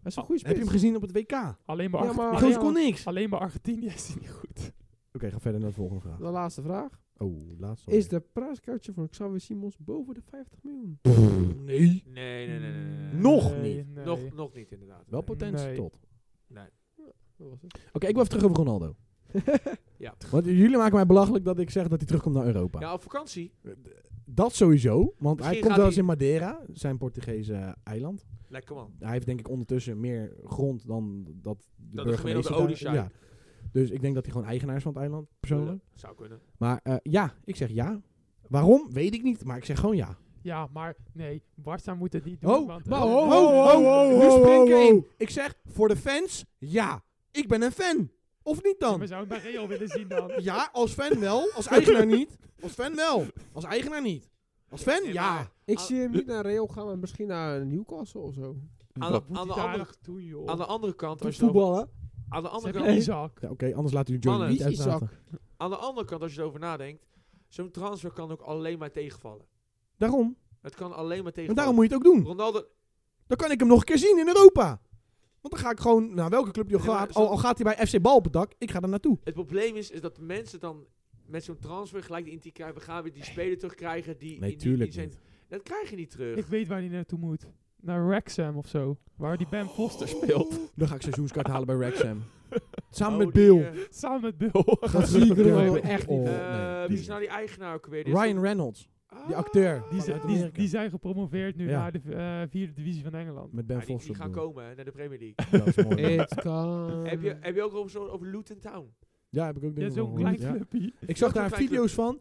Speaker 3: is een goede
Speaker 2: Heb je
Speaker 3: spits.
Speaker 2: hem gezien op het WK? Ja,
Speaker 4: Alleen maar, Arge-
Speaker 3: maar-
Speaker 2: maar
Speaker 3: Die
Speaker 4: alleen,
Speaker 3: gozer kon
Speaker 2: niks. Oké,
Speaker 4: [laughs] alleen maar Argentinië is die niet goed.
Speaker 2: ga verder naar de volgende vraag.
Speaker 3: De laatste vraag.
Speaker 2: Oh, laatste.
Speaker 3: Is de prijskaartje van Xavier Simons boven de 50 miljoen?
Speaker 2: alweer. Nee.
Speaker 1: Nee, nee, nee. nee, nee, nee.
Speaker 2: Nog
Speaker 4: Nee,
Speaker 2: niet.
Speaker 4: nee.
Speaker 1: Nog, nog niet, inderdaad.
Speaker 2: Wel
Speaker 1: Nee.
Speaker 2: potentie
Speaker 4: Nee.
Speaker 2: tot. Oké,
Speaker 1: Nee.
Speaker 3: Dat was het.
Speaker 2: ik wil even terug over Ronaldo.
Speaker 1: [laughs] Ja.
Speaker 2: Want jullie maken mij belachelijk dat ik zeg dat hij terugkomt naar Europa.
Speaker 1: Ja, op vakantie.
Speaker 2: Dat sowieso, want hij
Speaker 1: Misschien
Speaker 2: komt
Speaker 1: gaat
Speaker 2: wel eens
Speaker 1: hij-
Speaker 2: in Madeira, zijn Portugese eh, eiland.
Speaker 1: Lekker man.
Speaker 2: Hij heeft denk ik ondertussen meer grond dan dat de
Speaker 1: de
Speaker 2: burgemeester
Speaker 1: gemiddelde
Speaker 2: daar-
Speaker 1: Odisha.
Speaker 2: Dus ik denk dat hij gewoon eigenaar is van het eiland, persoonlijk.
Speaker 1: Zou kunnen.
Speaker 2: Maar eh, ja, ik zeg ja. Waarom? Weet ik niet, maar ik zeg gewoon ja.
Speaker 4: Ja, maar nee, Barca moet het niet doen.
Speaker 2: Oh,
Speaker 4: want,
Speaker 2: maar
Speaker 4: eh,
Speaker 2: ho, ho, ho, ho, nu spring ik in. Ik zeg, voor de fans, ja. Ik ben een fan. Of niet dan?
Speaker 4: We zouden hem bij Real willen zien dan.
Speaker 2: [laughs] Ja, als fan wel. Als eigenaar niet. Als fan wel. Als eigenaar niet. Als fan,
Speaker 1: Nee,
Speaker 2: ja.
Speaker 1: maar
Speaker 3: Ik
Speaker 1: Ah.
Speaker 3: zie hem niet naar Real gaan, maar misschien naar Newcastle of zo.
Speaker 1: Aan
Speaker 4: Wat
Speaker 1: de-
Speaker 4: moet
Speaker 1: aan
Speaker 4: hij
Speaker 1: de
Speaker 4: daar
Speaker 1: andere-
Speaker 4: nog doen, joh?
Speaker 1: Aan de andere kant, als je erover-
Speaker 3: Voetballen.
Speaker 1: aan de
Speaker 4: Ze
Speaker 1: andere
Speaker 4: hebben
Speaker 1: kant,
Speaker 4: Isaac.
Speaker 2: Ja, Oké, anders laten jullie Johnny
Speaker 1: Mannen.
Speaker 2: niet
Speaker 3: Wie is
Speaker 2: uitpraten.
Speaker 1: aan de andere kant, als je erover nadenkt, zo'n transfer kan ook alleen maar tegenvallen.
Speaker 2: Daarom.
Speaker 1: Het kan alleen maar
Speaker 2: En
Speaker 1: tegenvallen.
Speaker 2: daarom moet je het ook doen.
Speaker 1: Ronaldo,
Speaker 2: Dan kan ik hem nog een keer zien in Europa. Want dan ga ik gewoon naar welke club die al
Speaker 1: Ja, maar
Speaker 2: gaat.
Speaker 1: zo-
Speaker 2: Al, al gaat hij bij FC Bal op het dak, ik ga er naartoe.
Speaker 1: het probleem is, is dat mensen dan met zo'n transfer gelijk de intie krijgen. We gaan weer die speler terugkrijgen die... in die- in zijn, Dat krijg je niet terug.
Speaker 4: Ik weet waar hij naartoe moet. Naar Wrexham of zo. Waar die Ben Foster
Speaker 1: [laughs]
Speaker 4: speelt.
Speaker 2: Dan ga ik seizoenskaart halen bij Wrexham. Samen
Speaker 1: Oh,
Speaker 2: met
Speaker 1: die,
Speaker 2: Bill.
Speaker 1: eh,
Speaker 4: Samen met Bill.
Speaker 2: Gaat
Speaker 3: zie ik er wel
Speaker 2: Ja,
Speaker 3: echt
Speaker 2: oh,
Speaker 3: niet.
Speaker 1: eh,
Speaker 2: nee,
Speaker 1: wie
Speaker 2: die-
Speaker 1: is nou die eigenaar ook weer? Die is
Speaker 2: Ryan
Speaker 1: toch-
Speaker 2: Reynolds.
Speaker 1: Ah.
Speaker 2: die acteur.
Speaker 4: Die, zijn-
Speaker 2: Vanuit
Speaker 4: die,
Speaker 2: Amerika.
Speaker 4: die zijn gepromoveerd nu
Speaker 2: Ja.
Speaker 4: naar de eh, vierde divisie van Engeland.
Speaker 2: Met
Speaker 1: Ja,
Speaker 2: Ben
Speaker 1: Ah, die- die,
Speaker 2: Foster.
Speaker 1: gaan
Speaker 2: bedoel ik.
Speaker 1: komen hè, naar de Premier League.
Speaker 2: Ja, dat is mooi.
Speaker 4: Eh,
Speaker 3: It
Speaker 1: [laughs]
Speaker 3: can.
Speaker 1: heb, je, heb je ook over, zo, over Luton Town?
Speaker 2: Ja, heb ik ook
Speaker 4: Ja,
Speaker 2: dingen van
Speaker 4: zo'n
Speaker 2: gehoord,
Speaker 4: klein
Speaker 2: ja. [laughs]
Speaker 4: clubje.
Speaker 2: Ik zag
Speaker 1: Ook een
Speaker 2: daar
Speaker 1: klein
Speaker 2: video's van.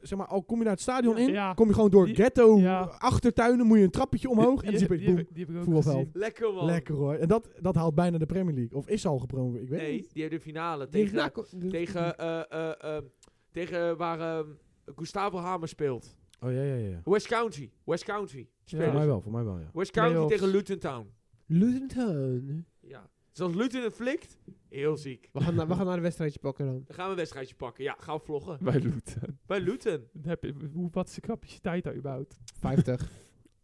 Speaker 2: Zeg maar, al kom je naar het stadion in,
Speaker 4: Ja.
Speaker 2: kom je gewoon door
Speaker 4: Die-
Speaker 2: ghetto,
Speaker 4: ja.
Speaker 2: achtertuinen, moet je een trappetje omhoog.
Speaker 4: Die-
Speaker 2: en dan zit je
Speaker 4: die,
Speaker 2: boem,
Speaker 4: heb ik- die heb ik ook
Speaker 2: voetbalveld.
Speaker 4: gezien.
Speaker 1: Lekker man.
Speaker 2: Lekker hoor. En dat, dat haalt bijna de Premier League. Of is al gepromoveerd, ik weet
Speaker 1: Nee,
Speaker 2: niet.
Speaker 1: die hebben de finale
Speaker 3: Die
Speaker 1: tegen,
Speaker 3: Nako-
Speaker 1: tegen, eh, eh, eh, tegen waar ehm, Gustavo Hamer speelt.
Speaker 2: Oh ja, ja, ja.
Speaker 1: West County. West County.
Speaker 2: Voor
Speaker 1: Spelen
Speaker 2: mij
Speaker 1: ze.
Speaker 2: wel, voor mij wel, ja.
Speaker 1: West County
Speaker 4: Playoffs.
Speaker 1: tegen Luton Town.
Speaker 3: Luton Town.
Speaker 1: Ja. Dus als Luton het flikt, heel ziek.
Speaker 3: We gaan, naar, we gaan naar een wedstrijdje pakken dan.
Speaker 1: Dan gaan we een wedstrijdje pakken. Ja, gaan we vloggen.
Speaker 4: Bij Luton.
Speaker 1: Bij Luton.
Speaker 4: Dan heb je- hoe- Wat is de capaciteit daar überhaupt?
Speaker 3: 50.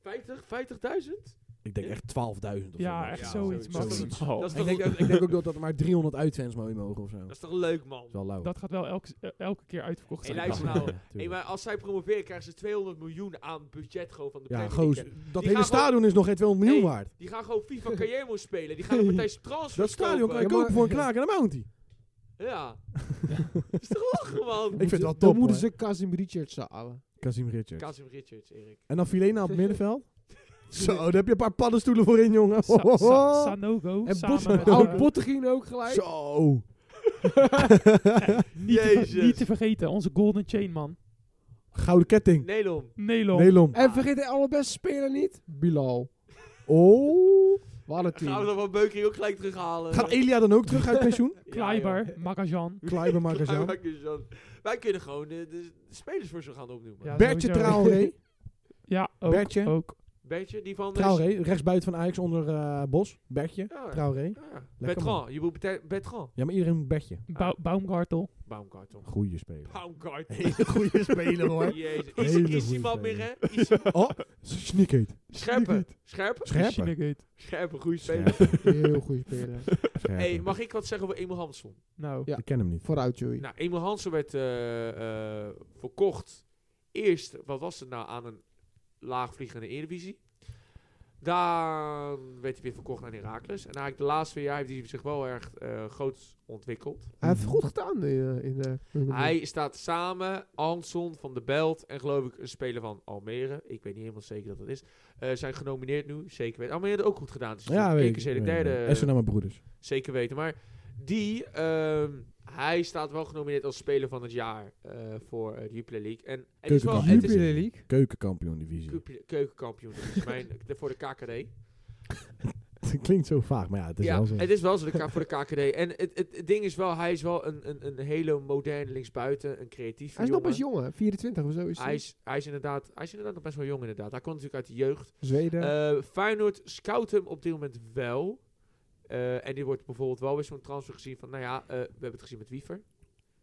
Speaker 1: 50, 50.000?
Speaker 2: Ik denk echt 12.000 of zo.
Speaker 4: Ja, echt
Speaker 1: Ja,
Speaker 4: zoiets.
Speaker 1: zoiets.
Speaker 4: man.
Speaker 2: Dat is
Speaker 4: Oh.
Speaker 1: Dat is,
Speaker 2: Ik
Speaker 1: toch,
Speaker 2: denk, ook, ik denk ook dat er maar 300 uitfans mooi mogen of zo.
Speaker 1: dat
Speaker 2: Dat
Speaker 1: is toch leuk, man?
Speaker 2: is wel lauw.
Speaker 4: Dat gaat wel elke, eh, elke keer uitverkocht
Speaker 1: Hey,
Speaker 4: zijn.
Speaker 1: luister
Speaker 2: Ja,
Speaker 1: nou.
Speaker 2: [laughs] tuurlijk.
Speaker 1: Hey, maar als zij promoveren, krijgen ze 200 miljoen aan budget gewoon van de
Speaker 2: Ja,
Speaker 1: Premier
Speaker 2: goos.
Speaker 1: League.
Speaker 2: Dat
Speaker 1: Die
Speaker 2: hele
Speaker 1: gaan
Speaker 2: stadion is nog geen 200 miljoen
Speaker 1: Hey,
Speaker 2: waard.
Speaker 1: Die gaan gewoon FIFA Carrière [laughs] spelen. Die gaan een partij transfers
Speaker 2: Dat stadion
Speaker 1: kopen.
Speaker 2: kan je
Speaker 3: Ja, maar-
Speaker 2: kopen voor een
Speaker 1: [laughs]
Speaker 2: knaak en een mountie. [laughs]
Speaker 1: Ja. [laughs] dat is toch lachen, man?
Speaker 2: vind het wel top,
Speaker 3: Dan moeten
Speaker 2: hoor.
Speaker 3: ze Casim Richards
Speaker 2: [laughs]
Speaker 3: halen.
Speaker 2: Casim Richards.
Speaker 1: Casim Richards, Erik.
Speaker 2: En dan Filena op
Speaker 1: [laughs]
Speaker 2: het middenveld. Zo, daar heb je een paar paddenstoelen voor in, jongen.
Speaker 4: [laughs] Sa- Sa- Sanogo.
Speaker 3: En
Speaker 4: samen
Speaker 3: Bot,
Speaker 4: met,
Speaker 2: Oh,
Speaker 4: eh,
Speaker 3: oud Bottegien ook gelijk.
Speaker 2: [laughs] Zo.
Speaker 4: niet, te ver-
Speaker 1: Jezus.
Speaker 4: niet te vergeten, onze Golden Chain man.
Speaker 2: Gouden ketting.
Speaker 1: Nelom.
Speaker 4: Nelon.
Speaker 2: Nelom.
Speaker 3: En vergeet de allerbeste speler niet. Bilal.
Speaker 2: Oh.
Speaker 3: Wat een
Speaker 1: Gaan we
Speaker 3: team.
Speaker 1: dan van Beukering ook gelijk terughalen?
Speaker 2: Gaat Elia dan ook terug uit pensioen?
Speaker 1: Ja,
Speaker 4: Kleiber,
Speaker 1: joh.
Speaker 4: Magajan.
Speaker 2: Kleiber
Speaker 1: [laughs] Kleiber
Speaker 2: Magazijn.
Speaker 1: Magazijn. Wij kunnen gewoon de, de spelers voor ze gaan opnoemen.
Speaker 4: Ja.
Speaker 2: Bertje
Speaker 4: sowieso.
Speaker 2: Traoré.
Speaker 1: [laughs]
Speaker 4: Ja, ook.
Speaker 2: Bertje.
Speaker 4: ook.
Speaker 1: Bertje, die van...
Speaker 2: Traoré, rechtsbuiten van Ajax onder eh, Bos. Bertje.
Speaker 1: Ja.
Speaker 2: Traoré.
Speaker 1: Ja.
Speaker 2: Lekker man.
Speaker 1: Bertrand. Je moet bete- Bertrand.
Speaker 2: Ja, maar iedereen moet Bertje.
Speaker 4: Bau- Baumgartel.
Speaker 1: Baumgartel.
Speaker 2: Goeie
Speaker 1: [laughs]
Speaker 2: speler.
Speaker 1: Baumgartel.
Speaker 2: Oh. Hele goede speler
Speaker 1: [laughs]
Speaker 2: hoor.
Speaker 1: Jezus. Is, is
Speaker 2: Hele
Speaker 1: die
Speaker 2: goede
Speaker 1: man
Speaker 2: speler.
Speaker 1: meer, hè? Is
Speaker 2: [laughs]
Speaker 1: die-
Speaker 2: Oh, sneakheet.
Speaker 1: Scherpen. Scherpen?
Speaker 2: Scherper.
Speaker 4: Shinigate.
Speaker 1: Scherpen, goede speler.
Speaker 2: Scherper.
Speaker 3: Heel goede speler.
Speaker 1: [laughs] Hey,
Speaker 2: Scherper.
Speaker 1: mag ik wat zeggen over Emil Hansson?
Speaker 4: Nou,
Speaker 3: Ja.
Speaker 2: Ik ken hem niet.
Speaker 3: Vooruit, Joey.
Speaker 1: Nou, Emil Hansen werd eh, eh, verkocht. Eerst, wat was het nou, aan een laagvliegende Eredivisie. Dan werd hij weer verkocht aan Heracles. En eigenlijk de laatste twee jaar heeft hij zich wel erg eh, groot ontwikkeld.
Speaker 3: Hij heeft het goed gedaan eh, in de...
Speaker 1: Hij staat samen, Hanson van de Belt en geloof ik een speler van Almere. Ik weet niet helemaal zeker dat dat is. eh, zijn genomineerd nu, zeker weten. Almere had ook goed gedaan. Dus
Speaker 2: Ja, weet ik.
Speaker 1: keer de
Speaker 2: weet ik.
Speaker 1: derde.
Speaker 2: SNL mijn broeders.
Speaker 1: Zeker weten. Maar die, ehm, hij staat wel genomineerd als speler van het jaar eh, voor eh, de Jupiler League. En het is wel, het is
Speaker 3: Jupiler League.
Speaker 2: Keukenkampioen divisie. [laughs]
Speaker 1: Kupje- keukenkampioen. Dat is mijn, [laughs] de- voor de KKD.
Speaker 2: Klinkt zo vaag, maar ja, het is
Speaker 1: ja,
Speaker 2: wel zo.
Speaker 1: het is wel zo de K- voor de KKD. En het, het, het ding is wel, hij is wel een, een, een hele moderne linksbuiten, een creatieve
Speaker 3: Hij is nog
Speaker 1: jongen.
Speaker 3: best jong, hè? 24 of zo is
Speaker 1: Hij
Speaker 3: hij.
Speaker 1: is, hij, is inderdaad, hij is inderdaad nog best wel jong inderdaad. Hij komt natuurlijk uit de jeugd.
Speaker 3: Zweden.
Speaker 1: Eh, Feyenoord scout hem op dit moment wel. Eh, en die wordt bijvoorbeeld wel weer zo'n transfer gezien van, nou ja, eh, we hebben het gezien met Wiever.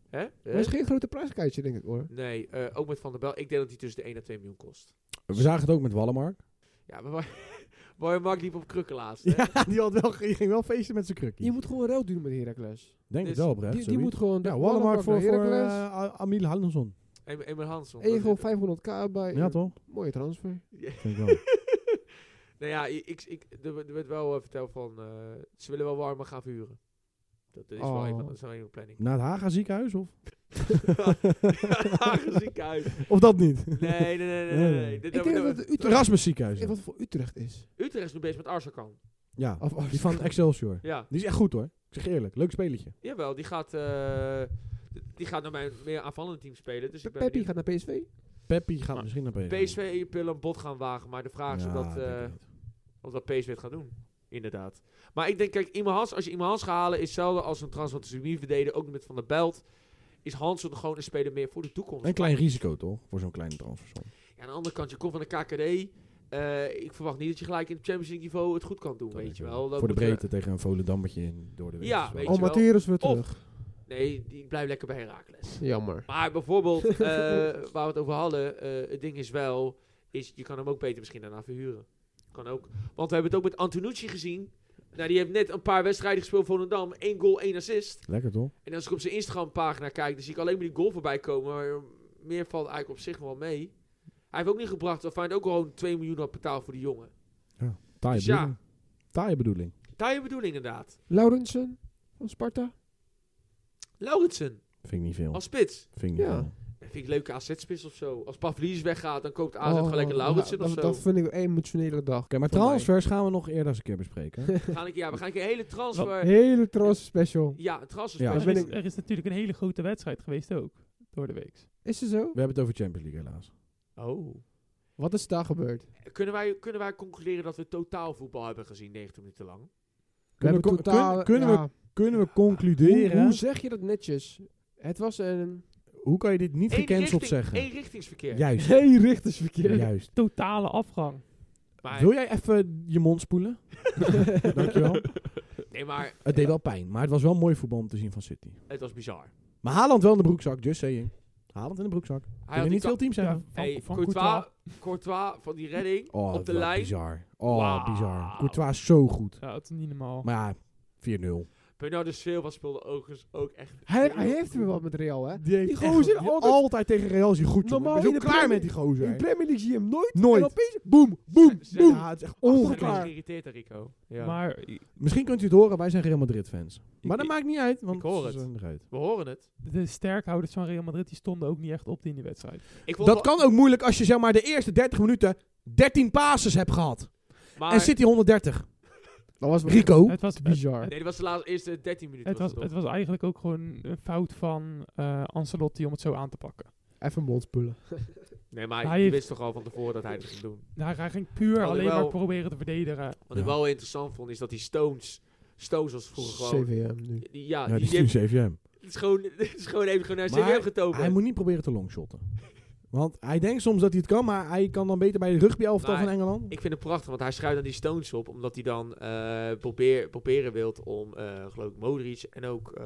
Speaker 1: Hè?
Speaker 3: Maar
Speaker 1: Eh,
Speaker 3: is geen grote prijskaartje, denk ik, hoor.
Speaker 1: Nee, eh, ook met Van der Bel. Ik denk dat hij tussen de 1 en 2 miljoen kost.
Speaker 2: We zagen het ook met Wallenmark.
Speaker 1: Ja, maar waar, [laughs] waar Mark liep op krukken laatst. hè?
Speaker 2: Ja, [laughs] die, had wel, die ging wel feesten met zijn krukkie.
Speaker 3: Je moet gewoon ruil doen met Heracles.
Speaker 2: Denk
Speaker 1: Dus
Speaker 2: het wel, Brett.
Speaker 3: Die, die moet gewoon...
Speaker 2: ja, Wallenmark voor, voor
Speaker 3: Heracles.
Speaker 2: eh, A- Amiel Handelson.
Speaker 1: En, en met Hanson.
Speaker 3: en je gewoon 500k bij.
Speaker 2: Ja, toch?
Speaker 3: Mooie transfer.
Speaker 1: [laughs]
Speaker 2: Vind ik wel.
Speaker 1: nou ja, ik, ik, er, werd- er werd wel eh, verteld van, eh, ze willen wel warmer gaan vuren. Dat is wel
Speaker 3: Oh.
Speaker 1: een van, dat is wel een van de
Speaker 2: [laughs]
Speaker 1: planning. [laughs]
Speaker 2: Naar het Haga ziekenhuis, of?
Speaker 1: Ziekenhuis.
Speaker 2: Of dat niet? [laughs]
Speaker 1: Nee, nee, nee, nee. nee, nee. Dit-
Speaker 3: Ik
Speaker 1: dat-
Speaker 3: denk dat het
Speaker 2: Het
Speaker 3: Utrecht...
Speaker 2: Erasmus ziekenhuis.
Speaker 3: Ik weet wat voor Utrecht is.
Speaker 1: Utrecht is nu bezig met Arsakan.
Speaker 2: Ja,
Speaker 3: Of- of-
Speaker 2: die van Excelsior.
Speaker 1: Ja.
Speaker 2: Die is echt goed, hoor. Ik zeg eerlijk. Leuk spelletje.
Speaker 1: Jawel, die gaat, eh, d- die gaat naar mijn meer aanvallende team spelen. Dus ik ben
Speaker 3: [laughs] Peppi gaat naar PSV.
Speaker 2: Peppi gaat
Speaker 1: Maar
Speaker 2: misschien naar PSV.
Speaker 1: benieuwd. PSV wil een bod gaan wagen, maar de vraag is
Speaker 2: Ja,
Speaker 1: of, dat,
Speaker 2: denk
Speaker 1: eh,
Speaker 2: ik niet.
Speaker 1: of dat PSV het gaat doen. Inderdaad. Maar ik denk, kijk, iemand Hans, als je iemand Hans gaat halen, is hetzelfde als een transfer van de verdedigen, ook niet met Van der Belt. Is Hansen gewoon een speler meer voor de toekomst?
Speaker 2: Een klein risico, toch? Voor zo'n kleine transfersom.
Speaker 1: Ja, aan de andere kant, je komt van de KKD. eh, ik verwacht niet dat je gelijk in het Champions League niveau het goed kan doen,
Speaker 2: Dat
Speaker 1: weet
Speaker 2: denk
Speaker 1: je
Speaker 2: ik
Speaker 1: wel. Dan
Speaker 2: Voor de
Speaker 1: moeten we-
Speaker 2: breedte tegen een Volendammetje in door de week.
Speaker 1: Ja,
Speaker 2: is wel
Speaker 1: weet je
Speaker 3: Oh,
Speaker 2: leuk.
Speaker 1: wel.
Speaker 3: Materis weer
Speaker 1: Of-
Speaker 3: terug.
Speaker 1: Nee, die blijft lekker bij Herakles.
Speaker 3: Jammer.
Speaker 1: Maar
Speaker 3: [laughs]
Speaker 1: bijvoorbeeld, eh, waar we het over hadden, eh, het ding is wel, is, je kan hem ook beter misschien daarna verhuren. Kan ook. Want we hebben het ook met Antonucci gezien. Nou, die heeft net een paar wedstrijden gespeeld voor Volendam. Eén goal, één assist.
Speaker 2: Lekker, toch?
Speaker 1: En als ik op zijn Instagram-pagina kijk, dan zie ik alleen maar die goal voorbij komen. Maar meer valt eigenlijk op zich wel mee. Hij heeft ook niet gebracht, of hij heeft ook gewoon 2 miljoen had betaald voor die jongen.
Speaker 2: Taaie
Speaker 1: Dus ja.
Speaker 2: bedoeling. Taaie bedoeling.
Speaker 1: Daar je bedoeling inderdaad.
Speaker 3: Laurensen van Sparta.
Speaker 1: Lauritsen,
Speaker 2: Vind ik niet veel.
Speaker 1: als spits.
Speaker 2: Vind ik niet
Speaker 3: Ja.
Speaker 2: veel.
Speaker 1: Dat vind ik een leuke AZ-spits of zo. Als Pavlidis weggaat, dan koopt AZ Ah, gewoon lekker
Speaker 3: Oh,
Speaker 1: Lauritsen
Speaker 3: dat-
Speaker 1: of zo.
Speaker 3: Dat vind ik een emotionele dag.
Speaker 2: Oké, maar
Speaker 3: Voor mij.
Speaker 2: transfers gaan we nog eerder eens een keer
Speaker 1: [laughs]
Speaker 2: bespreken.
Speaker 1: We gaan een, ja, we gaan een keer een hele transfer...
Speaker 3: Hele trots special.
Speaker 1: Ja, het gras is
Speaker 2: Ja,
Speaker 1: best-
Speaker 4: er,
Speaker 3: ben
Speaker 4: is,
Speaker 3: ik-
Speaker 4: er is natuurlijk een hele grote wedstrijd geweest ook. Door de week.
Speaker 3: Is ze zo?
Speaker 2: We hebben het over Champions League helaas.
Speaker 1: Oh.
Speaker 3: Wat is daar gebeurd?
Speaker 1: Kunnen wij, kunnen wij concluderen dat we totaal voetbal hebben gezien, 90 minuten lang?
Speaker 2: Kunnen we,
Speaker 3: hebben
Speaker 2: con-
Speaker 3: totaal-
Speaker 2: kun- kunnen
Speaker 3: ja.
Speaker 2: we, kunnen we
Speaker 3: hoe,
Speaker 2: concluderen? Hoe,
Speaker 3: hoe zeg je dat netjes? Het was een...
Speaker 2: kan je dit niet gecanceld zeggen?
Speaker 1: Eén richtingsverkeer. [laughs]
Speaker 2: Juist.
Speaker 3: Hey, richtersverkeer.
Speaker 2: Juist.
Speaker 4: Totale afgang.
Speaker 1: Maar,
Speaker 2: Wil jij even je mond
Speaker 1: [laughs]
Speaker 2: spoelen? Dankjewel.
Speaker 1: nee, maar
Speaker 2: Het deed wel pijn, maar het was wel mooi voetbal om te zien van City.
Speaker 1: het was bizar.
Speaker 2: Maar Haaland wel in de broekzak, just saying. Haaland in de broekzak.
Speaker 1: Hij
Speaker 2: Kunnen niet veel teams hebben.
Speaker 4: van,
Speaker 1: Hey,
Speaker 4: van
Speaker 1: Courtois, Courtois van die redding.
Speaker 2: Oh,
Speaker 1: op de
Speaker 2: wat
Speaker 1: lijn.
Speaker 2: bizar. Oh,
Speaker 1: Wauw.
Speaker 2: bizar. Courtois is zo goed.
Speaker 4: Ja, dat is niet normaal.
Speaker 2: Maar ja, 4-0.
Speaker 1: Bernardo de Silva speelde overigens ook echt...
Speaker 3: Hij, hij heeft weer wat met Real, hè?
Speaker 2: Die,
Speaker 3: heeft gozer
Speaker 2: echt-
Speaker 3: altijd-
Speaker 2: altijd tegen Real is hij goed. Normaal
Speaker 3: Normaal
Speaker 2: ik ben
Speaker 3: in
Speaker 2: zo
Speaker 3: de
Speaker 2: klaar
Speaker 3: Premier-
Speaker 2: met die gozer.
Speaker 3: In de Premier League zie je hem nooit. En
Speaker 2: Nooit.
Speaker 3: opeens, boem, boem,
Speaker 1: Ze- ze-
Speaker 3: boem.
Speaker 2: Ja, het is echt
Speaker 1: Hij
Speaker 2: ongeklaar.
Speaker 1: geïrriteerd, hè, Rico. Ja.
Speaker 4: Maar
Speaker 2: Misschien kunt u het horen, wij zijn Real Madrid fans. Maar dat
Speaker 1: ik-
Speaker 2: maakt niet uit, want
Speaker 1: ik hoor
Speaker 2: ze
Speaker 1: het.
Speaker 2: zijn eruit.
Speaker 1: We horen het.
Speaker 4: de sterkhouders van Real Madrid die stonden ook niet echt op in die wedstrijd.
Speaker 1: Ik vond
Speaker 2: Dat
Speaker 1: wel-
Speaker 2: kan ook moeilijk als je zeg maar de eerste 30 minuten 13 passes hebt gehad.
Speaker 1: Maar,
Speaker 2: En City 130.
Speaker 3: Dat was
Speaker 2: Rico.
Speaker 4: het was het,
Speaker 3: bizar.
Speaker 1: Nee, dat was de laatste, eerste 13 minuten.
Speaker 4: het was,
Speaker 1: het
Speaker 4: het was eigenlijk ook gewoon een fout van eh, Ancelotti om het zo aan te pakken.
Speaker 3: Even mond spullen.
Speaker 1: toch? Nee, maar
Speaker 4: Hij
Speaker 1: je
Speaker 4: heeft-
Speaker 1: wist toch al van tevoren dat hij het ging doen.
Speaker 4: Nou, hij ging puur
Speaker 1: Terwijl
Speaker 4: alleen
Speaker 1: hij wel-
Speaker 4: maar proberen te verdedigen.
Speaker 1: Wat ik
Speaker 2: Ja.
Speaker 1: wel interessant vond, is dat die Stones... Stones was vroeger gewoon...
Speaker 3: CVM nu.
Speaker 1: Die- Ja,
Speaker 2: Ja,
Speaker 1: die,
Speaker 2: die
Speaker 1: die heeft, Oh,
Speaker 2: is 7
Speaker 1: het is gewoon, [laughs] het is gewoon even gewoon naar
Speaker 2: Maar
Speaker 1: CDM getogen.
Speaker 2: Hij moet niet proberen te longshotten. Want hij denkt soms dat hij het kan, maar hij kan dan beter bij de rugby-elftal
Speaker 1: Maar
Speaker 2: van Engeland.
Speaker 1: Ik vind het prachtig, want hij schuift aan die Stones op, omdat hij dan eh, probeer, proberen wilt om, eh, geloof ik, Modric en ook eh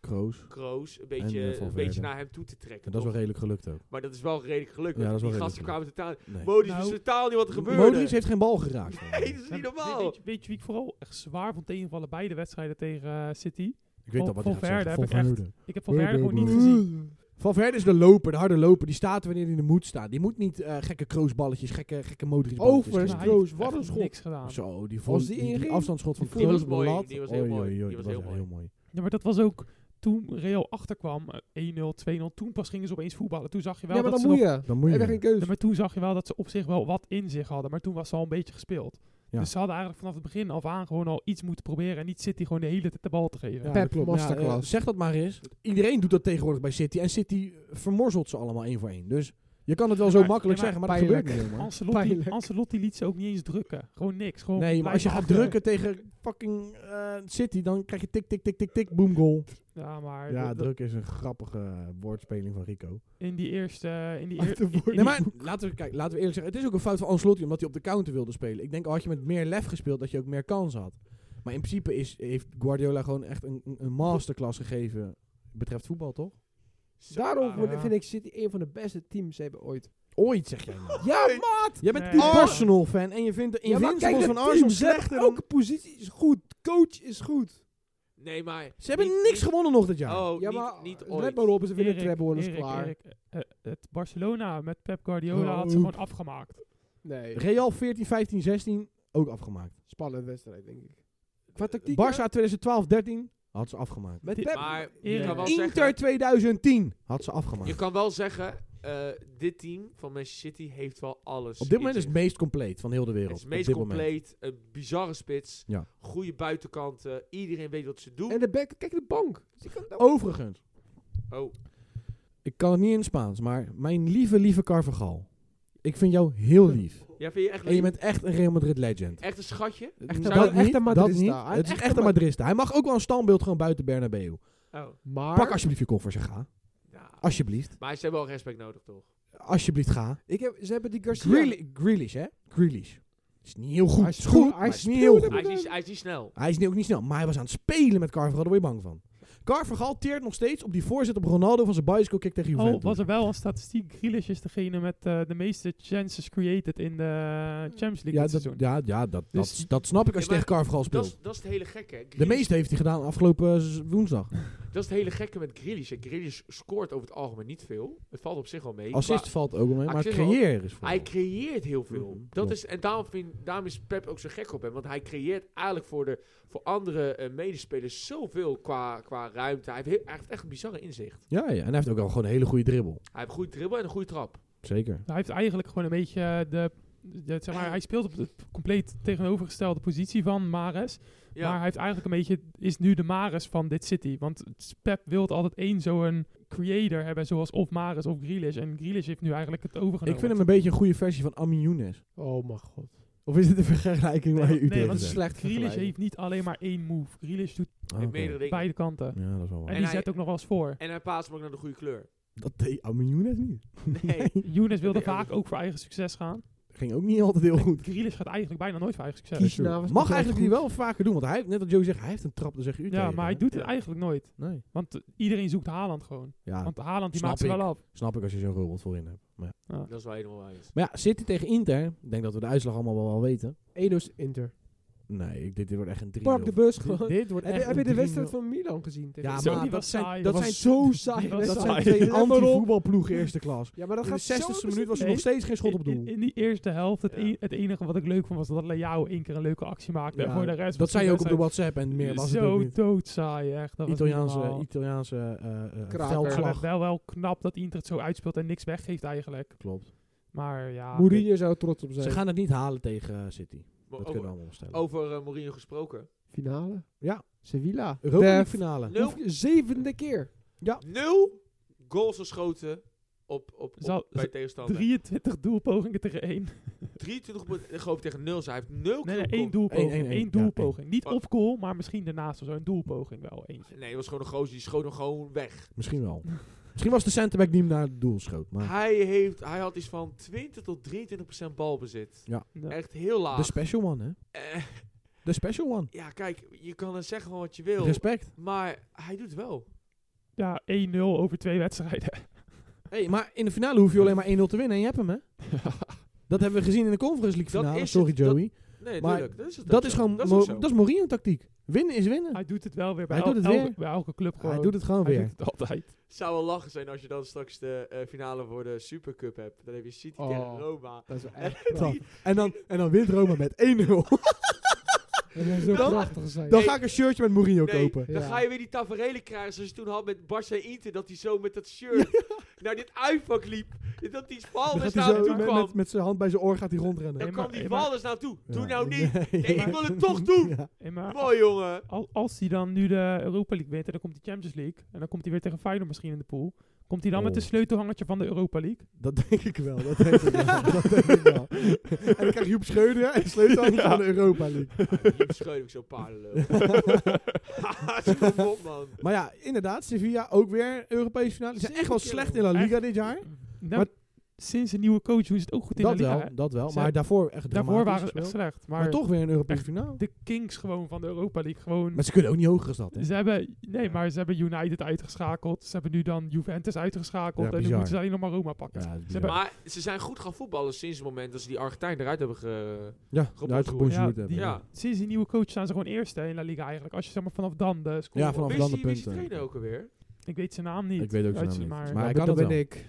Speaker 2: Kroos.
Speaker 1: Kroos een
Speaker 2: eh,
Speaker 1: beetje, een
Speaker 2: Valverde.
Speaker 1: beetje naar hem toe te trekken.
Speaker 2: En dat is wel
Speaker 1: toch?
Speaker 2: redelijk gelukt ook.
Speaker 1: maar dat is wel redelijk gelukt.
Speaker 2: Ja,
Speaker 1: want
Speaker 2: dat is wel
Speaker 1: die
Speaker 2: redelijk
Speaker 1: gasten kwamen totaal...
Speaker 2: Nee.
Speaker 1: Modric is
Speaker 4: Nou,
Speaker 1: totaal niet wat er gebeurde.
Speaker 2: Modric heeft geen bal geraakt.
Speaker 1: Nee, dat is niet
Speaker 4: Weet,
Speaker 1: normaal.
Speaker 4: weet je, weet je wie ik vooral echt zwaar vond tegenvallen bij de wedstrijden tegen eh, City?
Speaker 2: Ik weet al wat hij gaat
Speaker 4: Valverde
Speaker 2: zeggen.
Speaker 4: heb ik
Speaker 2: Valverde.
Speaker 4: Ik heb Valverde gewoon niet
Speaker 2: Blablabla.
Speaker 4: gezien.
Speaker 2: Valverde is de loper, de harde loper. Die staat wanneer hij in de moed staat. Die moet niet eh, gekke kroosballetjes, gekke, gekke modric
Speaker 3: Over.
Speaker 4: Maar
Speaker 3: Kroos,
Speaker 4: hij heeft
Speaker 3: wat
Speaker 4: echt
Speaker 3: een schot.
Speaker 4: Niks gedaan.
Speaker 2: Zo, die, vol,
Speaker 3: Als die
Speaker 2: die, die
Speaker 3: inging,
Speaker 2: afstandsschot van
Speaker 3: die was
Speaker 2: Kroos op de
Speaker 1: mooi,
Speaker 2: lat.
Speaker 1: die was heel
Speaker 2: Oei,
Speaker 1: mooi,
Speaker 2: oei, oei,
Speaker 1: die
Speaker 2: dat
Speaker 1: was heel
Speaker 2: echt
Speaker 1: mooi.
Speaker 4: Ja, maar dat was ook toen Real achterkwam, eh, 1-0, 2-0, toen pas gingen ze opeens voetballen. Toen zag je wel
Speaker 3: Ja, maar
Speaker 4: dat
Speaker 3: dan
Speaker 4: ze
Speaker 3: moet
Speaker 4: nog-
Speaker 3: je.
Speaker 2: Dan moet
Speaker 3: Heb je geen
Speaker 2: je.
Speaker 4: Ja,
Speaker 3: keuze.
Speaker 4: maar toen zag je wel dat ze op zich wel wat in zich hadden, maar toen was ze al een beetje gespeeld.
Speaker 2: Ja.
Speaker 4: Dus ze hadden eigenlijk vanaf het begin af aan gewoon al iets moeten proberen en niet City gewoon de hele tijd de bal te geven.
Speaker 2: Ja,
Speaker 3: Pep
Speaker 2: dat klopt.
Speaker 3: masterclass.
Speaker 2: Ja, eh, zeg dat maar eens. Iedereen doet dat tegenwoordig bij City. En City vermorzelt ze allemaal één voor één. Dus je kan het wel zo
Speaker 4: Maar-
Speaker 2: makkelijk
Speaker 4: ja, maar
Speaker 2: zeggen, maar dat
Speaker 3: pijnlijk.
Speaker 2: gebeurt niet helemaal.
Speaker 4: Ancelotti,
Speaker 3: Pijnlijk.
Speaker 4: Ancelotti liet ze ook niet eens drukken. Gewoon niks. Gewoon
Speaker 2: Nee, maar als je
Speaker 4: blijven
Speaker 2: gaat
Speaker 4: achter.
Speaker 2: drukken tegen fucking eh, City, dan krijg je tik, tik, tik, tik, tik, boom, goal.
Speaker 4: Ja, maar
Speaker 2: Ja,
Speaker 4: dat- dat-
Speaker 2: druk is een grappige eh, woordspeling van Rico.
Speaker 4: in die eerste... eh, In
Speaker 2: [laughs]
Speaker 4: die
Speaker 3: Uit de
Speaker 4: eer- in- in
Speaker 2: Nee,
Speaker 3: woorden.
Speaker 2: maar laten we, kijk, laten we eerlijk zeggen, het is ook een fout van Ancelotti omdat hij op de counter wilde spelen. Ik denk, al had je met meer lef gespeeld, dat je ook meer kans had. Maar in principe is, heeft Guardiola gewoon echt een, een- een masterclass gegeven betreft voetbal, toch?
Speaker 1: Zo
Speaker 3: Daarom
Speaker 1: raar.
Speaker 3: word-
Speaker 4: Ja.
Speaker 3: vind ik City een van de beste teams hebben ooit.
Speaker 2: Ooit, zeg jij nou.
Speaker 3: Ja, maar,
Speaker 2: Jij bent
Speaker 4: Nee.
Speaker 2: een
Speaker 3: Oh.
Speaker 2: Arsenal-fan en je vindt de
Speaker 3: ja, maar
Speaker 2: Invincibles
Speaker 3: kijk,
Speaker 2: van
Speaker 3: dat
Speaker 2: Arsenal
Speaker 3: team zegt,
Speaker 2: slechter dan...
Speaker 3: elke positie is goed. Coach is goed.
Speaker 1: Nee, maar...
Speaker 2: Ze hebben
Speaker 1: niet-
Speaker 2: niks gewonnen nog dit jaar.
Speaker 1: Oh,
Speaker 3: Ja,
Speaker 1: niet-
Speaker 3: maar
Speaker 1: niet
Speaker 3: let
Speaker 1: ooit.
Speaker 3: maar op, ze winnen
Speaker 4: Erik,
Speaker 3: treble en is
Speaker 4: Erik,
Speaker 3: klaar.
Speaker 4: Erik, eh, het Barcelona met Pep Guardiola had ze
Speaker 2: Oh.
Speaker 4: gewoon afgemaakt.
Speaker 3: Nee,
Speaker 2: Real 14, 15, 16, ook afgemaakt.
Speaker 3: spannende wedstrijd, denk ik. Qua tactiek, hè?
Speaker 2: Barça 2012, 13, had ze afgemaakt.
Speaker 3: Met
Speaker 4: Die-
Speaker 3: Pep.
Speaker 1: Maar
Speaker 4: Erik.
Speaker 1: je kan wel
Speaker 2: Inter
Speaker 1: zeggen...
Speaker 2: 2010, had ze
Speaker 1: Je
Speaker 2: afgemaakt.
Speaker 1: kan wel zeggen, eh, dit team van Manchester City heeft wel alles.
Speaker 2: Op dit
Speaker 1: in
Speaker 2: moment is
Speaker 1: zich.
Speaker 2: het meest compleet van heel de wereld.
Speaker 1: Het is
Speaker 2: Op
Speaker 1: meest
Speaker 2: dit moment.
Speaker 1: compleet, een bizarre spits,
Speaker 2: Ja.
Speaker 1: goede buitenkanten, iedereen weet wat ze doen.
Speaker 3: En de back, kijk de bank. Ze kan nou-
Speaker 2: Overigens,
Speaker 1: oh,
Speaker 2: ik kan het niet in het Spaans, maar mijn lieve, lieve Carvajal. Ik vind jou heel lief.
Speaker 1: ja, vind je echt
Speaker 2: En je
Speaker 1: lief?
Speaker 2: bent echt een Real Madrid legend.
Speaker 1: echt een schatje?
Speaker 2: N-
Speaker 1: zou-
Speaker 2: dat
Speaker 1: echt
Speaker 2: niet,
Speaker 3: een
Speaker 2: dat
Speaker 3: Madrista.
Speaker 2: niet.
Speaker 3: Hij is
Speaker 2: Het is
Speaker 3: echt
Speaker 2: echt
Speaker 3: een
Speaker 2: een
Speaker 3: Ma-
Speaker 2: Madrista. Hij mag ook wel een standbeeld gewoon buiten Bernabeu.
Speaker 1: Oh,
Speaker 3: Maar,
Speaker 2: Pak alsjeblieft je koffers en ga.
Speaker 1: ja.
Speaker 2: Alsjeblieft.
Speaker 1: Maar ze hebben wel respect nodig, toch?
Speaker 2: Alsjeblieft ga.
Speaker 3: ik heb, ze hebben die Garcia.
Speaker 2: Grealish, Grealish hè? Grealish. Is niet heel goed.
Speaker 3: Hij
Speaker 2: Is goed.
Speaker 3: speelde-
Speaker 2: maar Hij is
Speaker 3: hij
Speaker 2: niet heel
Speaker 3: speelde-
Speaker 1: Hij
Speaker 2: goed.
Speaker 1: is, niet, hij is niet snel.
Speaker 2: Hij is nu ook niet snel, maar hij was aan het spelen met Carvajal. Daar word je bang van. Carvajal teert nog steeds op die voorzet op Ronaldo van zijn bicycle kick tegen Juventus.
Speaker 4: Oh, was er wel een statistiek. Grealish is degene met eh, de meeste chances created in de Champions League
Speaker 2: ja,
Speaker 4: dit
Speaker 2: dat,
Speaker 4: seizoen.
Speaker 2: ja, ja dat,
Speaker 4: Dus-
Speaker 2: dat, dat snap ik als je
Speaker 1: Ja, maar
Speaker 2: tegen Carvajal
Speaker 1: Dat
Speaker 2: speelt.
Speaker 1: is, dat is het hele gekke. hè.
Speaker 2: De
Speaker 1: Grealish-
Speaker 2: meeste heeft hij gedaan afgelopen z- woensdag.
Speaker 1: Dat is het hele gekke met Grealish. hè. Grealish scoort over het algemeen niet veel. Het valt op zich wel mee.
Speaker 2: Assist
Speaker 1: maar
Speaker 2: valt ook wel mee,
Speaker 1: Ah,
Speaker 2: maar
Speaker 1: ik zeg wel,
Speaker 2: creëren is voor.
Speaker 1: hij creëert heel veel.
Speaker 2: Mhm,
Speaker 1: Dat
Speaker 2: klopt.
Speaker 1: is, en daarom, vind, daarom is Pep ook zo gek op hem. Want hij creëert eigenlijk voor, de, voor andere eh, medespelers zoveel qua, qua ruimte. Hij heeft, heel- hij heeft echt een bizarre inzicht.
Speaker 2: Ja, ja, en hij heeft ook wel gewoon een hele goede dribbel.
Speaker 1: Hij heeft een goede dribbel en een goede trap.
Speaker 2: Zeker.
Speaker 4: Hij heeft eigenlijk gewoon een beetje eh, de... de- zeg maar, hij speelt op de compleet tegenovergestelde positie van Mares.
Speaker 1: Ja.
Speaker 4: Maar hij heeft eigenlijk een beetje, is nu de Mares van dit City. Want Pep wil altijd één zo'n creator hebben, zoals of Mares of Grealish. En Grealish heeft nu eigenlijk het overgenomen.
Speaker 2: Ik vind hem een beetje een goede versie van Ami Younes.
Speaker 3: Oh mijn god.
Speaker 2: Of is dit een vergelijking
Speaker 4: Nee,
Speaker 2: waar je u
Speaker 4: want- nee,
Speaker 2: tegen
Speaker 4: want
Speaker 2: zegt?
Speaker 3: Slecht
Speaker 4: Grealish
Speaker 3: vergelijking.
Speaker 4: heeft niet alleen maar één move. Grealish doet
Speaker 2: Ah,
Speaker 1: Met
Speaker 2: oké.
Speaker 1: meerdere dingen.
Speaker 4: beide kanten.
Speaker 2: Ja, dat is wel
Speaker 4: En,
Speaker 2: waar.
Speaker 1: En
Speaker 4: die
Speaker 1: hij-
Speaker 4: zet ook nog wel eens voor.
Speaker 1: En hij paast hem ook naar de goede kleur.
Speaker 2: Dat deed Ami Younes niet.
Speaker 1: Nee.
Speaker 4: Younes wilde
Speaker 1: Nee, [laughs]
Speaker 4: vaak ook voor eigen succes gaan.
Speaker 2: ging ook niet altijd heel goed.
Speaker 4: Grealish gaat eigenlijk bijna nooit voor eigen succes.
Speaker 3: Kies- Kiesna was
Speaker 2: Mag
Speaker 3: toch
Speaker 2: eigenlijk
Speaker 3: wel
Speaker 2: die wel vaker doen, want hij, heeft- net als Joey zegt, hij heeft een trap, dan zeg je u
Speaker 4: ja,
Speaker 2: tegen,
Speaker 4: maar hij
Speaker 2: hè?
Speaker 4: doet het
Speaker 1: Ja.
Speaker 4: eigenlijk nooit.
Speaker 2: Nee.
Speaker 4: Want eh, iedereen zoekt Haaland gewoon.
Speaker 2: Ja,
Speaker 4: Want Haaland die
Speaker 2: snap
Speaker 4: maakt ze wel
Speaker 2: ik.
Speaker 4: af.
Speaker 2: snap ik als je zo'n robot voorin hebt. Maar, ja.
Speaker 1: Dat is wel helemaal waar. Is.
Speaker 2: maar ja, City tegen Inter, ik denk dat we de uitslag allemaal wel, wel weten.
Speaker 3: Enos Inter.
Speaker 2: Nee, ik- dit, dit wordt echt een 3
Speaker 3: Pak de bus
Speaker 2: [laughs]
Speaker 3: gewoon.
Speaker 2: Dit wordt
Speaker 3: Heb
Speaker 2: echt
Speaker 3: je, heb je
Speaker 2: een
Speaker 3: de wedstrijd
Speaker 2: 3-0.
Speaker 3: van Milan gezien? tegen
Speaker 2: Ja,
Speaker 3: Inter?
Speaker 4: Zo,
Speaker 2: maar
Speaker 4: die
Speaker 2: dat
Speaker 4: was
Speaker 2: zijn,
Speaker 4: saai.
Speaker 2: dat
Speaker 4: Dat
Speaker 2: zijn,
Speaker 3: zo saai.
Speaker 4: die was
Speaker 2: dat
Speaker 3: wedstrijd.
Speaker 2: zijn
Speaker 4: saai.
Speaker 2: twee
Speaker 3: Let maar op.
Speaker 2: anti-voetbalploegen eerste klas.
Speaker 3: Ja, maar dat
Speaker 2: In de
Speaker 3: gaat
Speaker 2: 60
Speaker 3: zo
Speaker 2: e minuut was er
Speaker 4: Nee.
Speaker 2: nog steeds geen [laughs] schot op
Speaker 4: In,
Speaker 2: doel.
Speaker 4: in die eerste helft, het,
Speaker 1: Ja.
Speaker 4: e- het enige wat ik leuk vond was dat Leao één keer een leuke actie maakte. en
Speaker 2: Ja,
Speaker 4: voor de rest
Speaker 2: dat
Speaker 4: was
Speaker 2: zei je
Speaker 4: die
Speaker 2: ook op de
Speaker 4: wedstrijd
Speaker 2: WhatsApp en meer was het ook
Speaker 4: Zo
Speaker 2: niet.
Speaker 4: doodsaai, echt. Dat was niet
Speaker 2: Italiaanse,
Speaker 4: normaal.
Speaker 2: Italiaanse eh eh
Speaker 3: Kraker.
Speaker 4: Maar
Speaker 2: veldslag.
Speaker 4: het wel wel knap dat Inter het zo uitspeelt en niks weggeeft eigenlijk.
Speaker 2: Klopt.
Speaker 4: Maar ja,
Speaker 3: Mourinho zou er trots op
Speaker 2: Ze
Speaker 3: zijn.
Speaker 2: gaan het niet halen tegen eh,
Speaker 4: Oh,
Speaker 2: City.
Speaker 1: Maar
Speaker 2: Dat kunnen we
Speaker 1: over
Speaker 2: allemaal opstellen.
Speaker 1: over eh, Mourinho gesproken.
Speaker 3: Finale.
Speaker 2: Ja.
Speaker 3: Sevilla.
Speaker 2: Europa League
Speaker 3: De
Speaker 2: finale.
Speaker 1: Nul,
Speaker 3: f- Zevende keer.
Speaker 1: nul goals geschoten op, op, op-
Speaker 4: Zal-
Speaker 1: bij tegenstander.
Speaker 4: 23 doelpogingen tegen één.
Speaker 1: 23 punten, ik eh, geloof tegen nul. Zij heeft nul keer
Speaker 4: Nee, nee,
Speaker 1: op
Speaker 4: één
Speaker 1: goal.
Speaker 4: doelpoging.
Speaker 2: Eén, één, één.
Speaker 4: Eén doelpoging. Niet
Speaker 1: Oh.
Speaker 4: op goal, maar misschien daarnaast of zo. Een doelpoging wel. Eentje.
Speaker 1: Nee, het was gewoon een gozer. Die schoot hem gewoon weg.
Speaker 2: Misschien wel. Misschien was de centerback die hem naar het doel schoot. Maar
Speaker 1: Hij, heeft, hij had iets van 20 tot 23 procent balbezit.
Speaker 4: Ja.
Speaker 1: Echt heel laag.
Speaker 2: de special one, hè?
Speaker 1: Eh,
Speaker 2: De special one.
Speaker 1: ja, kijk, je kan er zeggen van wat je wil.
Speaker 2: Respect.
Speaker 1: Maar hij doet het wel.
Speaker 4: Ja, 1-0 over twee wedstrijden.
Speaker 2: Hey, maar in de finale hoef je alleen maar 1-0 te winnen en je hebt
Speaker 1: [laughs]
Speaker 2: hem, hè? Dat hebben we gezien in de Conference League
Speaker 1: Dat
Speaker 2: finale.
Speaker 1: is
Speaker 2: Sorry,
Speaker 1: het. Dat-
Speaker 2: Joey.
Speaker 1: Nee,
Speaker 2: Maar
Speaker 1: tuurlijk. Dat is, het
Speaker 2: Dat
Speaker 1: ook
Speaker 2: is
Speaker 1: zo.
Speaker 2: gewoon
Speaker 1: Dat is
Speaker 2: Mo-
Speaker 1: ook
Speaker 2: dat
Speaker 1: zo.
Speaker 2: is Mourinho tactiek. Winnen is winnen.
Speaker 4: Hij doet het wel weer bij,
Speaker 2: Hij doet het
Speaker 4: elke,
Speaker 2: weer.
Speaker 4: bij elke club gewoon.
Speaker 2: Hij doet het gewoon
Speaker 4: Hij
Speaker 2: weer.
Speaker 4: doet het altijd.
Speaker 1: zou wel lachen zijn als je dan straks de eh, finale voor de Supercup hebt. Dan heb je City
Speaker 3: Oh.
Speaker 1: tegen Roma.
Speaker 3: Dat is wel echt
Speaker 2: Dat.
Speaker 3: prachtig.
Speaker 2: En dan, en dan wint Roma met 1-0.
Speaker 3: Dat zou zo
Speaker 1: Dan-
Speaker 3: prachtig zijn.
Speaker 2: Dan ga ik een shirtje met Mourinho
Speaker 1: Nee,
Speaker 2: kopen.
Speaker 1: dan
Speaker 3: Ja.
Speaker 1: ga je weer die tafereelen krijgen zoals je toen had met Barca en Inter. Dat hij zo met dat
Speaker 2: [laughs]
Speaker 1: shirt naar dit uitvak liep. Dat die bal
Speaker 2: Dan
Speaker 1: dus
Speaker 2: gaat hij zo
Speaker 1: naartoe
Speaker 2: met,
Speaker 1: kwam.
Speaker 2: met, met zijn hand bij zijn oor gaat hij rondrennen.
Speaker 1: dan
Speaker 4: Nee, maar-
Speaker 1: kwam die
Speaker 4: nee, maar-
Speaker 1: bal dus naartoe. Doe
Speaker 2: Ja.
Speaker 1: nou
Speaker 2: [laughs]
Speaker 1: niet.
Speaker 2: Nee.
Speaker 1: Nee, ik wil het toch doen.
Speaker 2: Ja.
Speaker 4: En maar
Speaker 1: Mooi jongen.
Speaker 4: al- als hij dan nu de Europa League wint en dan komt die Champions League. En dan komt hij weer tegen Feyenoord misschien in de pool. Komt hij dan met
Speaker 2: Oh.
Speaker 4: een sleutelhangertje van de Europa League?
Speaker 2: Dat denk ik wel, dat denk ik wel. dat denk ik wel. [laughs] En dan krijg je op Schreuder en sleutel aan van de Europa
Speaker 4: [laughs]
Speaker 2: League.
Speaker 1: Jeep scheut ik zo
Speaker 2: [laughs]
Speaker 1: paardenlul. [laughs] Haha, kom op man.
Speaker 2: Maar ja, inderdaad, Sevilla ook weer Europese finale. Ze zijn echt wel
Speaker 1: Zeker.
Speaker 2: slecht in La Liga
Speaker 4: Echt.
Speaker 2: dit jaar.
Speaker 4: Nou,
Speaker 2: Mm. Maar-
Speaker 4: sinds een nieuwe coach doen ze het ook goed in
Speaker 2: Dat
Speaker 4: de liga.
Speaker 2: wel,
Speaker 4: hè.
Speaker 2: dat wel.
Speaker 4: Ze-
Speaker 2: Maar daarvoor echt
Speaker 4: Daarvoor
Speaker 2: dramatisch
Speaker 4: waren ze echt
Speaker 2: gespeeld.
Speaker 4: slecht. Maar,
Speaker 2: Maar toch weer een Europese finale.
Speaker 4: de Kings gewoon van de Europa League. Gewoon
Speaker 2: Maar ze kunnen ook niet hoger als dat, hè.
Speaker 4: Ze hebben, nee,
Speaker 1: Ja.
Speaker 4: maar ze hebben United uitgeschakeld. Ze hebben nu dan Juventus uitgeschakeld.
Speaker 2: Ja,
Speaker 4: en nu
Speaker 2: bizar.
Speaker 4: moeten ze alleen nog maar Roma pakken.
Speaker 2: Ja, dat is
Speaker 4: Ze
Speaker 2: bizar.
Speaker 1: Maar ze zijn goed gaan voetballen sinds het moment dat ze die Argentijn eruit hebben ge...
Speaker 2: ja,
Speaker 1: Robert
Speaker 2: uitgebonjourd
Speaker 4: Ja,
Speaker 2: hebben.
Speaker 4: die-
Speaker 1: Ja.
Speaker 4: Sinds die nieuwe coach staan ze gewoon eerste in La Liga eigenlijk. Als je zeg maar vanaf dan de score...
Speaker 2: Ja, vanaf
Speaker 1: Wist
Speaker 2: dan de
Speaker 1: je- wist je
Speaker 2: punten.
Speaker 1: trainer ook alweer? [laughs]
Speaker 4: Ik weet zijn naam niet.
Speaker 2: Ik weet ook zijn
Speaker 4: Uit-
Speaker 2: naam niet.
Speaker 4: Maar,
Speaker 2: Maar-
Speaker 3: Ja,
Speaker 2: ik kan
Speaker 3: dat
Speaker 2: het
Speaker 3: ben
Speaker 2: wel.
Speaker 3: ik.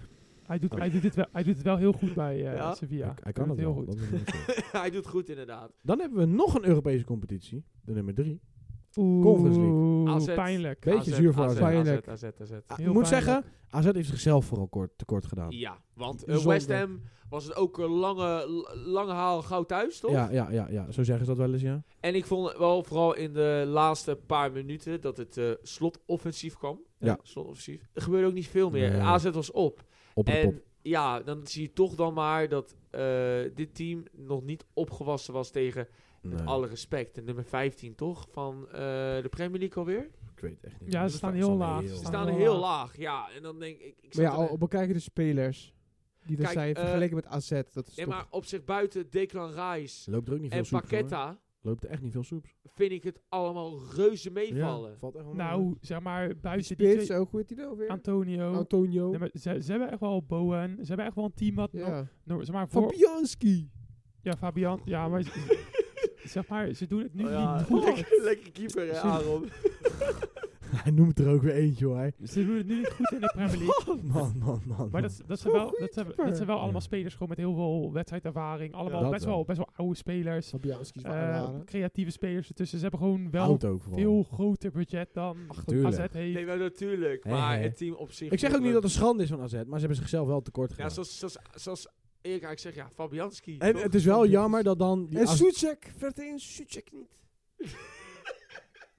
Speaker 4: hij, doet, hij, doet het wel, hij doet het wel heel goed bij eh,
Speaker 1: Ja.
Speaker 4: Sevilla.
Speaker 2: Hij- Hij kan
Speaker 4: doet
Speaker 2: dat
Speaker 4: het heel
Speaker 2: wel.
Speaker 4: goed.
Speaker 2: dat is niet zo.
Speaker 1: Hij doet goed inderdaad.
Speaker 2: Dan hebben we nog een Europese competitie. De nummer drie.
Speaker 4: Oeh,
Speaker 2: Conference League.
Speaker 4: AZ.
Speaker 1: pijnlijk.
Speaker 4: pijnlijk.
Speaker 2: Beetje zuur voor
Speaker 1: AZ,
Speaker 2: AZ.
Speaker 1: AZ, AZ, AZ.
Speaker 2: Ah,
Speaker 4: Heel
Speaker 2: ik moet
Speaker 4: pijnlijk.
Speaker 2: zeggen, AZ heeft zichzelf vooral kort, tekort gedaan.
Speaker 1: Ja, want eh,
Speaker 2: Zonde.
Speaker 1: West Ham was het ook een lange, l- lange haal gauw thuis, toch?
Speaker 2: Ja, ja, ja, ja, zo zeggen ze dat wel eens, ja.
Speaker 1: En ik vond wel vooral in de laatste paar minuten dat het eh, slotoffensief kwam. Eh,
Speaker 2: Ja.
Speaker 1: slotoffensief. Er gebeurde ook niet veel meer.
Speaker 2: Nee.
Speaker 1: AZ was op.
Speaker 2: Op de pop.
Speaker 1: En ja, dan zie je toch dan maar dat eh, dit team nog niet opgewassen was tegen, met
Speaker 2: Nee,
Speaker 1: alle respect, de nummer 15 toch? Van eh, de Premier League alweer?
Speaker 2: ik weet het echt niet.
Speaker 4: Ja, ze staan heel laag.
Speaker 1: Ze
Speaker 4: Ja.
Speaker 1: staan
Speaker 4: Ah.
Speaker 1: heel laag. Ja, en dan denk ik... ik
Speaker 3: Maar
Speaker 1: zat
Speaker 3: ja,
Speaker 1: er-
Speaker 3: al, bekijken de spelers die er
Speaker 1: Kijk,
Speaker 3: zijn
Speaker 1: eh,
Speaker 3: vergeleken met AZ. Dat is
Speaker 1: Nee,
Speaker 3: toch-
Speaker 1: maar op zich buiten Declan Rice
Speaker 2: Ze loopt er ook niet veel
Speaker 1: en
Speaker 2: soeps, hoor.
Speaker 1: Paqueta...
Speaker 2: Loopt er echt niet veel soeps.
Speaker 1: vind ik het allemaal reuze meevallen.
Speaker 2: Ja, valt echt wel mee. [laughs]
Speaker 4: Nou, zeg maar,
Speaker 3: Die
Speaker 4: buiten die
Speaker 3: spits
Speaker 4: twee...
Speaker 3: ook, hoe heet die nou weer?
Speaker 4: Antonio.
Speaker 3: Antonio.
Speaker 4: Nee, maar ze, ze hebben echt wel Bowen. Ze hebben echt wel een team wat... nog-
Speaker 3: Ja.
Speaker 4: nog- zeg maar, voor,
Speaker 3: Fabianski.
Speaker 4: ja, Fabian. Ja, maar... Zeg maar, ze doen het nu
Speaker 1: Oh ja,
Speaker 4: niet
Speaker 1: [laughs]
Speaker 4: goed.
Speaker 1: lekker, lekker keeper, hè, Aaron.
Speaker 2: Hij noemt er ook weer eentje, hoor. hij.
Speaker 4: Ze doen het nu niet goed in de
Speaker 2: [laughs]
Speaker 4: Premier League.
Speaker 2: Man, man, man. man.
Speaker 4: Maar dat, dat,
Speaker 3: Zo'n
Speaker 4: zijn wel,
Speaker 3: goeie
Speaker 4: dat, zijn,
Speaker 3: keeper.
Speaker 4: dat zijn wel
Speaker 2: Ja.
Speaker 4: allemaal spelers gewoon met heel veel wedstrijdervaring. Allemaal
Speaker 2: Ja, dat
Speaker 4: best, wel.
Speaker 2: wel.
Speaker 4: best wel oude spelers.
Speaker 3: Fabianski is wel
Speaker 4: eh,
Speaker 3: een rare.
Speaker 4: creatieve spelers ertussen. Ze hebben gewoon wel
Speaker 2: Houdt ook vooral.
Speaker 4: veel groter budget dan
Speaker 2: tuurlijk.
Speaker 4: AZ heeft.
Speaker 1: Nee, maar natuurlijk.
Speaker 2: Hè,
Speaker 1: maar
Speaker 2: hè.
Speaker 1: het team op zich...
Speaker 2: Ik zeg ook niet dat het een schande is van AZ, maar ze hebben zichzelf wel tekort
Speaker 1: Ja,
Speaker 2: gedaan.
Speaker 1: zoals, zoals, zoals Erik eigenlijk zegt, ja, Fabianski.
Speaker 2: en
Speaker 1: toch?
Speaker 2: het is wel jammer dat dan... die
Speaker 3: En
Speaker 2: AZ
Speaker 3: Suchek. Verteen Suchek niet.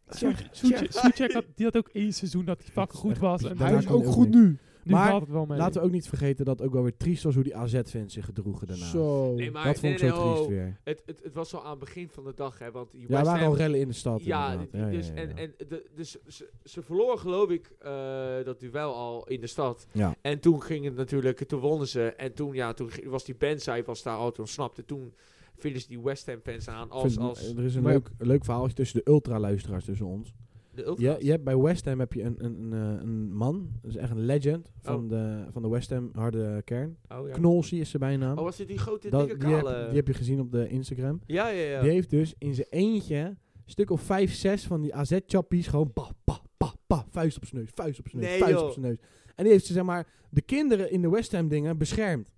Speaker 4: Soetje- Soetje- Soetje had- die had ook één seizoen dat hij fucking goed was.
Speaker 2: bizar.
Speaker 4: En
Speaker 2: Daar
Speaker 3: Hij
Speaker 4: hij
Speaker 3: is
Speaker 2: kan
Speaker 3: ook
Speaker 2: hij ook
Speaker 3: goed
Speaker 2: niet.
Speaker 3: nu.
Speaker 4: Nu
Speaker 2: Maar
Speaker 4: valt het wel mee.
Speaker 2: Laten we ook niet vergeten dat het ook wel weer triest was hoe die AZ-fans zich gedroegen daarna.
Speaker 3: Zo.
Speaker 1: Nee, maar
Speaker 2: dat vond ik
Speaker 1: nee,
Speaker 2: zo
Speaker 1: nee,
Speaker 2: triest
Speaker 1: oh, [laughs]
Speaker 2: weer.
Speaker 1: het, het, het was al aan het begin van de dag, hè, want die
Speaker 2: Ja, er
Speaker 1: West
Speaker 2: waren
Speaker 1: Ham-
Speaker 2: al rellen in de stad.
Speaker 1: Ja,
Speaker 2: inderdaad.
Speaker 1: d- dus,
Speaker 2: ja, ja, ja.
Speaker 1: En, en de, dus ze, ze verloren geloof ik eh, dat duel al in de stad.
Speaker 2: Ja.
Speaker 1: En toen ging het natuurlijk, toen wonnen ze. En toen, ja, toen ging- was die Benzai was daar al, toen snapte. Toen vielen ze die West Ham fans aan
Speaker 2: Ik
Speaker 1: als,
Speaker 2: vind- eh,
Speaker 1: als
Speaker 2: er is een
Speaker 3: Maar-
Speaker 2: leuk, leuk verhaaltje tussen de ultra-luisteraars tussen ons.
Speaker 1: de ultras.
Speaker 2: Ja, je hebt bij West Ham heb je een, een, een, eh, een man, dat is echt een legend van,
Speaker 1: Oh.
Speaker 2: de, van de West Ham harde kern.
Speaker 1: Oh, ja.
Speaker 2: Knolsi is zijn bijnaam.
Speaker 1: Oh, was dit die grote,
Speaker 2: Dat-
Speaker 1: dikke
Speaker 2: die, heb,
Speaker 1: kale?
Speaker 2: die heb je gezien op de Instagram.
Speaker 1: ja, ja, eh. ja.
Speaker 2: Die heeft dus in zijn eentje een stuk of 5, 6 van die AZ-chappies gewoon pa, pa, pa, pa, vuist op zijn neus, vuist op zijn neus,
Speaker 1: Nee,
Speaker 2: vuist
Speaker 1: joh.
Speaker 2: op zijn neus. En die heeft ze, zeg maar, de kinderen in de West Ham dingen beschermd.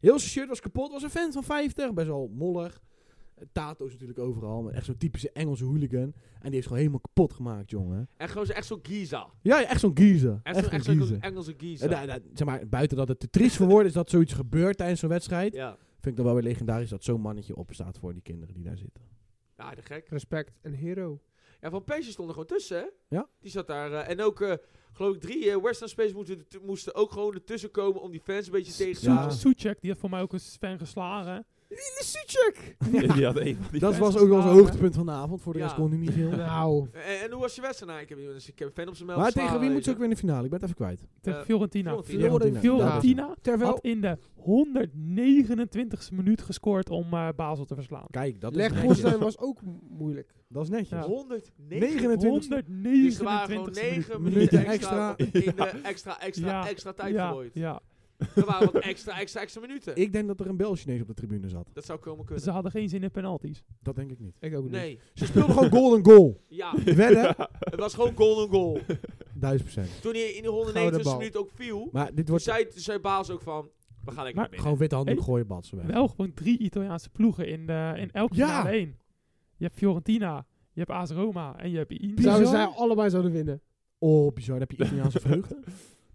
Speaker 2: Heel zijn shirt was kapot, was een fan van 50, best wel mollig. Eh, Tato's natuurlijk overal, maar echt zo'n typische Engelse hooligan. En die heeft ze gewoon helemaal kapot gemaakt, jongen.
Speaker 1: En gewoon zo- echt zo'n Giza.
Speaker 2: Ja, ja, echt zo'n geezer.
Speaker 1: Echt, zo'n-
Speaker 2: Echt
Speaker 1: echt
Speaker 2: een geezer.
Speaker 1: zo'n Engelse Giza.
Speaker 2: Eh, da- da- zeg maar, buiten dat het te triest voor woorden is dat zoiets gebeurt tijdens zo'n wedstrijd.
Speaker 1: ja.
Speaker 2: Vind ik dan wel weer legendarisch dat zo'n mannetje opstaat voor die kinderen die daar zitten.
Speaker 1: ja, de gek.
Speaker 3: Respect. Een hero.
Speaker 1: Ja, Van Persie stond er gewoon tussen, hè?
Speaker 2: Ja.
Speaker 1: Die zat daar. eh, en ook, eh, geloof ik, drie eh, Western Space moesten, moesten ook gewoon ertussen komen om die fans een beetje tegen te
Speaker 2: Ja.
Speaker 4: Soet- Soetjek, die heeft voor mij ook een fan geslagen.
Speaker 5: Die had een van die
Speaker 2: Dat
Speaker 5: fans.
Speaker 2: was ook wel zijn
Speaker 4: geslagen.
Speaker 2: hoogtepunt van de avond. Voor de
Speaker 1: Ja.
Speaker 2: rest kon hij niet veel.
Speaker 3: Nou.
Speaker 1: En, en hoe was je wedstrijd? Nou, ik heb, dus ik heb een fan op zijn melk.
Speaker 2: Maar tegen wie moet ze ook weer in de finale? Ik ben het even kwijt.
Speaker 4: Tegen
Speaker 1: Eh,
Speaker 4: Fiorentina.
Speaker 1: Fiorentina.
Speaker 2: Fiorentina.
Speaker 4: Fiorentina
Speaker 3: Terwijl...
Speaker 4: had in de 129 e minuut gescoord om eh Basel te verslaan.
Speaker 2: Kijk, dat
Speaker 3: Leg
Speaker 2: is netjes.
Speaker 3: Gorsdijn was ook moeilijk.
Speaker 2: Dat is netjes.
Speaker 4: Ja.
Speaker 1: 109.
Speaker 2: 29
Speaker 1: Dus er waren gewoon
Speaker 4: 129
Speaker 1: 9
Speaker 4: e
Speaker 2: minuten
Speaker 1: minuten
Speaker 2: extra.
Speaker 1: extra in de extra, extra,
Speaker 4: Ja.
Speaker 1: extra tijd
Speaker 4: Ja,
Speaker 1: gegooid.
Speaker 4: ja,
Speaker 1: Er waren wat extra, extra, extra minuten.
Speaker 2: Ik denk dat er een Bel Chinees op de tribune zat.
Speaker 1: dat zou komen
Speaker 4: ze
Speaker 1: kunnen.
Speaker 4: hadden geen zin in penalties.
Speaker 2: Dat denk ik niet.
Speaker 3: Ik ook niet.
Speaker 1: Nee.
Speaker 2: Ze speelden gewoon golden goal.
Speaker 1: [laughs] Ja,
Speaker 2: Wedden?
Speaker 1: het was gewoon golden goal.
Speaker 2: Duizend procent.
Speaker 1: Toen hij in de
Speaker 3: Gouden
Speaker 1: 129
Speaker 3: bal.
Speaker 1: minuut ook viel,
Speaker 2: Maar dit
Speaker 1: toen
Speaker 2: wordt
Speaker 1: zei, toen zei Baas ook van, we gaan lekker
Speaker 4: Maar
Speaker 1: naar binnen.
Speaker 2: gewoon witte handdoek
Speaker 4: Hey.
Speaker 2: gooien, batsen weg.
Speaker 4: Wel gewoon drie Italiaanse ploegen in, de, in elk
Speaker 2: Ja.
Speaker 4: finale één. Je hebt Fiorentina, je hebt AS Roma en je hebt Inter.
Speaker 3: Zouden
Speaker 2: Bizar.
Speaker 3: zij allebei zouden winnen.
Speaker 2: Oh, bizar. Dan heb je Italiaanse vreugde.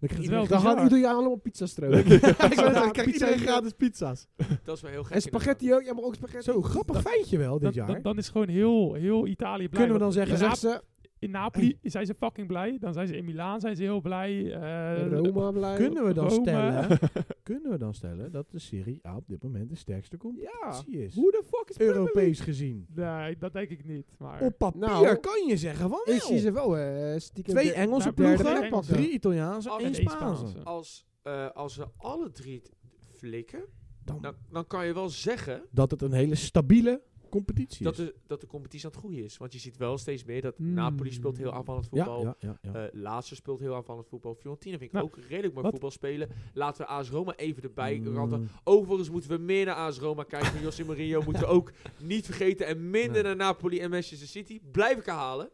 Speaker 2: Dan krijg
Speaker 4: is
Speaker 2: je
Speaker 4: wel
Speaker 3: Dan
Speaker 4: bizar.
Speaker 3: gaan ieder jaar allemaal pizza [laughs] stroken.
Speaker 2: [laughs] dan krijgt
Speaker 3: Pizza
Speaker 2: iedereen
Speaker 3: in-
Speaker 2: gratis pizza's.
Speaker 1: Dat is wel heel gek.
Speaker 3: En spaghetti ook. Ja, maar ook spaghetti.
Speaker 2: Zo, grappig feitje wel
Speaker 4: Dan,
Speaker 2: dit jaar.
Speaker 4: dan, dan is gewoon heel, heel Italië blij.
Speaker 2: Kunnen we dan
Speaker 4: Want
Speaker 2: zeggen,
Speaker 4: in
Speaker 3: Dan
Speaker 2: Ja,
Speaker 3: zegt
Speaker 4: Nap-
Speaker 3: ze...
Speaker 4: in Napoli zijn ze fucking blij. Dan zijn ze in Milaan zijn ze heel blij. eh
Speaker 3: Roma blij.
Speaker 2: Kunnen we dan
Speaker 4: Rome.
Speaker 2: stellen... Kunnen we dan stellen dat de Serie A op dit moment de sterkste
Speaker 3: Ja.
Speaker 2: competitie is?
Speaker 3: Hoe de fuck is Premier League?
Speaker 2: Europees gezien.
Speaker 4: Nee, dat denk ik niet. Maar
Speaker 2: Op papier
Speaker 3: Nou,
Speaker 2: kan je zeggen van wel.
Speaker 3: Ik zie ze wel eh stiekem...
Speaker 2: Twee
Speaker 3: de-
Speaker 2: Engelse
Speaker 4: daar blijven
Speaker 2: ploegen,
Speaker 4: de Engelsen.
Speaker 2: drie Italiaanse,
Speaker 1: Oh,
Speaker 2: één
Speaker 1: en
Speaker 4: één
Speaker 2: Spaanse.
Speaker 4: Spaanse.
Speaker 1: Als, eh, als ze alle drie het flikken,
Speaker 2: Dan-
Speaker 1: dan, dan kan je wel zeggen
Speaker 2: Dat het een hele stabiele competitie
Speaker 1: dat
Speaker 2: is.
Speaker 1: de, dat de competitie aan het groeien is. Want je ziet wel steeds meer dat
Speaker 4: Hmm.
Speaker 1: Napoli speelt heel aanvallend
Speaker 2: Ja,
Speaker 1: voetbal.
Speaker 2: ja, ja, ja.
Speaker 1: Eh, Laatste speelt heel aanvallend voetbal. Fiorentina vind ik
Speaker 4: Nou,
Speaker 1: ook redelijk mooi
Speaker 4: wat-
Speaker 1: voetbal spelen. Laten we AS Roma even erbij
Speaker 2: Mm.
Speaker 1: ranten. Overigens moeten we meer naar AS Roma
Speaker 2: [laughs]
Speaker 1: kijken. José Mourinho moeten we ook niet vergeten. En minder
Speaker 2: Nee.
Speaker 1: naar Napoli en Manchester City. Blijf ik herhalen.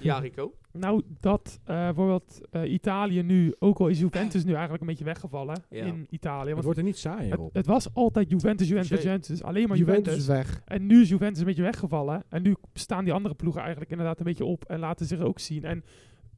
Speaker 1: Ja, Rico.
Speaker 4: Nou, dat eh, bijvoorbeeld eh, Italië nu, ook al is Juventus nu eigenlijk een beetje weggevallen
Speaker 1: Ja.
Speaker 4: in Italië.
Speaker 2: het
Speaker 4: Want
Speaker 2: wordt er niet saai
Speaker 4: het,
Speaker 2: op.
Speaker 4: het was altijd Juventus, Juventus,
Speaker 1: Jay.
Speaker 4: Juventus, alleen maar Juventus.
Speaker 3: Juventus is weg.
Speaker 4: En nu is Juventus een beetje weggevallen. En nu staan die andere ploegen eigenlijk inderdaad een beetje op en laten zich ook zien. En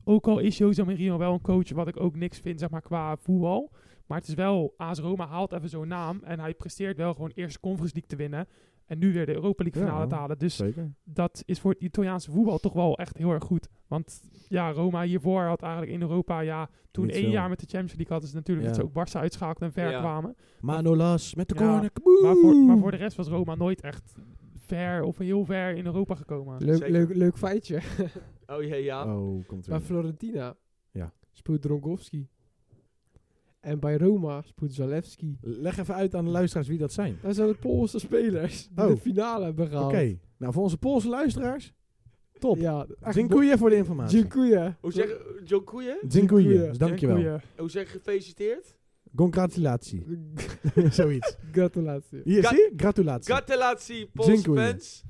Speaker 4: ook al is Jose Mourinho wel een coach wat ik ook niks vind zeg maar, qua voetbal. Maar het is wel, AS Roma haalt even zo'n naam. En hij presteert wel gewoon eerst de Conference League te winnen. En nu weer de Europa League
Speaker 2: Ja.
Speaker 4: finale te halen. Dus
Speaker 2: Zeker.
Speaker 4: dat is voor het Italiaanse voetbal toch wel echt heel erg goed. Want ja, Roma hiervoor had eigenlijk in Europa, ja, toen
Speaker 2: Niet
Speaker 4: één
Speaker 2: veel.
Speaker 4: jaar met de Champions League hadden ze natuurlijk
Speaker 2: Ja.
Speaker 4: dat ze ook Barça uitschakelden en ver
Speaker 1: Ja.
Speaker 4: kwamen.
Speaker 2: Manolas met de
Speaker 4: Ja.
Speaker 2: corner. kaboom!
Speaker 4: Maar voor, maar voor de rest was Roma nooit echt ver of heel ver in Europa gekomen.
Speaker 3: Leuk,
Speaker 1: Zeker.
Speaker 3: leuk, leuk feitje.
Speaker 1: Oh ja, ja.
Speaker 2: Oh, komt
Speaker 3: Bij
Speaker 2: weer.
Speaker 3: Florentina
Speaker 2: Ja.
Speaker 3: speelt Dronkowski. En bij Roma speelt Zalewski.
Speaker 2: Leg even uit aan de luisteraars wie dat zijn.
Speaker 3: Dat zijn de Poolse spelers die
Speaker 2: Oh.
Speaker 3: de finale hebben
Speaker 2: Oké.
Speaker 3: gehaald.
Speaker 2: Nou, voor onze Poolse luisteraars, top.
Speaker 3: Ja, echt
Speaker 2: Dziękuję voor de
Speaker 3: bo-
Speaker 2: informatie.
Speaker 3: Dziękuję.
Speaker 1: Hoe zeg je? John Koeien?
Speaker 2: Dziękuję.
Speaker 3: Dziękuję.
Speaker 2: Dus dankjewel.
Speaker 4: Goeie.
Speaker 1: Hoe zeg je gefeliciteerd?
Speaker 2: Congratulatie. [laughs] Zoiets.
Speaker 3: Gratulatie.
Speaker 2: Hier,
Speaker 1: Gat-
Speaker 2: zie je? Gratulatie.
Speaker 1: Gratulatie, Poolse
Speaker 2: Dziękuję.
Speaker 1: fans.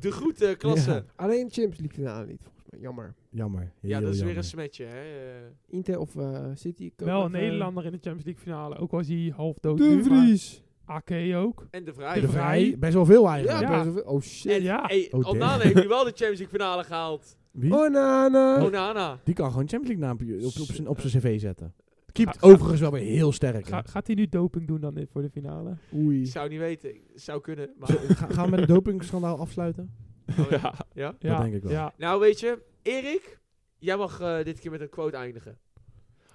Speaker 1: De groeten, klasse.
Speaker 2: Ja.
Speaker 1: Ja,
Speaker 3: Alleen Champions League finale niet, volgens mij. Jammer.
Speaker 2: Jammer. Heel
Speaker 1: dat is weer
Speaker 2: jammer.
Speaker 1: een smetje, hè. eh.
Speaker 3: Inter of eh, City. kan
Speaker 4: Wel
Speaker 3: ook
Speaker 4: een
Speaker 3: even-
Speaker 4: Nederlander in de Champions League finale. Ook al is hij half dood
Speaker 3: De
Speaker 4: nu, maar
Speaker 3: Vries.
Speaker 4: Ake ook.
Speaker 1: En de
Speaker 2: De
Speaker 1: Vrij.
Speaker 2: Vrij,
Speaker 4: Vrij.
Speaker 2: best wel veel
Speaker 3: Ja,
Speaker 2: eigenlijk.
Speaker 4: Ja.
Speaker 3: best wel veel- Oh shit.
Speaker 1: En,
Speaker 4: Ja.
Speaker 1: hey,
Speaker 2: Oh,
Speaker 1: Onana
Speaker 2: damn.
Speaker 1: heeft nu wel de Champions League finale gehaald.
Speaker 2: Wie?
Speaker 3: Oh, Onana.
Speaker 1: Onana.
Speaker 2: Die kan gewoon Champions League naam op, op, op zijn op zijn cv zetten.
Speaker 4: Keept
Speaker 2: Overigens wel weer heel sterk. hè.
Speaker 4: Ga, gaat hij nu doping doen dan in- voor de finale?
Speaker 1: Ik
Speaker 3: Oei.
Speaker 1: zou niet weten. Ik zou kunnen,
Speaker 2: [laughs]
Speaker 1: maar...
Speaker 2: Zo, ga- gaan we met het dopingschandaal afsluiten?
Speaker 1: Oh, ja.
Speaker 5: Ja.
Speaker 1: Ja?
Speaker 4: Ja,
Speaker 2: Dat denk ik wel.
Speaker 4: Ja,
Speaker 1: Nou, weet je, Erik, jij mag eh, dit keer met een quote eindigen.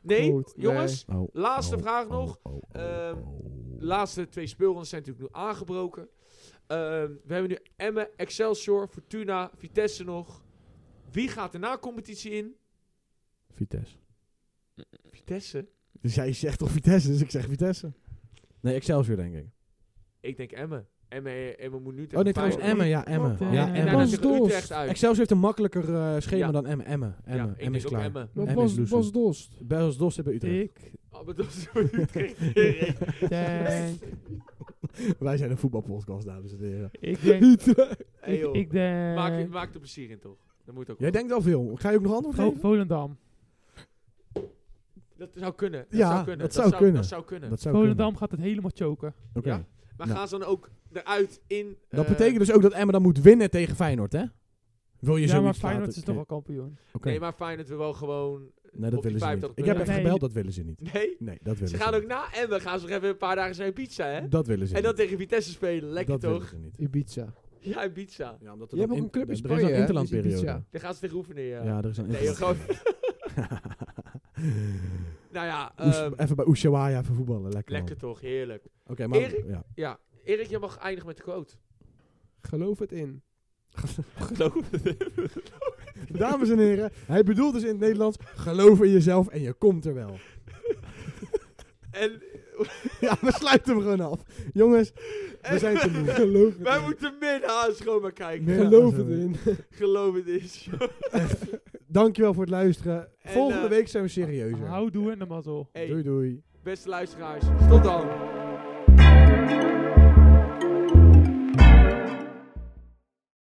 Speaker 1: Nee,
Speaker 3: Goed, nee.
Speaker 1: jongens.
Speaker 2: [laughs] Oh,
Speaker 1: Laatste
Speaker 2: oh,
Speaker 1: vraag
Speaker 2: oh,
Speaker 1: nog.
Speaker 2: oh, oh,
Speaker 1: Ehm,
Speaker 2: oh.
Speaker 1: De laatste twee speelrondes zijn natuurlijk nu aangebroken. Ehm, we hebben nu Emmen, Excelsior, Fortuna, Vitesse nog. Wie gaat de na-competitie in?
Speaker 2: Vitesse.
Speaker 1: Vitesse?
Speaker 2: Dus jij zegt toch Vitesse, dus ik zeg Vitesse. Nee, Excelsior denk ik.
Speaker 1: Ik denk Emmen. Emmen, Emmen moet nu tegen
Speaker 2: Oh nee, trouwens
Speaker 1: Feyenoord.
Speaker 2: Emmen, ja Emmen.
Speaker 4: Wat, eh,
Speaker 2: Oh, Ja,
Speaker 4: en
Speaker 1: En
Speaker 2: Emmen.
Speaker 1: daarna
Speaker 3: Bas
Speaker 1: tegen
Speaker 3: Dost.
Speaker 1: Utrecht uit.
Speaker 2: Excelsior heeft een makkelijker eh, schema
Speaker 1: Ja.
Speaker 2: dan Emmen. Emmen,
Speaker 1: Ja,
Speaker 2: Emmen,
Speaker 1: ik
Speaker 2: Emmen
Speaker 1: denk
Speaker 2: is
Speaker 1: ook
Speaker 2: klaar.
Speaker 1: Emmen.
Speaker 3: Maar
Speaker 2: Emmen is
Speaker 3: Bas,
Speaker 2: loesel.
Speaker 3: Bas Dost.
Speaker 2: Bas Dost hebben Utrecht.
Speaker 4: Ik
Speaker 1: Oh, maar dat is [laughs] voor
Speaker 4: [laughs]
Speaker 1: Utrecht.
Speaker 4: denk,
Speaker 2: [laughs] Wij zijn een voetbalpodcast, dames en heren.
Speaker 4: ik denk,
Speaker 1: Hey,
Speaker 4: ik,
Speaker 1: joh.
Speaker 4: ik denk,
Speaker 1: maak, je- maak er plezier in, toch? Dat moet ook
Speaker 2: Jij
Speaker 1: wel.
Speaker 2: denkt al veel. Ga je ook nog antwoord
Speaker 4: Vo-
Speaker 2: geven?
Speaker 4: Volendam.
Speaker 1: Dat zou kunnen. Dat
Speaker 2: Ja,
Speaker 1: zou kunnen.
Speaker 2: dat zou kunnen.
Speaker 1: Dat zou kunnen.
Speaker 2: Dat zou
Speaker 4: Volendam gaat het helemaal choken.
Speaker 2: kunnen. Oké.
Speaker 1: Ja. maar
Speaker 2: Ja.
Speaker 1: gaan ze dan ook eruit in...
Speaker 2: Dat
Speaker 1: eh,
Speaker 2: betekent dus ook dat Emmen dan moet winnen tegen Feyenoord, hè? Wil je
Speaker 4: Ja, maar
Speaker 2: zoiets
Speaker 4: Feyenoord
Speaker 2: laten-
Speaker 4: is toch wel
Speaker 2: Oké.
Speaker 4: kampioen.
Speaker 2: Oké.
Speaker 1: Nee, maar fijn dat we wel gewoon...
Speaker 2: Nee, dat
Speaker 1: op die
Speaker 2: willen ze niet.
Speaker 1: 50
Speaker 2: Ik heb
Speaker 4: punten.
Speaker 2: even
Speaker 4: Nee.
Speaker 2: gebeld, dat willen ze niet.
Speaker 1: Nee?
Speaker 2: Nee, dat willen
Speaker 1: Ze
Speaker 2: ze
Speaker 1: gaan ook
Speaker 2: niet.
Speaker 1: na en we gaan ze nog even een paar dagen zijn pizza, hè?
Speaker 2: Dat willen ze
Speaker 1: En dan
Speaker 2: niet.
Speaker 1: tegen Vitesse spelen. Lekker toch?
Speaker 2: dat willen ze niet.
Speaker 3: Ibiza.
Speaker 1: Ja, in pizza.
Speaker 2: Ja, omdat
Speaker 3: Je hebt ook een club in Spanje,
Speaker 2: Er is
Speaker 3: hè?
Speaker 2: een interlandperiode.
Speaker 3: Ibiza.
Speaker 1: Daar gaan ze tegen oefenen, ja.
Speaker 2: Ja, er is een
Speaker 1: Nee, joh,
Speaker 2: [laughs]
Speaker 1: gewoon... [laughs]
Speaker 2: interlandperiode.
Speaker 1: Nou ja,
Speaker 2: Oes-
Speaker 1: ehm,
Speaker 2: even bij Ushuaia even voetballen. Lekker. man.
Speaker 1: lekker toch? Heerlijk.
Speaker 2: Oké, maar.
Speaker 1: Erik?
Speaker 2: Ja.
Speaker 1: Ja, Erik, je mag eindigen met de quote.
Speaker 3: Geloof het in.
Speaker 1: Geloof
Speaker 2: [laughs] Dames en heren, hij bedoelt dus in het Nederlands: geloof in jezelf en je komt er
Speaker 1: [laughs]
Speaker 2: wel.
Speaker 1: En
Speaker 2: [laughs] Ja, we sluiten hem gewoon af.
Speaker 1: [laughs]
Speaker 2: Jongens, we zijn te moe.
Speaker 3: Geloof het
Speaker 1: wij
Speaker 3: in.
Speaker 1: moeten minnaars gewoon maar kijken.
Speaker 2: Nee.
Speaker 3: Geloof
Speaker 2: Ja,
Speaker 3: het
Speaker 2: sorry.
Speaker 3: in.
Speaker 1: Geloof het is.
Speaker 2: Dankjewel voor het luisteren.
Speaker 1: En,
Speaker 2: Volgende
Speaker 1: eh,
Speaker 2: week zijn we serieuzer.
Speaker 4: Hou doe en de mazzel.
Speaker 1: Hey,
Speaker 2: Doei doei.
Speaker 1: beste luisteraars, tot dan.